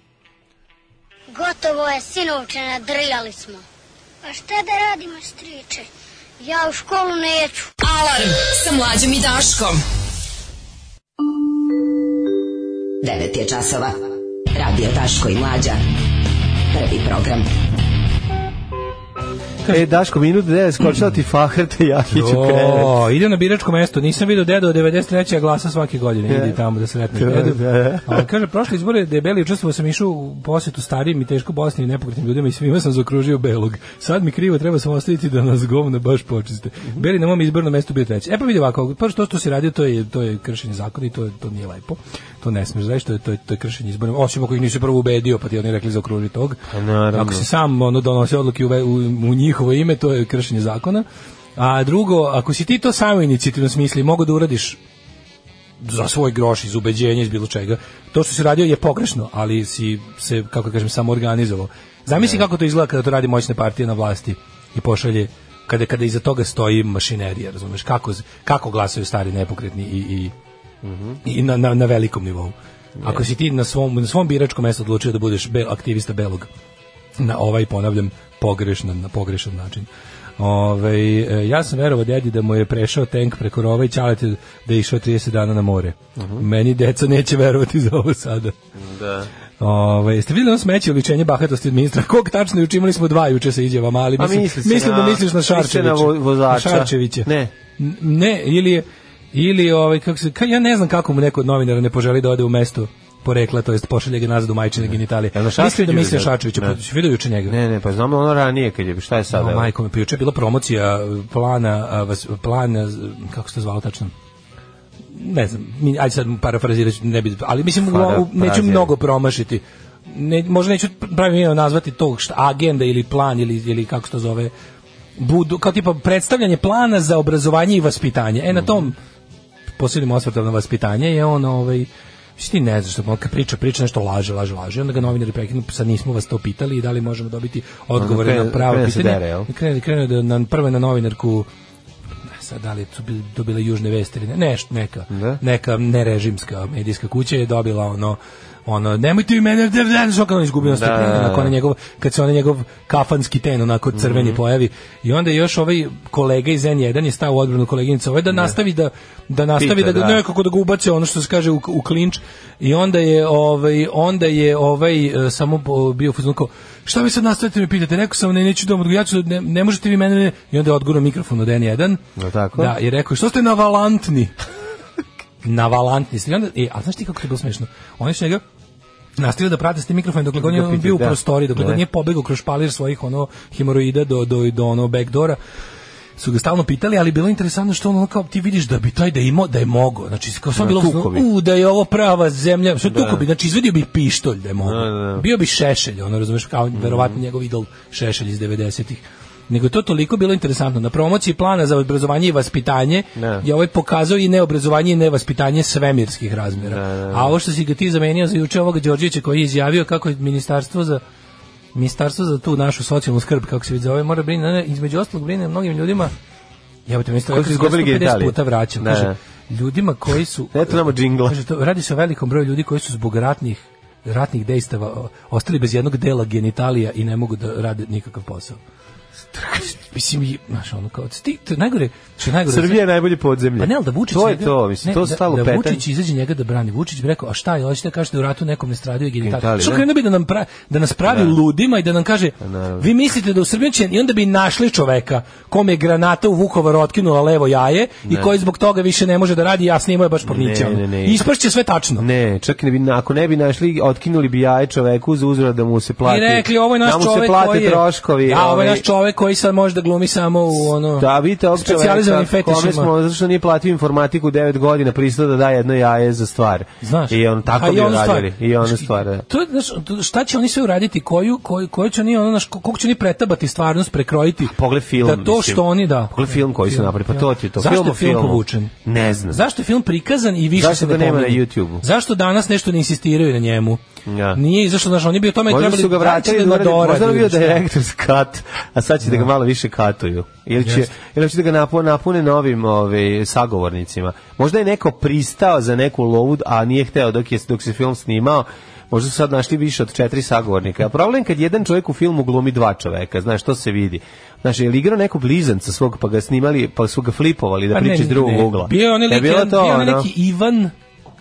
Gotovo je, sinovče, nadrljali smo. A šta da radimo, striče? Ja u školu neću. Alarm sa mlađom i Daškom. 9 je časova. Radio Daško i Mlađa. Prvi program. E, Daško, minut da je skočila ti Fahrte Jahić u krevet. O, ide na biračko mesto, nisam vidio dedo od 93. glasa svake godine, idi tamo da sretneš Da, dedu. da. A on kaže, prošle izbore debeli učestvovao sam išao u posetu starijim i teško bosnim i nepokretnim ljudima i svima sam zakružio belog. Sad mi krivo, treba sam ostaviti da nas govna baš počiste. Beli na mom izbornom mestu bio treći. E pa vidi ovako, prvo što, što si radio, to je, to je kršenje zakona i to, je- to nije lepo. To ne smiješ, znaš, to je, to je, to je kršenje izbornog, osim ako ih nisi prvo ubedio, pa ti oni rekli zakruži tog. Pa naravno. Ako si sam ono, donosi odluke u, ve- u, u njihovo ime, to je kršenje zakona. A drugo, ako si ti to samo inicijativno smisli, mogu da uradiš za svoj groš iz ubeđenja iz bilo čega. To što si radio je pogrešno, ali si se kako da kažem samo organizovao. Zamisli kako to izgleda kada to radi moćne partije na vlasti i pošalje kada kada iza toga stoji mašinerija, razumeš kako z- kako glasaju stari nepokretni i i i na, na, na velikom nivou. Ako si ti na svom na svom biračkom mestu odlučio da budeš bel, aktivista belog na ovaj ponavljam pogrešan na pogrešan način. Ove, e, ja sam verovao dedi da mu je prešao tank preko rova i čalete da je išao 30 dana na more. Meni deca neće verovati za ovo sada. Mhm. Da. Ove, jeste vidjeli ono smeće uličenje bahatosti od ministra? Kog tačno juče imali smo dva juče sa izjavama, ali A mislim, Pa misli se mislim da na- misliš na misli se na Šarčevića. vo- vozača. Na Šarčevića. Ne. N- Ne, ili je- ili ovaj kako se ka- ja ne znam kako mu neko od novinara ne poželi da ode u mesto porekla, to jest pošalje ga nazad u majčine genitalije. Jel na Mislim da Šašliću misle ide? Šačeviću, Ne. pa si vidio juče njega. Ne, ne, pa znam ono ranije kad je, šta je sad? No, evo? majko mi, pa juče je bila promocija uh, plana, a, vas, plana, z- kako se to zvalo tačno? Ne znam, mi- ajde sad parafrazirat ću, ne bi, ali mislim, Parafraziraj. u- neću mnogo promašiti. Ne, možda neću pravi ime nazvati tog šta, agenda ili plan ili, ili kako se to zove, budu, kao tipa predstavljanje plana za obrazovanje i vaspitanje. E, na Mhm. tom posebnim osvrtom na vaspitanje je on ovaj Mislim, ti ne znaš što on kad priča, priča nešto laže, laže, laže. I Onda ga novinari prekinu, pa sad nismo vas to pitali i da li možemo dobiti odgovore Onda krene- na pravo krene se pitanje. dere, jel? I krene, krene da na, prvo je na novinarku ne, sad da li su bili- to bile južne vesti ili ne, neš- neka, Da. neka nerežimska medijska kuća je dobila ono ono, nemojte vi mene, da ne znam kako on izgubio Da, strpljenje, da, Mhm. da. onako onaj njegov, kad se onaj njegov kafanski ten onako crveni pojavi i onda je još ovaj kolega iz N1 je stao u odbranu koleginice ovaj da nastavi da, da nastavi Pita, da, ga da. nekako da ga ubace ono što se kaže u, u klinč i onda je ovaj onda je ovaj e, samo po- bio fuzon kao šta vi sad nastavite me pitate rekao sam ne neću da vam odgovorim, ja ću da- ne, ne možete vi mene i onda je odgovorio mikrofon od N1 Jel tako? da i rekao je, što ste navalantni navalantni ste I onda e, a znaš ti kako to je bilo smešno oni su njega nastavio da prate s tim mikrofonom dok god Dok je on pita, bio u da. prostoriji, dok Ne. god nije pobegao kroz špalir svojih ono hemoroida do, do, do ono backdora su ga stalno pitali, ali bilo je interesantno što ono kao ti vidiš da bi taj da imao, da je mogao. Znači, kao sam Da, bilo tuko bi. u, da je ovo prava zemlja, što Da. tuko bi, znači izvedio bi pištolj da je mogao. Da, da, Mhm. da. Bio bi šešelj, ono razumeš, kao verovatno njegov idol šešelj iz 90-ih. Nego je to toliko bilo interesantno. Na promociji plana za obrazovanje i vaspitanje Da. je ovaj pokazao i neobrazovanje i nevaspitanje svemirskih razmjera. Da, A ovo što si ga ti zamenio za juče ovoga Đorđevića koji je izjavio kako je ministarstvo za ministarstvo za tu našu socijalnu skrb, kako se vidi zove, mora brine, ne, ne, između ostalog brine o mnogim ljudima Jebote, mi ste Koji su izgubili genitalije. puta vraćam. Da, Kaže, da. ljudima koji su... Eto nama džingla. Kaže, to, radi se o velikom broju ljudi koji su zbog ratnih ratnih dejstava o, ostali bez jednog dela genitalija i ne mogu da rade nikakav posao. Mislim, i, znaš, ono kao, ti, to je najgore, što je najgore... Srbija je najbolje podzemlje. Pa ne, ali da Vučić... To je njega- to, mislim, to da- stalo da, petan. Vučić izađe njega da brani. Vučić bi rekao, a šta je, hoćete da kažete da u ratu nekom ne stradio genitalija. Genitalije, Što da. krenuo bi da, nam pra- da nas pravi Da. ludima i da nam kaže, naravno. vi mislite da u Srbiji će, i onda bi našli čoveka kom je granata u Vukovaru otkinula levo jaje i Ne. koji zbog toga više ne može da radi, ja snimao je baš porniće. Ne, ono. ne, ne. I Ispašće sve tačno. Ne, čak i ne bi, ako ne bi našli, otkinuli bi jaje čoveku za uzor da mu se plati. I rekli, ovo je naš da mu se čovek plate koji je... troškovi. Da, ovo ovaj, je naš čovek koji sad može da glumi samo u ono... Da, vidite ovog čoveka specijalizovanim kome fetišima. smo, zato što nije platio informatiku 9 godina, pristao da da jedno jaje za stvar. Znaš. I on tako A i bi onu radili. stvar. I ona stvar, da. to, je, znaš, to- šta će oni sve uraditi, koju, koju, koju će oni, ono, znaš, koliko će oni pretabati stvarnost, prekrojiti. Pogled film, Da to mislim. što oni, da. Pogled film koji su Film, napravili, pa film. to ti je to. Zašto Film o je film filmu. povučen? Ne znam. Zašto je film prikazan i više Zašto se ne ga nema pominje? na YouTubeu? Zašto danas nešto ne insistiraju na njemu? Ja. Nije izašlo, znaš, oni bi o tome Možda trebali su ga vratili, da da urade- nadorade možda je on bio ili šta. direktor's cut, a sad će da ga malo više katuju. Ili će, Jeste. ili će da ga napu- napune novim ovaj, sagovornicima. Možda je neko pristao za neku lovu, a nije hteo dok, je, dok se film snimao, Možda su sad našli više od četiri sagovornika. A problem je kad jedan čovjek u filmu glumi dva čoveka, znaš, to se vidi. Znaš, je li igrao nekog blizanca svog, pa ga snimali, pa su ga flipovali da Pa ne, priča iz drugog ne. ugla. Bio je onaj Je lik, bilo jedan- to, bio je onaj ono? neki Ivan,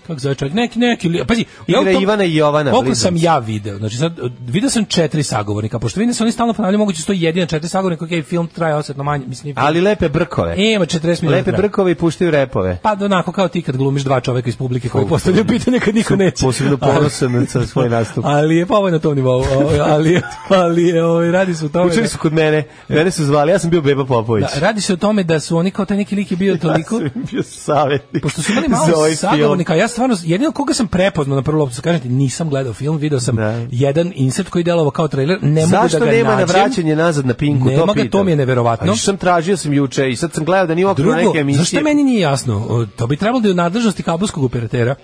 kako se zove čovjek, neki, neki, li- pazi, Igra u tom- Ivana i Jovana, Koliko blizanci. sam ja video, znači sad, video sam četiri sagovornika, pošto vidim da se oni stalno ponavljaju, moguće su to jedina četiri sagovornika, ok, film traje osetno manje, mislim, nije film. Ali lepe brkove. Ima 40 minuta. Lepe traje. brkove i puštaju repove. Pa onako kao ti kad glumiš dva čoveka iz publike koji Koliko postavljaju pitanje kad niko neće. Posebno ponosan na sa svoj nastup. Ali je pa ovo je na tom nivou, ovaj, ali, je- ali je, ovaj, radi se o tome. Učili da- su kod mene, mene su zvali, ja sam bio Beba Popović. Da, radi se o tome da su oni kao taj neki lik je bio toliko Ja sam bio savjetnik. pošto su imali za ovaj malo film. sagovornika, ja stvarno jedino koga sam prepoznao na prvu loptu, da kažem ti, nisam gledao film, video sam jedan insert koji delovao kao trailer, ne mogu Da. Zašto da ga nema nađem. na vraćanje nazad na Pinku? Nema to ga, pitam. to mi je neverovatno. A što sam tražio sam juče i sad sam gledao da nije okolo Drugo, neke emisije. zašto meni nije jasno? O, To bi trebalo da je u nadležnosti kabelskog operatera.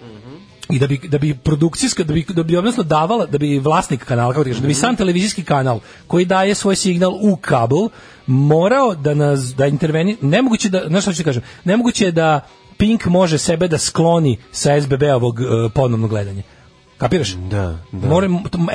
I da bi da bi produkcijska da bi da bi odnosno davala da bi vlasnik kanala kako ti kažeš, da bi sam televizijski kanal koji daje svoj signal u kabel morao da nas da interveni nemoguće da znaš šta ću ti kažem nemoguće je da Pink može sebe da skloni sa SBB-ovog e, ponovno gledanje kapiraš Da, da. More,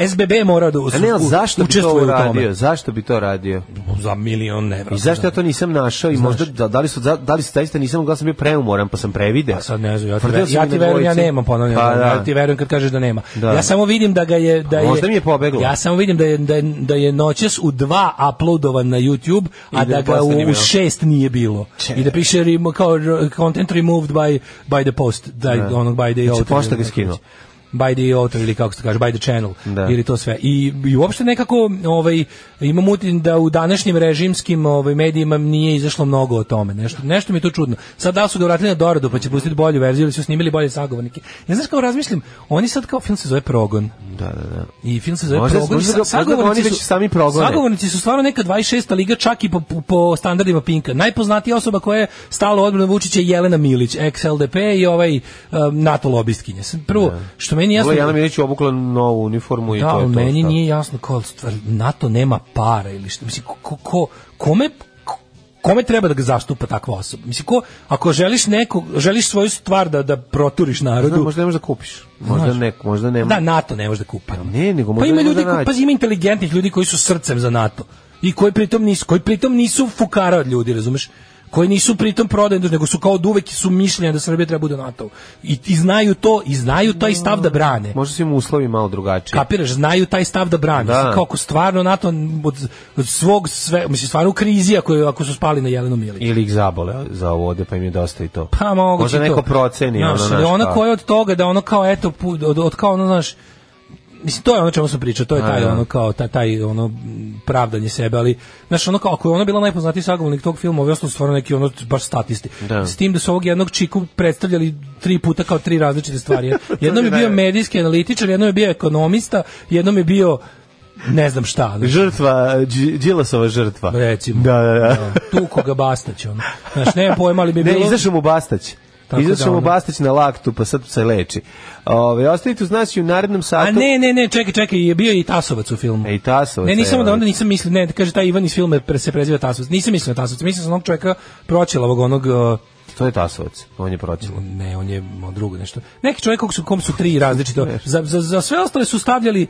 SBB je morao da A ne, ali u- zašto bi to učestvuje u tome. da. uradio? Zašto bi to radio? za milion evra I zašto ja to nisam našao i možda da, da li su da, da li su zaista nisam gledao sam bio preumoran pa sam prevideo. A sad ne znam, ja ti, Tvrdeo ver, sam ja i na ti verujem, ja dvojici. nemam ponavljam. Pa da. Ja ti verujem kad kažeš da nema. Da. Ja samo vidim da ga je... Da A je možda mi je pobeglo. Ja samo vidim da je, da je, da je noćas u dva uploadovan na YouTube, a I da da, je ga u, poslednji bio. u šest nije bilo. I da piše remo- kao r- content removed by, by the post, da, Da. onog by the Znači, author, pošta ga ili kako skinuo. već. by the author ili kako se kaže by the channel Da. ili to sve i, i uopšte nekako ovaj imam utin da u današnjim režimskim ovaj medijima nije izašlo mnogo o tome nešto nešto mi je to čudno sad da li su ga vratili na doradu pa će pustiti bolju verziju ili su snimili bolje sagovornike ja znaš kako razmišljam oni sad kao film se zove Progon da da da i film se zove Možda- Progon možda ga- možda sa- ga sagovornici oni već sami progone. sagovornici su stvarno neka 26. liga čak i po, po, po standardima Pinka najpoznatija osoba koja je stala u odbranu Vučića je Jelena Milić ex LDP i ovaj um, NATO lobistkinja Sad, prvo što meni jasno Ovo Da. je Jelena Milić obukla novu uniformu i da, to je ali to. meni šta? nije jasno kao stvar, NATO nema para ili što, mislim, ko, ko- ko, kome, ko- kome treba da ga zastupa takva osoba? Mislim, ko, ako želiš neko, želiš svoju stvar da, da proturiš narodu... Znam, možda ne možeš da kupiš. Možda Znaš. ne, možda ne. Da, NATO ne može da kupi. Ne, nego Pa možda ima ne može ljudi, da koji, nađe. pa ima inteligentnih ljudi koji su srcem za NATO i koji pritom nisu, koji pritom nisu fukara od ljudi, razumeš? koji nisu pritom prodajni, nego su kao od uvek su mišljenja da Srbija treba bude NATO. I, I znaju to, i znaju taj stav da brane. Možda su im uslovi malo drugačiji. Kapiraš, znaju taj stav da brani. Da. Kako stvarno NATO od, od svog sve, mislim stvarno u krizi ako, je- ako su spali na Jelenu Milić. Ili ih zabole za ovo ovde, pa im je dosta i to. Pa moguće Možda i to. neko proceni. Znaš, ono, ali znaš, pa. ona kao- koja od toga da ono kao eto pu- od, od kao ono znaš Mislim, to je ono o čemu sam pričao, to je A, taj, da. ono, kao, taj, taj ono, m, pravdanje sebe, ali, znaš, ono, kao, ako je ona bila najpoznatiji sagovornik tog filma, ovi ostali su stvarno neki, ono, baš statisti. Da. S tim da su ovog jednog čiku predstavljali tri puta kao tri različite stvari. Jednom je bio medijski analitičar, jednom je bio ekonomista, jednom je bio, ne znam šta. znaš. Žrtva, Đ- Đilasova žrtva. Recimo. Da, da, da. Tuko ga Bastać, ono. Znaš, nema pojma, ali bi Ne, bilo... izašao mu Bastać. Tako Izašao da, mu ono. Bastać na laktu, pa sad se leči. Ove, ostavite uz nas i u narednom satu. A ne, ne, ne, čekaj, čekaj, je bio i Tasovac u filmu. E, i Tasovac, Ne, nisam evo. da onda nisam mislio, ne, kaže taj Ivan iz filma pre- se preziva Tasovac. Nisam mislio na Tasovac, mislio sam na onog čovjeka pročelavog onog uh, To je Tasovac, on je pročilo. ne, on je on drugo nešto. Neki čovjek kog su, kom su tri različito. Za, za, za sve ostale su stavljali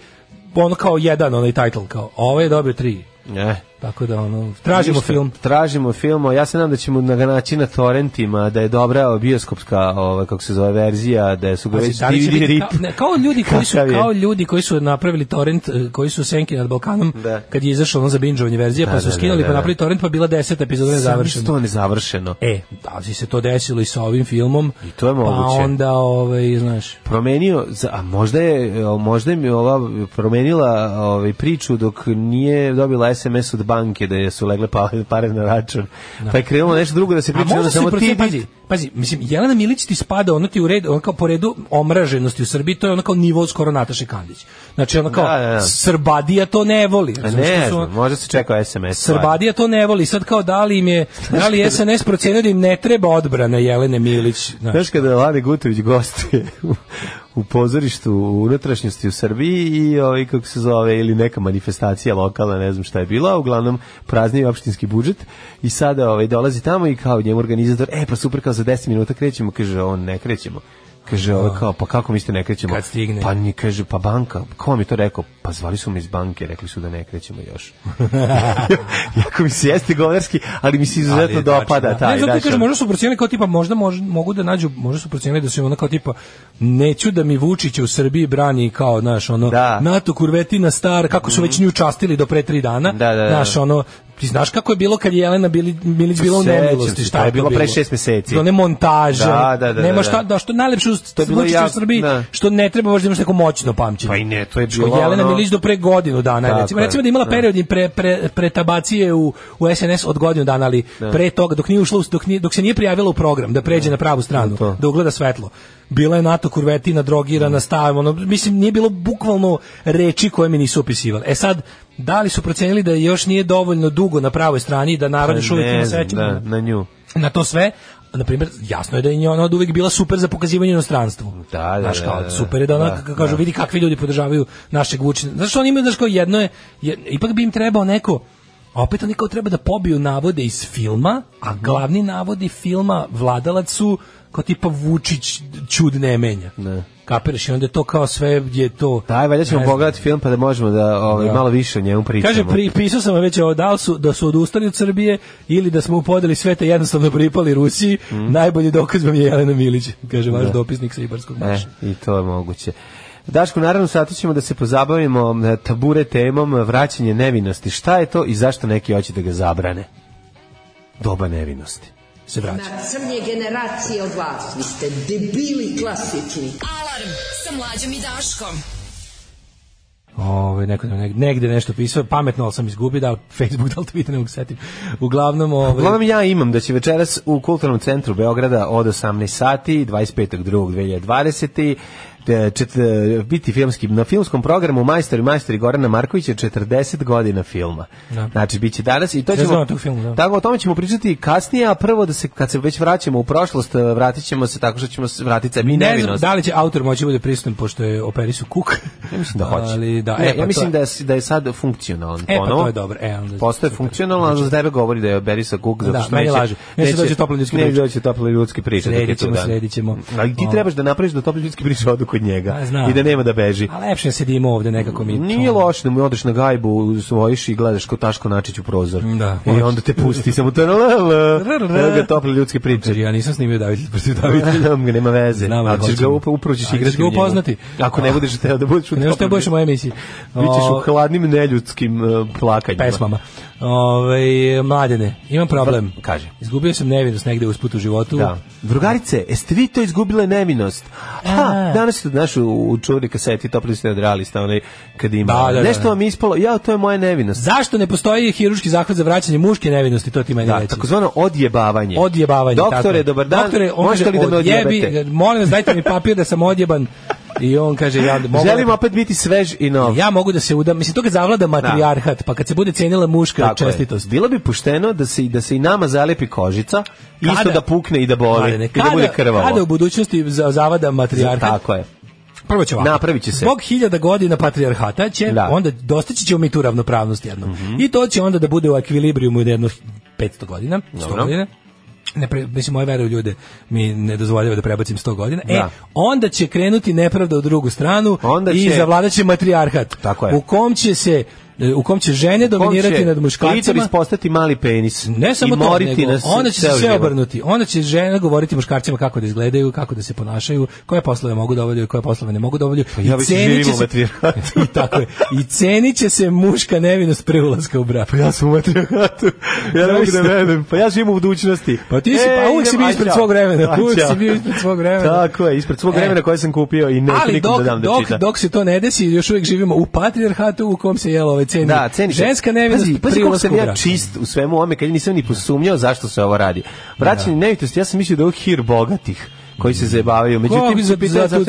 ono kao jedan onaj title kao. a Ovaj je dobio tri. Ne. Tako da ono tražimo Ništa, film. Tražimo film, a ja se nadam da ćemo na ga naći na torrentima, da je dobra ova bioskopska, ova, kako se zove, verzija, da su ga Pazi, već da li će DVD biti rip. kao, ne, kao ljudi koji su Kakav je? kao ljudi koji su napravili torrent eh, koji su senki nad Balkanom Da. kad je izašla ono za binžovanje verzija Da, pa su da, da, skinuli da, pa da. napravili torrent pa bila 10 epizoda nezavršena. to nezavršeno. E, da li se to desilo i sa ovim filmom? I to je moguće. Pa onda, ovaj, znaš, Promenio, za- a možda je, možda mi ova promenila ovaj, priču dok nije dobila SMS od banke da je su legle pale- pare na račun. Pa je krenulo nešto drugo da se A priča, onda možda se samo ti... protiv, pazi, pazi, mislim, Jelena Milić ti spada, ono ti u red, ono kao po redu omraženosti u Srbiji, to je ono kao nivo skoro Nataše Kandić. Znači, ono kao, Da, da, da. Srbadija to ne voli. A razumeš, to ne, su ono- znam, pa- možda se čekao SMS. Srbadija to ne voli. Sad kao da li im je, da li je SNS procenio da im ne treba odbrana Jelene Milić. Znaš, Znaš kada je Lade Gutović gostuje u, u pozorištu u unutrašnjosti u Srbiji i ovaj, kako se zove, ili neka manifestacija lokalna, ne znam šta je bila, uglavnom prazni je opštinski budžet i sada ovaj, dolazi tamo i kao njemu organizator, e pa super, kao za 10 minuta krećemo, kaže on, ne krećemo. Kaže, ovo kao, pa kako mislite ne krećemo? Da. Kad stigne. Pa ni kaže, pa banka, ko vam je to rekao? Pa zvali su me iz banke, rekli su da ne krećemo još. jako mi se jeste govnarski, ali mi se izuzetno Ali, dopada znači, da. taj. Ne, zato ti znaš, kažem, ono. možda su procenili kao tipa, možda mož- mogu da nađu, možda su procenili da su im ono kao tipa, neću da mi Vučića u Srbiji brani kao, znaš, ono, Da. Mhm. NATO kurvetina star, kako su već nju častili do pre tri dana, Da, da, da. znaš, ono, ti znaš kako je bilo kad je Jelena Bili- Milić bila u Sećam nemilosti, se, šta to je to bilo pre šest meseci. One montaže, Da, da, da, nema da, šta, da. da, što je najlepše uz- To je bilo Vučića u jak- Srbiji, da. što ne treba možda imaš neko moćno pamćenje. Pa i ne, to je Što bilo Jelena ono- Milić do pre godinu dana, Tako recimo, je, recimo da je imala da. period period pre, pre, pretabacije u, u SNS od godinu dana, ali Da. pre toga, dok, nije ušla, u- dok, nije, dok se nije prijavila u program, da pređe na pravu stranu, To. da ugleda svetlo. Bila je NATO kurvetina, drogirana, stavim, ono, mislim, nije bilo bukvalno reči koje mi nisu opisivali. E sad, da li su procenili da još nije dovoljno dugo na pravoj strani i da narod još uvijek Pa Ne ima znam, sećanje? da, na nju. na to sve na primjer jasno je da je njoj ona od uvek bila super za pokazivanje inostranstvu Da, da, Znaš, kao, da, da, super je da ona da, k- kažu da. vidi kakvi ljudi podržavaju našeg Vučića znaš što oni imaju znaš kao jedno je, je- ipak bi im trebao neko a opet oni kao treba da pobiju navode iz filma a Mhm. glavni navodi filma vladalac su kao tipa Vučić čud ne menja Ne. kapiraš i onda je to kao sve je to Daj, valjda ćemo Ne znam. pogledati film pa da možemo da ovaj, Da. malo više o njemu pričamo. Kaže, pri, pisao sam vam već ovo, da li su, da su odustali od Srbije ili da smo u podeli sveta jednostavno pripali Rusiji, Mhm. najbolji dokaz vam je Jelena Milić, kaže vaš dopisnik sa Ibarskog Da. E, marša. I to je moguće. Daško, naravno satu ćemo da se pozabavimo e, tabure temom e, vraćanje nevinosti. Šta je to i zašto neki hoće da ga zabrane? Doba nevinosti. Se vraća. Crnje generacije od vas, vi ste debili klasični. Alarm Alarm sa mlađom i Daškom. Ove, neko, neg- negde nešto pisao, pametno, ali sam izgubio, da li Facebook, da li Twitter, ne mogu se setim. Uglavnom, ove, Uglavnom ja imam da će večeras u Kulturnom centru Beograda od 18 sati 25.2.2020 te čet- e, biti filmski na filmskom programu Majstori majstori Gorana Markovića 40 godina filma. Da. Znači biće danas i to Ja ćemo znam tog filma, da. Tako o tome ćemo pričati kasnije, a prvo da se kad se već vraćamo u prošlost, e, vratićemo se tako što ćemo se vratiti sebi i ne znam nevinost. da li će autor moći da bude prisutan, pošto je operisu kuk. Ja mislim da hoće. Ali, da, Ne, e, pa ja mislim to, da je, da je sad funkcionalan E, pa ponovo. to je dobro, e, onda- Znači- Postoje funkcionalan, ali za tebe govori da je Berisa Kuk, zato Da, što meni neće... laže. Neće doći tople ljudske Neće priče. doći tople ljudske priče. dok je Sredit tu ćemo, dan. sredit ćemo. Ali ti O. trebaš da napraviš da tople ljudske priče odu kod njega. A, znam. I da nema da beži. A lepše sedimo ovde nekako mi. Nije loše da mu odeš na gajbu, svojiš i gledaš ko Taško Načić u prozor. Da. I onda te pusti samo to Evo da ga tople ljudske priče. Znači, Ja nisam snimio David protiv Davida. nema veze. Znam, ali ćeš hoćemo. ga upra- upravo ćeš Ali igrati. ćeš ga u njemu. upoznati. Ako ne budeš teo da budeš u Ne možeš da tople budeš u mojoj emisiji. Bićeš u O, hladnim neljudskim uh, plakanjima. pesmama. Ove, mladene, imam problem. Kaže. Izgubio sam nevinost negde usput u životu. Da. Drugarice, jeste vi to izgubile nevinost? Ha, A. danas ste našu u čuri kaseti topli ste odrali ste onaj kad ima. Da, da, da. Nešto vam je ispalo, ja, to je moja nevinost. Zašto ne postoji hiruški zahvat za vraćanje muške nevinosti, to ti meni Da, reći. takozvano odjebavanje. Odjebavanje. Doktore, tako. dobar dan. Doktore, on Možete kaže, li da me "Odjebi odjebete? ga, Molim vas, dajte mi papir da sam odjeban. I on kaže, ja e, mogu... da- Želim opet biti svež i nov. Ja mogu da se udam, mislim to kad zavlada matrijarhat, pa kad se bude cenila muška Da. Tako je. čestitost. Bilo bi pušteno da se, i- da se i nama zalepi kožica, isto Kada- da pukne i da boli, Mladene, i da bude krvavo. Kada u budućnosti za- zavada matrijarhat, Tako je. Prvo će ovako. Napravit će se. Zbog hiljada godina patrijarhata će, Da. Mhm. onda dostići ćemo mi tu ravnopravnost jednom. I to će onda da bude u ekvilibrijumu jedno 500 godina, 100 Dobro. godina. Ne, pre, mislim, moje vere u ljude mi ne dozvoljava da prebacim 100 godina. E, Da. onda će krenuti nepravda u drugu stranu Onda i će- zavladaće matrijarhat. Tako je. U kom će se e, u kom će žene Kom će dominirati nad muškarcima klitoris postati mali penis. ne samo i to, moriti nego nas onda će se ceo sve život. obrnuti. Onda će žena govoriti muškarcima kako da izgledaju, kako da se ponašaju, koje poslove mogu da obavljaju, koje poslove ne mogu da obavljaju. Pa ja I već cenit živim će u se- matrijarhatu. I tako je. I cenit će se muška nevinost pre ulaska u brak. Pa ja sam u matrijarhatu. Ja ne mogu da verujem. Pa ja živim u budućnosti. Pa ti si, pa uvijek si idem, bio aj, ispred ćao. svog vremena. Aj, Uvijek ćao. si bio ispred svog vremena. Tako je, ispred svog E. vremena koje sam kupio i neću Ali nikom dok, da dam da dok, čita. dok se to ne desi, još uvijek živimo u patrijarhatu u kom se jelo ove ceni. Da, ceni se. Ženska nevinost Pazi, pazi pri kako ulasku sam u ja brak. čist u svemu ovome, kad nisam ni posumnjao zašto se ovo radi. Vraćanje nevitosti, ja sam mislio da je ovo hir bogatih koji se zabavaju. Međutim, za, se pitao za zato-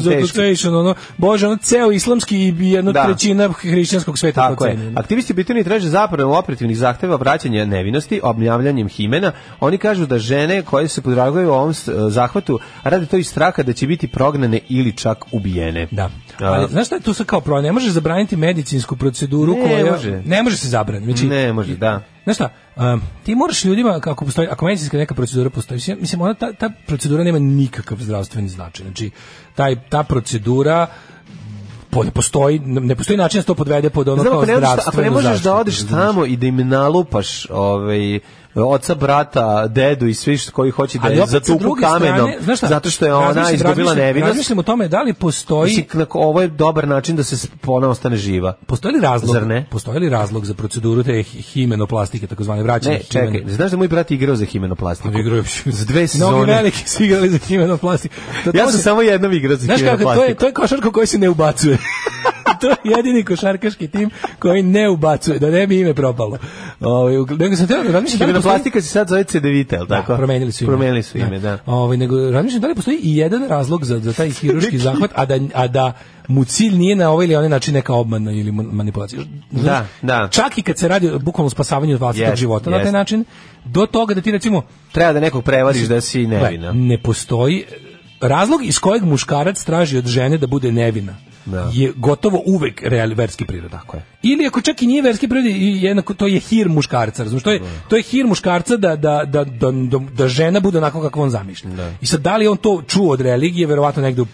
za tucation ono, Pa za teško. tucation, ono, bože, ono, ceo islamski i jedno Da. trećina hrišćanskog sveta Tako to ceni, je. ono. Aktivisti Britanije traže zapravo operativnih zahteva vraćanja nevinosti obnavljanjem himena. Oni kažu da žene koje se podraguju u ovom s- e, zahvatu rade to iz straha da će biti prognane ili čak ubijene. Da. A, Ali znaš šta je tu sad kao problem? Ne možeš zabraniti medicinsku proceduru Ne koja može. ne može se zabraniti. Znači, ne može, da. Znaš šta, um, ti moraš ljudima, kako postoji, ako medicinska neka procedura postoji, mislim, mislim ona, ta, ta procedura nema nikakav zdravstveni značaj. Znači, taj, ta procedura po- ne postoji, ne postoji način da se to podvede pod ono Znam, kao ako ne, možeš, zdravstvenu ako ne možeš da zaštitu, odeš razumeš? tamo i da im nalupaš ovaj, oca, brata, dedu i svi što- koji hoće da Ali je opet sa zatuku druge kamenom, strane, znaš šta, zato što je ona razmišljam- izgubila razmišljam- nevinost. Razmišljam o tome da li postoji Mislim, kako ovo je dobar način da se s- ona ostane živa. Postoji li razlog? Zar ne? Postoji li razlog za proceduru te hi- himenoplastike, takozvane vraćanje Ne, čekaj, znaš da je moj brat igrao za himenoplastiku? Za dve Mnogi sezone. veliki su igrali za himenoplastiku. To- to Ja sam se- samo jednom igrao za Znaš kako, to je, himenoplastiku. to je košarka koji se ne ubacuje. to je jedini košarkaški tim koji ne ubacuje, da ne bi ime propalo. Ovaj, ugl- nego sam teo da razmišljam da li postoji- Himenoplatika se sad zove CDVita, je li tako? Da, promenili su ime. Promenili su ime, da. Ovaj nego razmišljam da li postoji i jedan razlog za za taj hiruški zahvat, a da a da mu cilj nije na ovaj ili onaj način neka obmana ili man- manipulacija. Znaš, Da, da. Čak i kad se radi o bukvalno spasavanju od vlastitog Jest, života na taj jest. način, do toga da ti recimo Treba da nekog prevariš da si nevina. Gle, ne postoji razlog iz kojeg muškarac traži od žene da bude nevina. Da. je gotovo uvek real, verski prirod. Tako je. Ili ako čak i nije verski prirod, i jednako, to je hir muškarca, razumiješ? To je, to je hir muškarca da, da, da, da, da, da žena bude onako kako on zamišlja. I sad, da li je on to čuo od religije, verovatno negde u,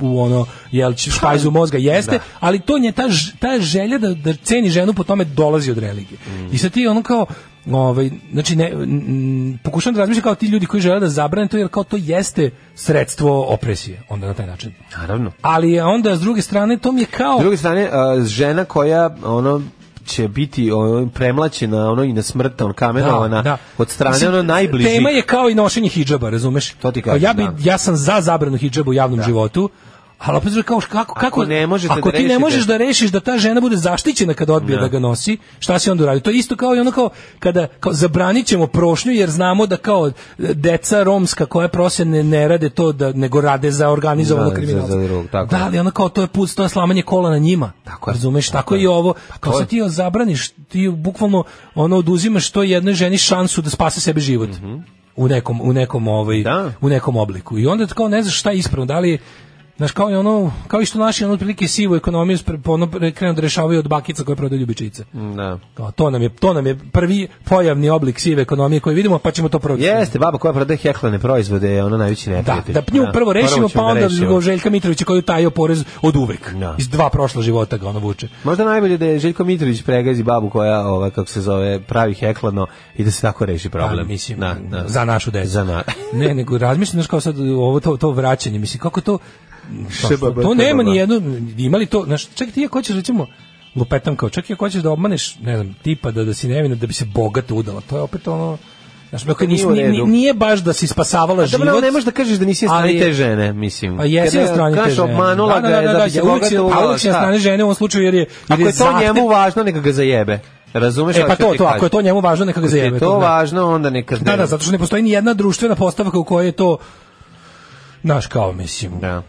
u ono, jel, špajzu mozga jeste, ali to nje, ta, ž- ta želja da, da ceni ženu po tome dolazi od religije. I sad ti ono kao, ovaj, znači, ne, mm, pokušavam da razmišljam kao ti ljudi koji žele da zabrane to, jer kao to jeste sredstvo opresije, onda na taj način. Naravno. Ali je onda s druge strane to mi je kao S druge strane, a, žena koja ono će biti ono, premlaćena ono i na smrt on kamenovana od strane Da, Mislim, ono najbližih. Tema je kao i nošenje hidžaba, razumeš? To ti kažem, ja, bi, da. ja sam za zabranu hidžaba u javnom životu, ali opet kao kako kako ne možete ako da ti ne rešite- možeš da rešiš da ta žena bude zaštićena kada odbije Da. da ga nosi, šta se onda uradi? To je isto kao i ono kao kada kao zabranit ćemo prošnju jer znamo da kao deca romska koja prose ne, ne rade to da nego rade za organizovano Da, za- kriminalce. za drugog, tako da, je. ali ono kao to je put, to je slamanje kola na njima. Tako razumeš, tako, je i ovo. Kao Pa to se je. ti zabraniš, ti bukvalno ono oduzimaš toj jednoj ženi šansu da spase sebi život. Mhm. U nekom u nekom ovaj Da. u nekom obliku. I onda kao ne znaš šta je ispravno, da li je, Znaš, kao, i ono, kao i što naši ono, otprilike sivu ekonomiju spre- ono, pre- krenu da rešavaju od bakica koje prodaju ljubičice. Da. Kao, to, nam je, to nam je prvi pojavni oblik sive ekonomije koji vidimo, pa ćemo to prvo Jeste, baba koja prodaje heklane proizvode je ona najveći neprijatelj. da nju prvo rešimo, pa ćemo da onda rešimo. Da. zbog Željka Mitrovića koji je tajio porez od uvek. Iz dva prošla života ga ono vuče. Možda najbolje da je Željko Mitrović pregazi babu koja, ova, kako se zove, pravi heklano i da se tako reši problem. Pa, mislim, Da, da. za našu decu. Za na... ne, nego razmišljam znaš, kao sad ovo to to vraćanje, mislim kako to kao Šeba, što- ba, to ba, nema ba. ni jedno imali to, znaš, čak ti ako hoćeš recimo lupetam kao, čak i ako hoćeš da obmaneš, ne znam, tipa da da si nevina da bi se bogato udala, to je opet ono Znaš, Pa ako nije nis- u ni- ni- redu. nije baš da si spasavala A dobro, život. ne možeš da kažeš da nisi na strani ali je- te žene, mislim. Pa jesi Kad na je- strani te kažeš, žene. obmanula Da, da, ga je da, da da, bi se ja, uvek si- bogatila, pa uvek si na šta? strani žene u ovom slučaju jer je, jer Ako je to zahtev- njemu važno, neka ga zajebe. Razumeš? E šta pa ću to, ti to, ako kažem? je to njemu važno, neka ga Ako ti je zajebe, to to da. važno, onda neka Da, da, zato što ne postoji ni jedna društvena postavka u kojoj je to naš kao mislim. Da.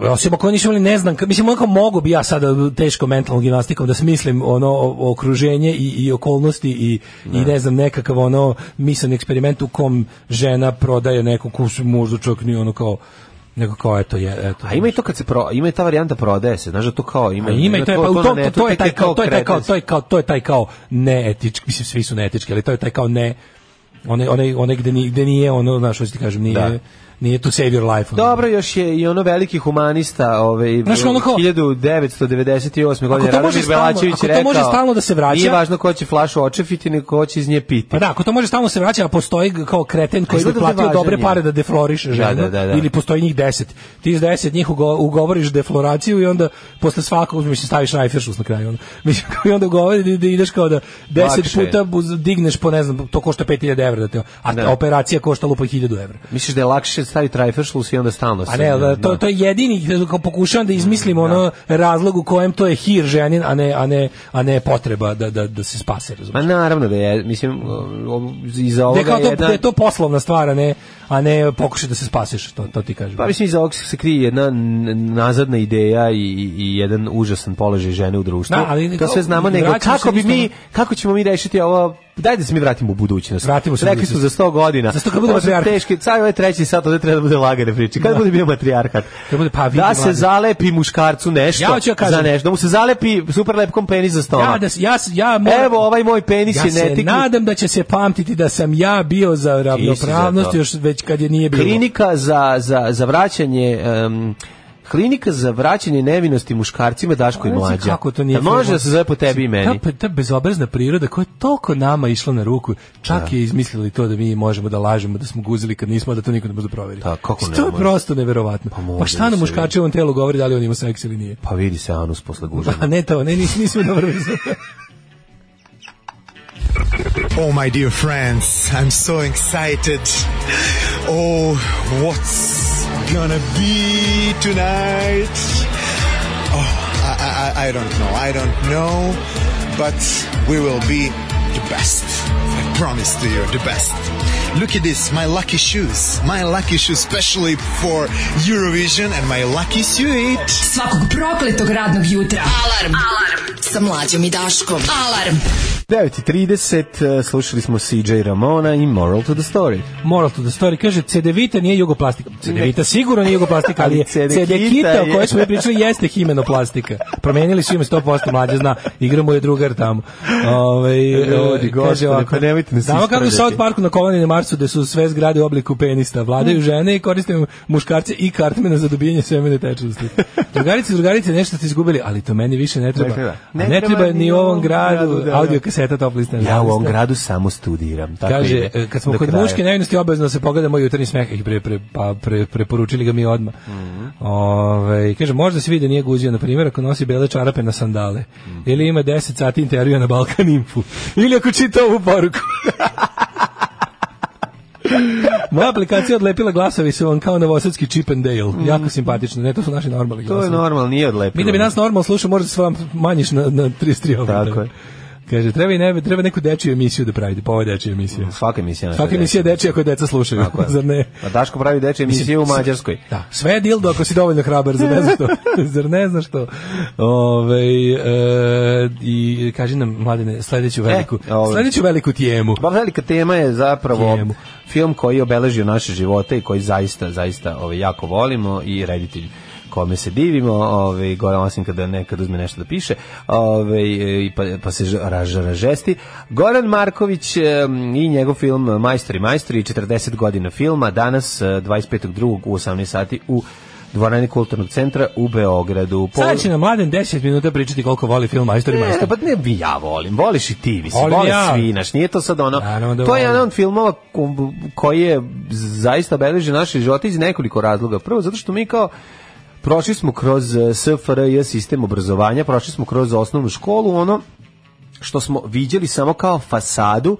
Osim ako nisu imali, ne znam, ka- mislim, onako mogu bi ja sada teško mentalnom gimnastikom da smislim ono o- okruženje i, i okolnosti i, Da. i ne znam, nekakav ono misan eksperiment u kom žena prodaje neku kusu, možda čak ni ono kao neko kao eto je eto A ima i to kad se pro, ima i ta varijanta prodaje se, znaš da to kao ima. A ima i to je pa u tom- na to, to je netu, tek taj kao to je taj kao kretenstvo. to je kao to je taj kao neetički mislim svi su neetički ali to je taj kao ne one one one gde ni gde nije ono znaš hoćete kažem nije Da. nije to save your life ono. Dobro, još je i ono veliki humanista, ovaj Znaš, ono kao- 1998. godine Ako to može Radomir stalno- Belačević ako to rekao. može stalno da se vraća- Nije važno ko će flašu očefiti, nego ko će iz nje piti. Pa da, ako to može stalno se vraća, a postoji g- kao kreten koji bi Izgleda da platio važan dobre je. pare da defloriše Da, ženu, da, da, da. ili postoji njih deset. Ti iz deset njih ugo- ugovoriš defloraciju i onda posle svakog, mislim, staviš najfiršus na kraju. Ono. Mislim, i onda ugovori da, da ideš kao da deset Lakše je. puta buz- digneš po, ne znam, to košta 5000 evra, da te, a Da. operacija košta lupa 1000 evra. Misliš da je lakše staviti trajferšlus i onda stalno A ne, da, to, da. Mm, to je jedini, kao pokušavam da izmislim ono razlog u kojem to je hir ženin, a ne, a ne, a ne potreba da, da, da se spase, razumiješ? Ma naravno da je, mislim, o- iza Da je, ovoga kao je to, jedna... da je to poslovna stvar, a ne, a ne pokušaj da se spasiš, to, to ti kažem. Pa mislim, iza ovog se krije jedna n- nazadna ideja i, i- i jedan užasan položaj žene u društvu. Da, ali to kao- sve znamo, nego vraćam kako se bi isto mi, na- kako ćemo mi rešiti ovo, daj da se mi vratimo u budućnost. Vratimo se u Rekli su budućnost. za 100 godina. Za 100 kad bude Ovo su matrijarhat. Teški, sad ovaj treći sat, ovde treba da bude lagane priče. Kad Da. bude bio matrijarhat? Kad bude, pa vidi, da se mladi. zalepi muškarcu nešto Ja hoću ja kažem- za nešto, da mu se zalepi super lepkom penis za stomak. Ja, da, s- ja, s- ja moram- Evo, ovaj moj penis ja je se netiknut. nadam da će se pamtiti da sam ja bio za ravnopravnost to. još već kad je nije bilo. klinika za, za, za vraćanje em, klinika za vraćanje nevinosti muškarcima Daško i Reci mlađa. Kako to nije Znači, Jel može da se zove po tebi i meni. Ta, ta bezobrazna priroda koja je toliko nama išla na ruku, čak je izmislila i to da mi možemo da lažemo, da smo guzili kad nismo, a da to niko ne može da proveri. Da, kako ne to je može? prosto neverovatno. Pa, može šta da nam se muškači u ovom telu govori da li on ima seks ili nije? Pa vidi se anus posle gužanja. Pa ne to, ne, nis, nismo dobro vezali. Oh, my dear friends, I'm so excited. Oh, what's gonna be tonight? Oh, I, I- I, I don't know. I don't know, but we will be the best. I promise to you, the best. Look at this, my lucky shoes. My lucky shoes, specially for Eurovision and my lucky suit. Svakog prokletog radnog jutra. Alarm. Alarm. Sa mlađom i Daškom. Alarm. 9.30 e, slušali smo CJ Ramona i Moral to the Story. Moral to the story kaže CDVita nije jugoplastika. CDVita sigurno nije jugoplastika, ali je Ali Cedekita CDKita o je. kojoj smo mi pričali jeste himenoplastika. Promenili su ime 100%, mlađe zna. Igra mu je drugar tamo. Ovaj Ljudi, e, gospode, ovako, pa nemojte nas Znamo kako u ispravljati. South Parku na Koloniji na Marsu gde su sve zgrade u obliku penista. Vladaju žene i koriste muškarce i kartmena za dobijanje semene tečnosti. Drugarice, drugarice, nešto ste izgubili, ali to meni više ne treba. Ne treba. A Ne treba ni u ovom gradu. da, da. Audio seta top liste. Ja u ovom gradu samo studiram. Tako Kaže, ide. e, kad smo Do kod kraja. muške nevinosti obavezno da se pogledamo jutarnji smeh i pre, pre, pa, pre, preporučili ga mi odmah. Mhm. Ovaj, kaže, možda se vidi da nije guzio, na primjer, ako nosi bele čarape na sandale. Mhm. Ili ima 10 sati intervjua na Balkan Info. Ili ako čita ovu poruku. Moja aplikacija odlepila glasovi su vam kao novosadski Chip and Dale. Jako simpatično. Ne, to su naši normalni Mhm. To glasovi. je normalno, nije odlepilo. Mi da bi nas normalno slušao, možda se vam manjiš na, na 33 obrata. Tako je. Kaže, treba, i ne, treba neku dečiju emisiju da pravite, pa ovo je dečija emisija. Svaka emisija naša Svaka emisija je dečija ako deca slušaju, Tako je. zar ne? A Daško pravi deče emisije u Mislim, Mađarskoj. Da, sve je dildo ako si dovoljno hrabar, zar ne znaš to? zar ne znaš to? Ovaj, e, I kaži nam, mladene, sledeću veliku, E, ovaj. sledeću veliku tijemu. Pa velika tema je zapravo Tijemu. film koji je obeležio naše živote i koji zaista, zaista ovaj, jako volimo i reditelj kome se divimo, ovaj, Goran osim kada nekad uzme nešto da piše, ovaj, i pa, pa se ž- raž- ražesti. Goran Marković em, i njegov film Majstori, majstori, 40 godina filma, danas eh, 25.2. u 18 sati u dvorani kulturnog centra u Beogradu. Pol- Sada će nam mladen 10 minuta pričati koliko voli film Majstor i Ne, Majstor. pa ne bi ja volim, voliš i ti, mislim, Volim volim ja. svi, znaš, nije to sad ono, Naravno da to je volim. jedan od filmova ko- koji je zaista beleži naše živote iz nekoliko razloga. Prvo, zato što mi kao prošli smo kroz eh, SFRJ sistem obrazovanja, prošli smo kroz osnovnu školu, ono što smo viđeli samo kao fasadu,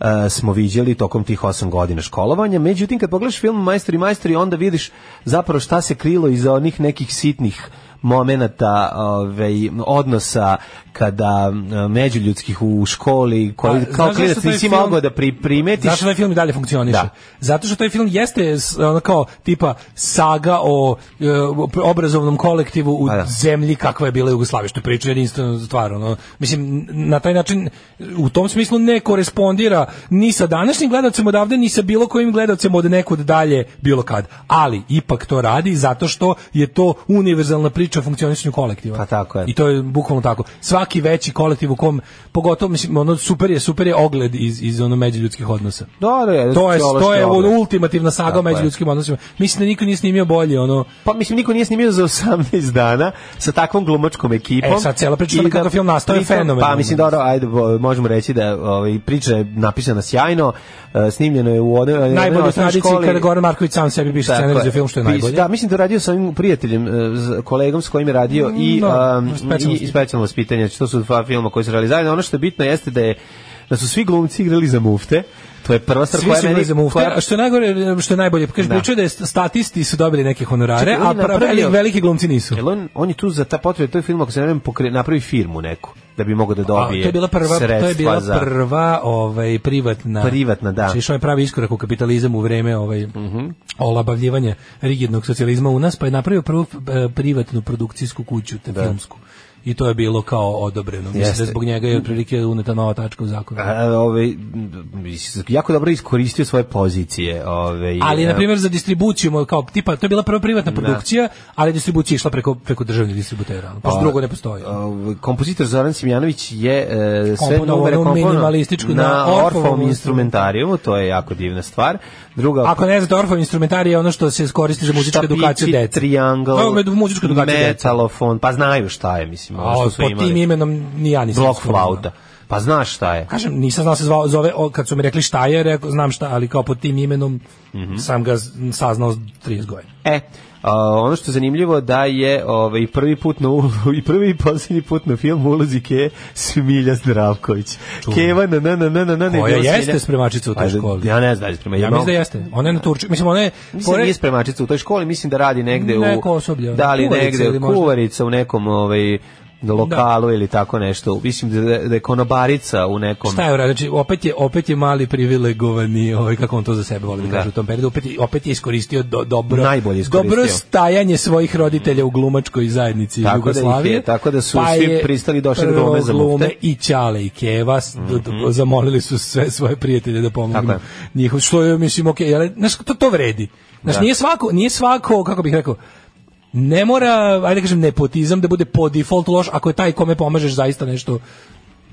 eh, smo viđeli tokom tih osam godina školovanja. Međutim, kad pogledaš film Majstori i majstori, onda vidiš zapravo šta se krilo iza onih nekih sitnih momenata ovaj, odnosa kada eh, međuljudskih u školi koji Pa, kao znaš zašto klinac taj nisi film- mogao da pri, primetiš Zašto taj film i dalje funkcioniše? Da. Zato što taj film jeste s- ono kao tipa saga o e, pr- obrazovnom kolektivu u zemlji kakva je bila Jugoslavija, što je priča jedinstvena stvar. Ono. Mislim, n- na taj način u tom smislu ne korespondira ni sa današnjim gledalcem odavde, ni sa bilo kojim gledalcem od nekud dalje, bilo kad. Ali, ipak to radi zato što je to univerzalna priča o funkcionisanju kolektiva. Pa tako je. I to je bukvalno tako. Svaki veći kolektiv u kom, pogotovo, mislim, ono, super je, super je ogled iz, iz ono međuljudskih odnosa. Da, da, je To je, to sociološki je ono, ogled. ultimativna saga o Tako je. međuljudskim odnosima. Mislim da niko nije snimio bolje, ono... Pa mislim niko nije snimio za 18 dana sa takvom glumačkom ekipom. E, sad cijela priča I o tome kako film nastao je pritom- fenomenalna. Pa mislim dobro, ajde bo- možemo reći da ovaj priča je napisana sjajno, e, snimljeno je u onoj Najbolje onoj u tradiciji školi. kada Goran Marković sam sebi piše Tako scenarij je. za film, što je Pis- najbolje. Da, mislim da je radio sa ovim prijateljem, e, z- kolegom s kojim je radio i, da, um, specijalno i, i specijalno vaspitanje. Znači, to su dva filma koji su radili zajedno. Ono što je bitno jeste da je da su svi glumci igrali za mufte. To je prva stvar Svi koja su meni- igrali za mufte, koja- a što je najgore, što je najbolje, kaže Da. pričaju da je statisti su dobili neke honorare, Čekaj, on a je napravio- pravi veliki glumci nisu. Jel on, on je tu za ta potrebe tog filma, ako se ne vem, pokre, napravi firmu neku, da bi mogao da A, to dobije je bila prva, to sredstva je bila za... prva ovaj privatna Privatna, da. Mhm. Znači, išao je pravi iskorak u kapitalizam u vreme ovaj olabavljivanja rigidnog socijalizma u nas, pa je napravio prvu eh, privatnu produkcijsku kuću te filmsku. I to je bilo kao odobreno. Mislim Da. Jeste. da zbog njega je otprilike uneta nova tačka u zakonu. A, ovaj, m, jako dobro iskoristio svoje pozicije. Ovaj, Ali na e, primjer za distribuciju mo- kao tipa to je bila prva Da. privatna produkcija, ali distribucija je išla preko preko državnih distributera. ono, Pošto A, drugo ne postoji. pa, ovaj, kompozitor Zoran Simjanović je e, sve Komponovao numere onu komponovao minimalističku na na Orfovom Orfovom instrumentarijumu, to je jako divna stvar. Druga Ako ne znate, orfov instrumentarij je ono što se koristi za muzičku štapići, edukaciju dece. Pa, triangle, To je muzičku edukaciju dece. metalofon, pa znaju šta je, mislim, ono A, što pod su imali. tim imenom ni ja nisam. Blok spomenuo. flauta. Pa znaš šta je. Kažem, nisam znao da se zvao, zove, o, kad su mi rekli šta je, rekao, znam šta, ali kao pod tim imenom Mhm. sam ga z- saznao s 30 godina. E, a, ono što je zanimljivo da je ovaj prvi put na ulo- i prvi i poslednji put na film u ulozi ke Smilja Zdravković. Keva na na na na na na ne Koja bila jeste Smilja. spremačica u toj Ajde, školi? Ja ne znam da li je spremačica. Ja mislim da jeste. Ona je na Turčiji. Mislim, ona je... Mislim da pored- nije spremačica u toj školi, mislim da radi negde u Neko osoblje, Da li kuvarica negde ili možda. Da. kuvarica u nekom ovaj lokalu ili tako nešto. Mislim da, da je konobarica u nekom Šta je uradio? Znači, opet je, opet je mali privilegovani, ovaj, kako on to za sebe voli da, Da. kaže u tom periodu, opet, je- opet je iskoristio do- dobro, Najbolje iskoristio. dobro stajanje svojih roditelja u glumačkoj zajednici Tako da ih je- Jugoslavije. pa tako da su svi je pristali i došli da prvo glume za mufte. Mhm. glume I Ćale i Keva s- d- d- zamolili su sve svoje prijatelje da Tako pomognu je. njihov, što je, mislim, ok, ali, znaš, to, to vredi. Znaš, Da. nije svako, nije svako, kako bih rekao, ne mora, ajde kažem, nepotizam da bude po default loš ako je taj kome pomažeš zaista nešto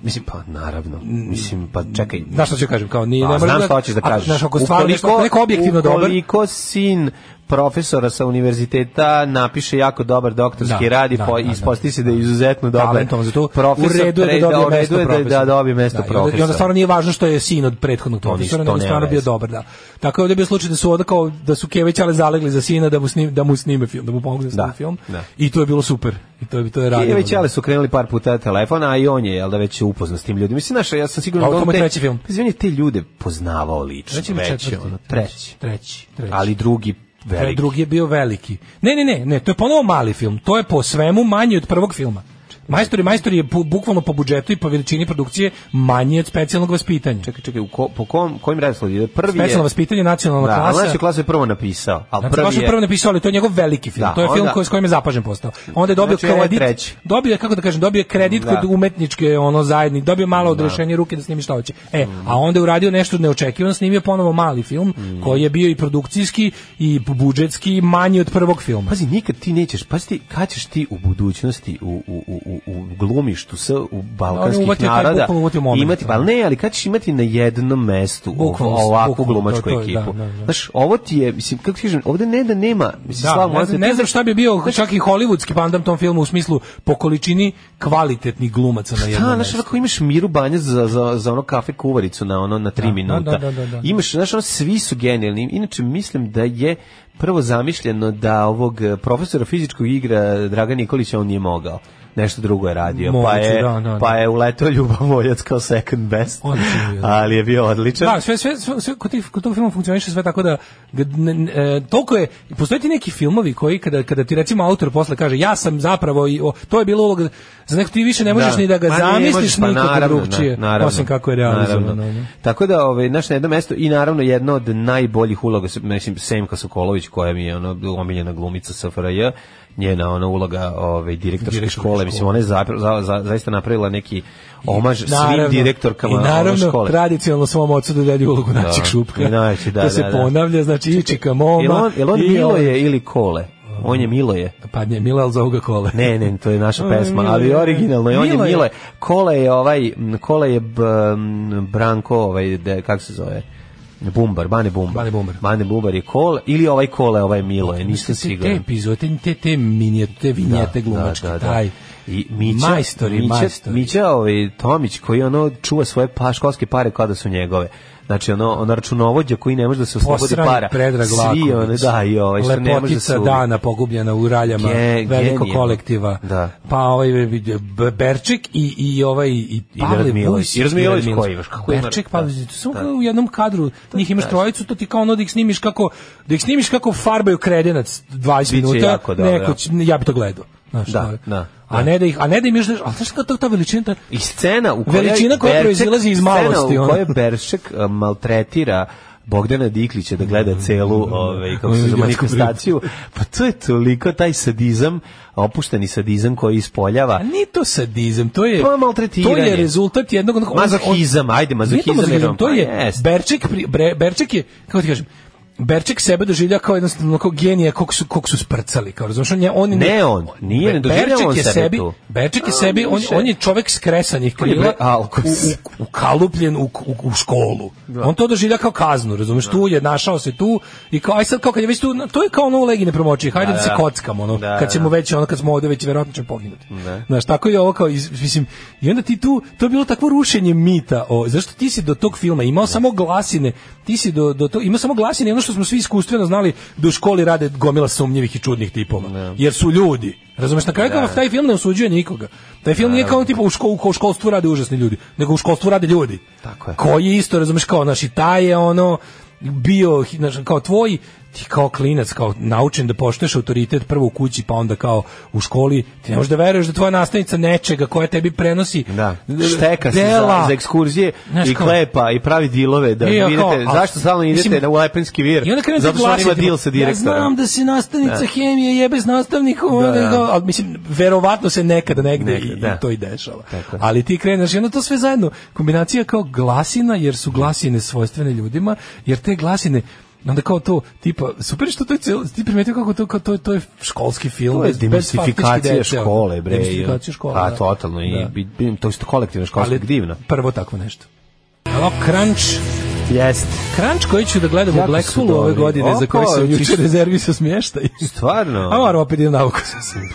Mislim, pa naravno. Mislim, pa čekaj. Znaš šta ću kažem, kao nije... Pa, ne moram znam da- šta hoćeš da a, kažeš. Znaš, ako stvarno Ukoliko- nešto, ako je neko objektivno dobar... Ukoliko sin profesora sa univerziteta napiše jako dobar doktorski Da, rad i da, po- da, da, ispostavi se da je izuzetno dobar talentom za to. profesor, u redu je pre- da dobije u redu mesto je da- profesora. da dobije mesto i onda- I onda profesora. stvarno nije važno što je sin od prethodnog profesora, ništa, nego nema stvarno bio veze. dobar, da. Tako je ovdje bio slučaj da su onda kao da su Kević ali zalegli za sina da mu snime, da mu snime film, da mu pomognu da snime Da, film. da. I to je bilo super. I to je to je radilo. Kijević ali su krenuli par puta telefona, a i on je jel da već upoznao s tim ljudima. Mislim znaš, ja sam siguran A da ovo on mu je te, treći film. Mislim, on je te ljude poznavao lično. Treći, Treći ili već, je Znači, četvrti? ono, treći. Treći, treći. Ali drugi Taj veliki. drugi je bio veliki. Ne, ne, ne, ne, to je ponovo mali film. To je po svemu manji od prvog filma. Majstori, majstori je bu- bukvalno po budžetu i po veličini produkcije manji od specijalnog vaspitanja. Čekaj, čekaj, u ko, po kom, kojim redosledu ide? Prvi je... Specijalno vaspitanje nacionalna Da, klasa. naša klasa je prvo napisao. Ali Znači, prvi baš je je... prvo napisao, ali to je njegov veliki film. Da, to je film onda- koji, s kojim je zapažen postao. Onda je dobio Znači, ovo je kredit. treći. Dobio je, kako da kažem, dobio je kredit Da. kod umetničke ono zajedni, dobio malo odrešenje ruke da snimi šta hoće. E, a onda je uradio nešto neočekivano, snimio ponovo mali film Mm. koji je bio i produkcijski i budžetski manji od prvog filma. Pazi, nikad ti nećeš, pazi ti, kad ćeš ti u budućnosti u, u, u, u- u glumištu sa, u On je balkanskih uvatio taj naroda bukvalno uvatio moment. da. imati, pa ne, ali kad ćeš imati na jednom mestu ov- Bukvalno, ovakvu bukvalno, glumačku to- to je, ekipu. da, da, da. Znaš, ovo ti je, mislim, kako ti kažem, ovde ne da nema, mislim, Da, Slavo, ne, znam, ne znam šta bi bio Znači- čak i hollywoodski pandam tom filmu u smislu po količini kvalitetnih glumaca na Šta, jednom znaš, mestu. ako imaš Miru Banjac za, za, za ono kafe kuvaricu na ono na tri minuta. da, da, da, da. Imaš, znaš, ono, svi su genijalni. Inače, mislim da je prvo zamišljeno da ovog eh, profesora fizičkog igra Dragan Nikolića on nije mogao. Nešto drugo je radio. pa, Moguće, je, da, da, da. pa je uletao Ljubavoljac kao second best. Odličan je bio, da. ali je bio odličan. Da, sve, sve, sve, sve kod, tih, kod tog filma funkcioniše sve tako da g- ne- ne- e, toliko je, postoje ti neki filmovi koji kada, kada ti recimo autor posle kaže ja sam zapravo, i, o, to je bilo uloga za neko ti više ne možeš Da. ni da ga Ma ne zamisliš možeš, pa nikako naravno, drugčije, na- naravno. osim kako je realizovano. Naravno. ono. Tako da, ovaj, naš na jedno mesto i naravno jedna od najboljih uloga, s- mislim, Semka Sokolović, koja mi je ono, omiljena glumica SFRJ, njena ona uloga ovaj, direktorske Direktorske škole, mislim, ona je zapra- za, za, zaista napravila neki omaž Naravno. svim direktorkama I naravno, ono, škole. tradicionalno svom ocu dodelju ulogu Da. načih šupka. I najveći, da, to se da, da. ponavlja, znači Ičika Jel Moma. on, jel on i ovaj- Miloje ili Kole? On je Miloje. Pa nije Milo, ali zovu ga Kole. Ne, ne, to je naša On je pesma, Miloje, ali da. originalno je, on je Miloje. Miloje. Kole je ovaj, m, Kole je b, m, Branko, ovaj, de, kako se zove? Bumbar, Bane Bumbar. Bane Bumbar. Bane Bumbar je Kole, ili ovaj Kole, ovaj Miloje, nisam te, te siguran. Da, epizode, te, te minije, te vinjete glumačke, taj. I Mića, Majstori, Mića, majstori. Mića ovaj, Tomić koji ono čuva svoje pa, školske pare kao da su njegove. Znači ono, ono računovođa koji ne može da se oslobodi Posrani para. Predrag Svi one, Laković. da, i ovaj, što ne može da se Lepotica uvi. dana pogubljena u raljama Ge- veliko genijalno. kolektiva. Da. Pa ovaj B- Berček i, i ovaj i Pavle Milović. Vujs. I Radmilović Radmilović. koji imaš, kako ima- Berček, Pavle da. Vujs, to samo Da. kao u jednom kadru njih imaš trojicu, to ti kao ono da ih snimiš kako da ih snimiš kako farbaju kredenac 20 Biće minuta. jako dobro, neko da. će- ja bi to gledao. Znaš, Da, to je. da, A ne da ih, a ne da im još, al znaš kako ta, ta veličina, ta, I scena u kojoj Veličina koja Berček- proizilazi iz malosti, Scena u ono. kojoj Beršek uh, maltretira Bogdana Diklića da gleda celu ovaj, kako se zove, Idiotsku manifestaciju. Pa to je toliko taj sadizam, opušteni sadizam koji ispoljava. A nije to sadizam, to je Pa maltretiranje. To je rezultat jednog onog- on- Mazohizam, on- ajde, mazohizam Nije to jednom, to pa je jest. Berček, pri- Bre- Berček je, kako ti kažem, Berček sebe doživlja kao jednostavno kao genija kog su, kog su sprcali, kao razumiješ, on je, on je- Ne on, nije, ne doživljava Berček on je sebe sebi, tu. Berček je sebi, on, on je čovek skresanih On je krila, bre- alkos. u- u- ukalupljen u, u, u školu. Da. On to doživlja kao kaznu, razumiješ, tu je, našao se tu i kao, aj sad, kao kad je već tu, to je kao ono u legi nepromočih, hajde Da, da, se da. kockamo, ono, Da, kad ćemo da. već, ono, kad smo ovde već verovatno ćemo poginuti. Da. Znaš, tako je ovo kao, iz, mislim, i onda ti tu, to je bilo takvo rušenje mita, o, zašto ti si do tog filma imao samo glasine, ti si do, do to, imao samo glasine, ono što smo svi iskustveno znali da u školi rade gomila sumnjivih i čudnih tipova, Da. jer su ljudi, razumeš, na kraju kao taj film ne osuđuje nikoga, taj film Da. nije kao tipa u, školu, kao u školstvu rade užasni ljudi, nego u školstvu rade ljudi, Tako je. koji isto, razumeš, kao, znaš, i taj je ono, bio, znaš, kao tvoj, ti kao klinac, kao naučen da poštuješ autoritet prvo u kući, pa onda kao u školi, ti ne možeš da veruješ da tvoja nastavnica nečega koja tebi prenosi Da, šteka se dela. za, za ekskurzije Znaš i kao- klepa i pravi dilove da I ja idete, kao, a- zašto stalno idete mislim- na u Lepenski vir? I onda krene da Zato što on ima deal sa pa, Ja direktorom. znam da si nastavnica Da. hemije jebe s nastavnikom, Da, onda da. kao, ali mislim, verovatno se nekada negde, Nekad, i, da. i to i dešava. Tako je. Ali ti kreneš i onda to sve zajedno, kombinacija kao glasina, jer su glasine svojstvene ljudima, jer te glasine onda kao to tipa super je što to je cel, ti primetio kako to kao to je- to je školski film To je bez- bez faktički demistifikacija dece, škole, bre. Demistifikacija škole. A, da. totalno. I, Da. i- i- to je kolektivna školska divna. Prvo tako nešto. Hello, crunch. Jeste. Crunch koji ću da gledam u Jako su Blackpoolu ove dobri. godine, za koji Opa, sam juče juče- rezervisao smještaj. Stvarno? A moram opet idem na nauku.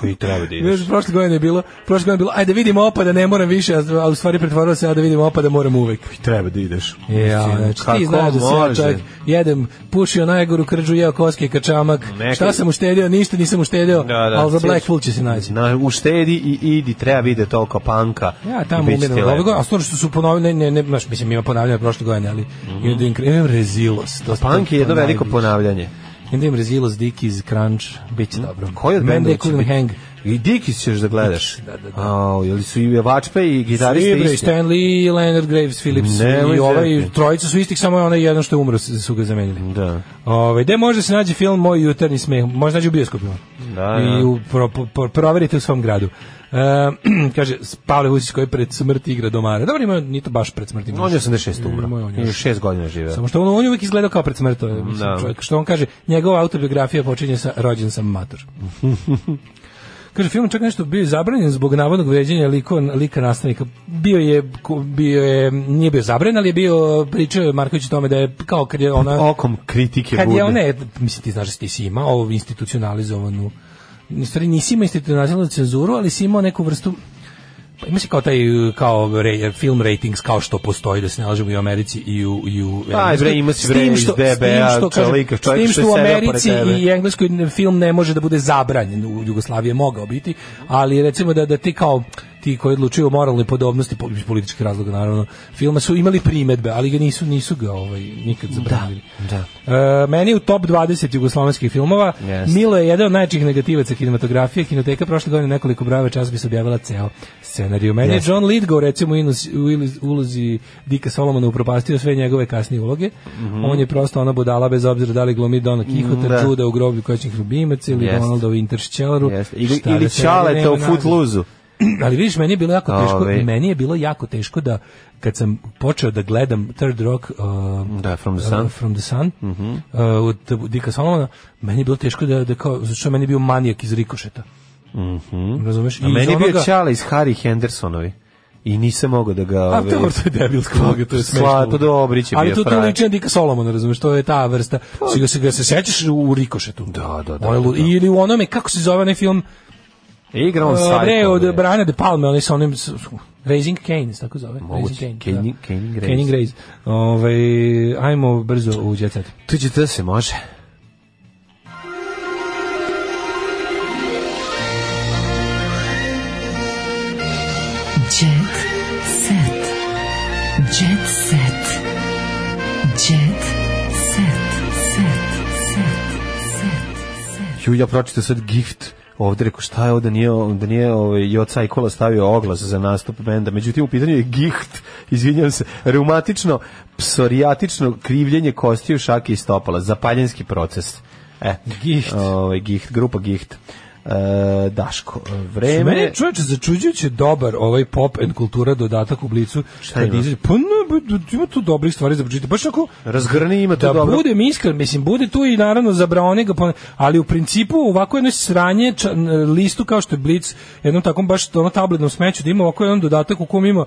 I treba da ideš. Još prošle godine je bilo, prošle godine je bilo, ajde vidimo opada, ne moram više, a a u stvari pretvorilo se, da vidimo opada, moram uvek. Treba da ideš. Ja, Mislim, znači, ti kako znaš da sam ja može? čovjek, jedem, pušio najgoru krđu, jeo koske, kačamak, Neka- šta sam uštedio, ništa nisam uštedio, Da, da, ali za sjeć- Blackpool će se naći. Na, uštedi i idi, treba ide toliko panka. Ja tamo I bit će umiram ti od lepo. ove godine, a stvarno što su ponovili, ne, ne, ne, znaš, mislim, ima ponavljanje prošle godine, ali imam da im kre- imam rezilost. to- Mhm. Punk to- je jedno to veliko najviše. ponavljanje. Idem da im rezilost, Dickies, Crunch, bit će dobro. Mhm. Koji od Mandy bendova će Cool biti? Hang. I Dickies ćeš da gledaš. Da, da, da. Au, jel su i vačpe i gitariste Svi, bre, isti? da Stan Lee, Leonard Graves, Phillips Nemoj i ovaj, zezati. trojica su istih, samo je onaj jedan što je umro, s- su ga zamenili. Da. Ove, gde može se nađe film Moj jutarnji smeh? Može nađe u bioskopima. Da, I da. u, pro, pro- pro- proverite u svom gradu. E, kaže, Pavle Vucić koji pred smrt igra domara. Dobro, ima, nije to baš pred smrt. ima On je još- 86 umro. Ima, on je I još- 6 godina živeo. Samo što on, on je uvijek izgledao kao pred smrt. ovaj, mislim, Da. čovjek. Što on kaže, njegova autobiografija počinje sa rođen sam mator. Kaže, film čak nešto bio je zabranjen zbog navodnog vređenja liko, lika nastavnika. Bio je, ko- bio je, nije bio zabranjen, ali je bio, pričao je Marković o tome da je, kao kad je ona... Okom kritike Kad bude. je ona, mislim ti znaš da ti si imao ovu institucionalizovanu, u stvari nisi imao institucionalizovanu cenzuru, ali si imao neku vrstu pa ima se kao taj kao re, film ratings kao što postoji da se nalažemo i u Americi i u i u Aj, Engleskoj. bre, ima si, S bre, tim iz što- s tim DBA što, kažem, čovjeka, s čovjek tim što što je u sedeo pored Americi tebe. i Engleskoj film ne može da bude zabranjen u Jugoslaviji je mogao biti ali recimo da da ti kao ti koji odlučuju o moralnoj podobnosti po- iz političkih razloga naravno filma su imali primedbe ali ga nisu nisu ga ovaj nikad zabranili Da. E, meni je u top 20 jugoslavenskih filmova Jeste. Milo je jedan od najčih negativaca kinematografije. Kinoteka prošle godine nekoliko brave časopisa objavila ceo scenariju. Meni je Jeste. John Lithgow recimo u inus- u ili- ulozi Dika Solomona upropastio sve njegove kasnije uloge. On je prosto ona budala bez obzira da li glumi Dona Kihota, Mhm. da. Juda u groblju koćnih ljubimaca ili Jeste. Donalda u Interstellaru. Jeste. Ili- Šta ili da se Čaleta radi, nema u nazad. Footlooseu. Ali vidiš, meni je bilo jako teško, Ove. meni je bilo jako teško da kad sam počeo da gledam Third Rock uh, Da, From the uh, Sun. Mhm. From the Sun uh, od Dika Solomona, meni je bilo teško da, da kao, zato što je meni bio manijak iz Rikošeta. Mhm. Razumeš? A I iz meni je bio onoga- Čale iz Harry Hendersonovi. I nisam mogao da ga... A to je- to je debilska uloga, to je smešno. Sla, Pa, to Dobrić je Ali bio to, to frajer. liči na Dika Solomona, razumeš, to je ta vrsta. Si ga se, ga se sećaš u Rikošetu. Da, da, da. Onaj lud- Ili u onome, kako se zove onaj film, Igra on uh, sajko. bre, od Brana de Palme, onaj sa onim, s- s- Raising Canes, tako zove. Moguće. Raising Cain, Caning- da. Caning Raise. Caning Raise. Ovaj, ajmo brzo u Jet Set. Tuđe to se može. Jet set. Jet set. Jet set. Set. Set. Ju, ja pročitao sad gift ovde, rekao šta je ovo da nije, da nije ovaj, Joca i Kola stavio oglas za nastup benda. Međutim, u pitanju je gift, izvinjam se, reumatično, psorijatično krivljenje kostiju, šake i stopala, zapaljenski proces. E, Gicht. Ovaj, gicht, grupa gicht. E, Daško, e, Što Meni je vreme... čoveče začuđujuće dobar ovaj pop and kultura dodatak u blicu. Šta ima? Pa ne, b- d- ima tu dobrih stvari za pročitati. Baš ako Razgrni ima to da dobro. budem iskren, mislim, bude tu i naravno zabraone ga, pone- ali u principu ovako jedno sranje ča- n- listu kao što je Blic, jednom takvom baš ono tabletnom smeću, da ima ovako jedan dodatak u kom ima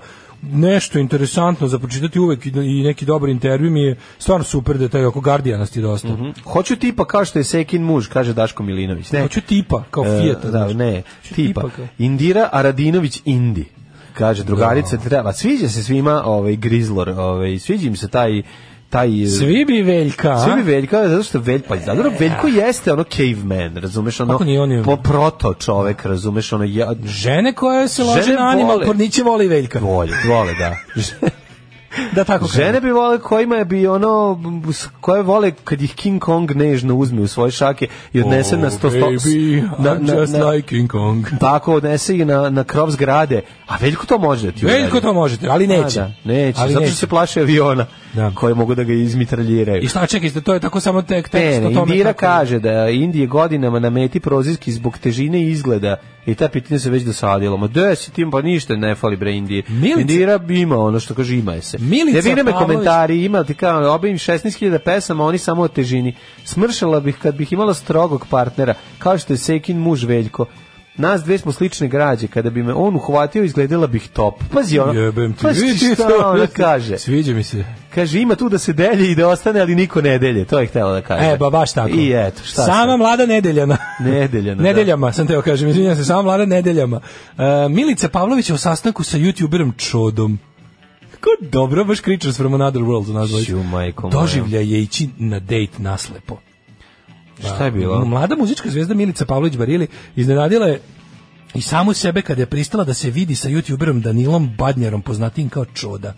nešto interesantno za pročitati uvek i, i neki dobar intervju mi je stvarno super da je taj oko Guardianosti dosta. Mhm. Hoću tipa kao što je Sekin muž, kaže Daško Milinović. Ne. Hoću tipa, kao E, Fijata. da, Pa znaš. da. ne, Hoću tipa. kao- Indira Aradinović Indi. Kaže drugarica Da. treba. Sviđa se svima ovaj Grizzlor, ovaj sviđa im se taj taj Svi bi Veljka. Svi bi Veljka, zato što Velj, pa zato Veljko jeste ono caveman, razumeš, ono E. Kako nije, on je- po proto čovek, razumeš, ono ja, Žene koje se lože Žene na animal vole. porniće voli Veljka. vole, vole, da. Da tako kaže. Žene bi vole kojima bi ono, s- koje vole kad ih King Kong nežno uzme u svoje šake i odnese na sto sto... Baby, na- I'm na- just na- like King Kong. tako odnese i na, na krov zgrade, a Veljko to može da ti uradi. Veljko to možete, ali neće. A, da, neće, Ali zato što neće. se plaše aviona Da. koji mogu da ga izmitraljiraju. I šta čekajte, to je tako samo tek Ne, tekst ne, o tome. Indira kako- kaže da Indije godinama na meti prozirski zbog težine i izgleda i ta pitina se već dosadila. Ma da si tim, pa ništa ne fali bre Indije. Milica- Indira ima ono što kaže, ima je se. Milica ne vide me Pavlović- komentari, ima ti kao, obim 16.000 pesama, oni samo o težini. Smršala bih kad bih imala strogog partnera, kao što je Sekin muž Veljko. Nas dve smo slične građe, kada bi me on uhvatio, izgledala bih top. Pazi ona, Jebem ti. pazi Vidi pa šta to. ona kaže. Sviđa mi se. Kaže, ima tu da se delje i da ostane, ali niko ne delje, to je htjela da kaže. E, ba, baš tako. I eto, šta Sama mlada nedeljana. Nedeljana, da. nedeljama, sam teo kažem, izvinjam se, sama mlada nedeljama. E, Milica Pavlović je u sastanku sa youtuberom Čodom. Kako dobro, baš Creatures from Another World nazvali. Ću, majko moja. Doživlja je ići na date naslepo. Šta je bilo? Mlada muzička zvezda Milica Pavlović Barili iznenadila je i samu sebe kada je pristala da se vidi sa youtuberom Danilom Badnjarom, poznatim kao Čoda.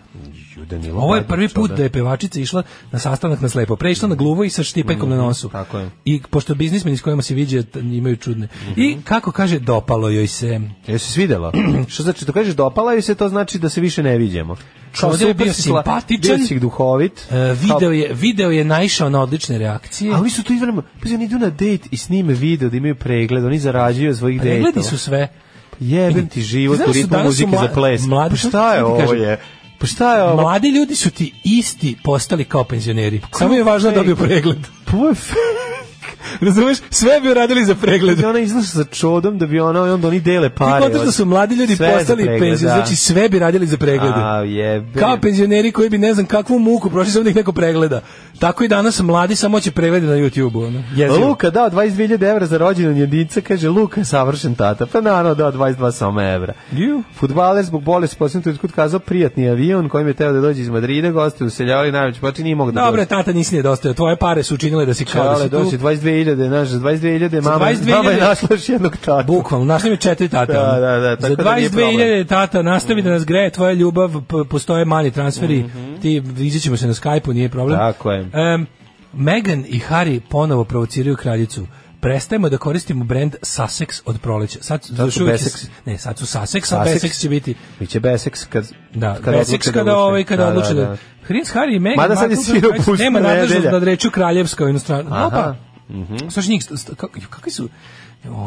Ju, Danilo Ovo je Badnić, prvi put da. da je pevačica išla na sastanak na slepo. Pre je išla na gluvo i sa štipajkom na nosu. Mhm, Tako je. I pošto biznismeni s kojima se viđe t- imaju čudne. Mhm. I kako kaže, dopalo joj se. Jel se svidela? Što znači, to kažeš dopala i se to znači da se više ne viđemo. Kao Čovjek da je super bio si sla- simpatičan. Bio si duhovit. E, video, je, video je naišao na odlične reakcije. A oni su tu izvrno, pa oni idu na date i snime video da imaju pregled, oni zarađuju od svojih dejtova. Pa Pregledi su sve. Jebem ti život u Znaš da su ritmu danas su muzike mla- za ples. mladi- pa šta je Šta ti ovo kažem? je? Pa šta je ovo? Mladi ljudi su ti isti postali kao penzioneri. Samo je važno da dobiju pregled. Pa ovo je f- Razumeš? Sve bi uradili za pregled. da ona izlazi sa čodom da bi ona, i onda oni dele Ti pare. kontaš da su mladi ljudi Sve za postali pregled, penzioneri, da. znači sve bi radili za preglede. A, jebe. Kao penzioneri koji bi ne znam kakvu muku prošli samo da ih neko pregleda. Tako i danas mladi samo će preglede na YouTube-u. Ono. Jezivo. Luka dao 22.000 evra za rođendan jedinca, kaže Luka savršen tata. Pa naravno dao 22 samo evra. Ju. Futbaler zbog bolesti posljednog trenutka kazao prijatni avion kojim je teo da dođe iz Madrida, goste useljavali najveći počin nije mogu da Dobro, dođe. tata nisi nedostajao. Tvoje pare su učinile da si kao da Čale, si dođe tu. 22.000, naš, za 22.000, Za mama, 22.000 mama je našla još jednog tata. Bukvalno, našli mi četiri tata. Da, ono. da, da, tako Za da nije 22.000 tata, nastavi da nas greje tvoja ljubav, p- postoje mali transferi, ti izićemo se na Skype-u, nije problem. Mhm. Tako je. Em, Meghan i Harry ponovo provociraju kraljicu. Prestajemo da koristimo brend Sussex od proleća. Sad, Sad su još uvijek je- Bessex. Ne, sad su Sussex, a Sussex. Bessex će biti... Biće Besex kad, Da, kad Bessex odluče kada uđe. ovaj kada odluče da. Prins Harry i Meghan Mada sad je Markle sirop kraljicu puštena nema nadležnost nedelja. nad rečju kraljevska u inostranstvu. Aha. Mhm. Opa. Slušaj njih, st- st- kako- ju, kakvi su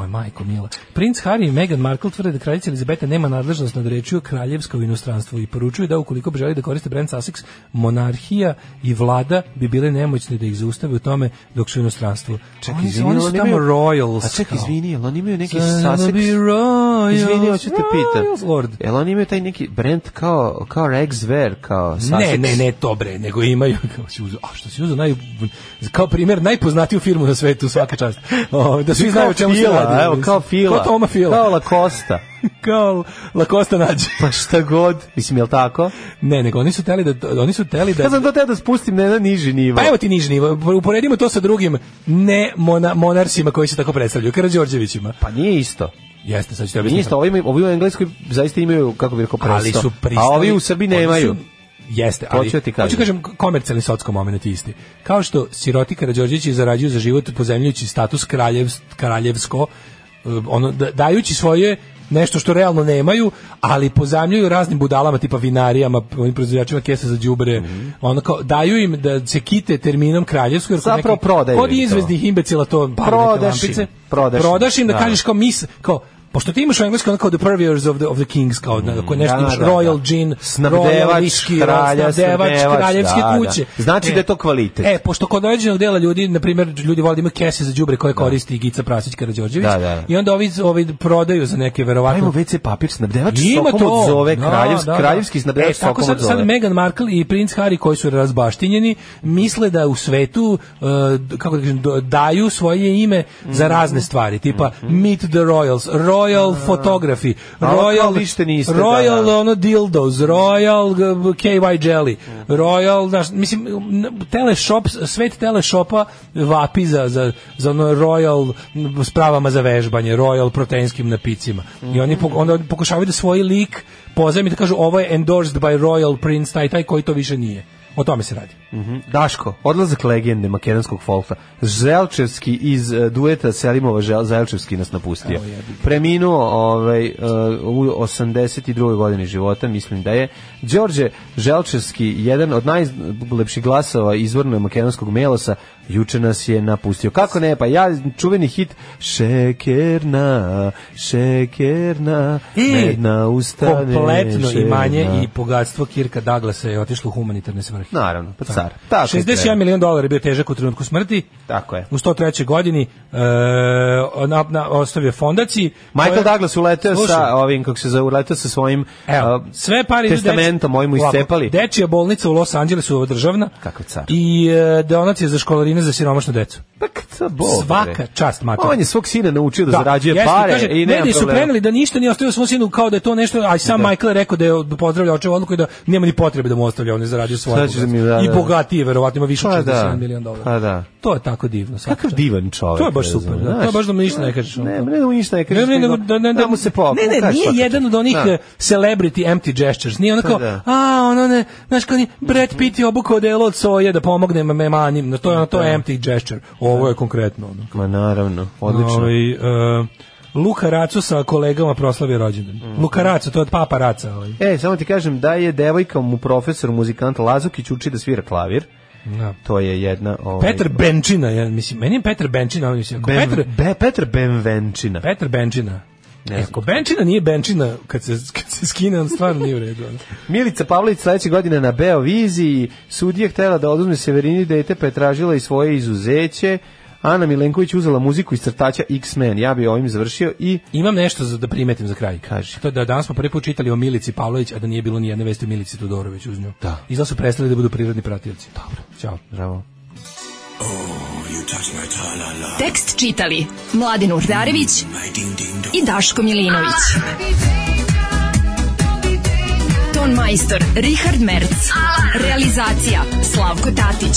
Oj, majko mila. Princ Harry i Meghan Markle tvrde da kraljica Elizabeta nema nadležnost nad rečju kraljevska u inostranstvu i poručuju da ukoliko bi želi da koriste brand Sussex, monarhija i vlada bi bile nemoćne da ih zaustave u tome dok su u inostranstvu. Čekaj, oni, su- izvini, oni su oni tamo imaju- royals. A ček, kao. izvini, jel oni imaju neki Gonna Sussex? be royals, Izvini, hoću te royals, pitam. lord. Jel oni imaju taj neki brand kao, kao Rex Zver, kao Sussex? Ne, ne, ne, to bre, nego imaju, kao si uzeo, a što si uzeo, naj, kao primjer, najpoznatiju firmu na svetu, svaka čast. O, da svi Kao znaju o čemu se Fila, radi. Evo, kao Fila. Kao Toma Fila. Kao Kao, La Costa. Lakosta nađe. Pa šta god. Mislim, jel tako? Ne, nego oni su teli da, oni su teli Ja da, sam to teo da spustim na jedan niži nivo. pa evo ti nižni, nivo, uporedimo to sa drugim ne mona, monarsima koji se tako predstavljaju, Karadžorđevićima. Pa nije isto. Jeste, sad ću te Nije objasniti. isto, ovi, imaju- ovi u Engleskoj zaista imaju, kako bih rekao, presto. da- Ali su pristali. A ovi u Srbiji oni su- nemaju. Jeste, ali Hoću da ti kažem. hoću kažem k- komercijalni socko moment je isti. Kao što siroti Karađorđevići zarađuju za život pozemljujući status kraljevs, kraljevsko, eh, ono, da- dajući svoje nešto što realno nemaju, ali pozajmljuju raznim budalama tipa vinarijama, p- onim proizvođačima kesa za đubre. Mhm. Ono kao daju im da se kite terminom kraljevsko jer kod Zapravo nekih- prodaju Kod im to. Pa izveznih imbecila to pali neke Prodaš im, lampice. prodaš im. Prodaš im da Da. kažeš kao mis, kao Pošto ti imaš u engleskom ono kao the purveyors of the, of the kings, kao da, ako nešto Da, imaš da, royal da. gin, royal Snabdevač, whisky, kralja, snabdevač, snabdevač, kraljevske da, da. kuće. Znači da je to kvalitet. E, pošto kod određenog dela ljudi, na primjer, ljudi vole da imaju kese za đubre koje koristi Gica Prasić Karađorđević, Da, da, da. i onda ovi, ovi prodaju za neke Ajmo verovatno WC papir snabdevač ima sokom to. od zove, Da, kraljevski, da, da. kraljevski snabdevač E, tako sokom od sad, zove. sad Meghan Markle i princ Harry koji su razbaštinjeni misle da u svetu uh, d- kako da kažem, do- daju svoje ime za Mhm. razne stvari, tipa Meet the Royals, Royal Photography, Da. A ovo kao Royal ništa niste, Royal da, da. ono dildos, Royal g- KY Jelly, Royal, znaš, mislim n- teleshop, svet teleshopa vapi za, za, za ono Royal m, spravama za vežbanje, Royal proteinskim napicima. I oni pok- onda pokušavaju da svoj lik pozajmi da kažu ovo je endorsed by Royal Prince taj taj koji to više nije. O tome se radi. Mhm. Daško, odlazak legende makedonskog folka. Želčevski iz eh, dueta Selimova Žel, Želčevski nas napustio. Preminuo ovaj, eh, u 82. godini života, mislim da je. Đorđe Želčevski, jedan od najlepših glasova izvorno makedonskog melosa, juče nas je napustio. Kako ne, pa ja čuveni hit Šekerna, šekerna, medna usta. da. kompletno imanje i bogatstvo Kirka Douglasa je otišlo u humanitarne svrhe. Naravno, pa car. Tako 61 treba. milion dolara je bio težak u trenutku smrti. Tako je. U 103. godini e, na, na, ostavio fondaciji. Michael koja- Douglas uleteo Slušaj, sa ovim, kako se zove, uleteo sa svojim Evo, a, sve pare idu testamentom, deci- ovim mu Ovako, iscepali. Dečija bolnica u Los Angelesu državna. Kakav car. I e, donacije za školarine za siromašnu decu. Pa kca bol, Svaka bre. čast, mater. On je svog sina naučio da, zarađuje jeste, pare kaže, i nema mediji su problema. preneli da ništa nije ostavio svom sinu kao da je to nešto, a i sam Michael je rekao da je pozdravlja očevu odluku i da nema ni potrebe da mu ostavlja, on je zaradio svoje. Šta ćeš da mi da, I da. bogatiji, verovatno ima više od Pa 47 da, miliona dolara. pa da. To je tako divno. svaka Kakav čast. divan čovjek. To je baš super, razumeš, da, to je baš da mu ništa ne kažeš, ono. Ne, ne da mu ništa ne kažeš. Ne, ne, nego nego da, ne, da, mu se po. Ne, ne, kažeš nije svaka jedan čast. od onih Da. eh, celebrity empty gestures. Nije ono Pa kao, da. a, ono ne, znaš kao ni Brad Pitt je obukao delo od soje da pomogne me manjim. No, to je ono, to je empty gesture. Ovo je konkretno. Ono. Ma naravno, odlično. Ovaj, eh, Luka Racu sa kolegama proslavio rođendan. Luka Racu, to je od Papa Raca. Ovaj. E, samo ti kažem da je devojka mu profesor muzikanta Lazukić uči da svira klavir. Da. To je jedna... Ovaj, Petar Benčina, ja mislim, meni je Petar Benčina, on mislim, ako Ben- Petar, Be, Petar Benvenčina. Petar Benčina. E, Ako Benčina nije Benčina, kad se, kad se skine, on stvarno nije u redu. ono. Milica Pavlović sledeće godine na Beoviziji, sudija htela da oduzme Severini dete, pa je tražila i svoje izuzeće. Ana Milenković uzela muziku iz crtača X-Men. Ja bi ovim završio i Imam nešto za da primetim za kraj. Kaži. To je da danas smo prvi put čitali o Milici Pavlović, a da nije bilo ni jedne vesti o Milici Todorović uz nju. Da. Izgleda su prestali da budu prirodni pratioci. Dobro. Ćao. Bravo. Tekst čitali Mladin Urdarević i Daško Milinović. Ton majstor Richard Merc. Realizacija Slavko Tatić.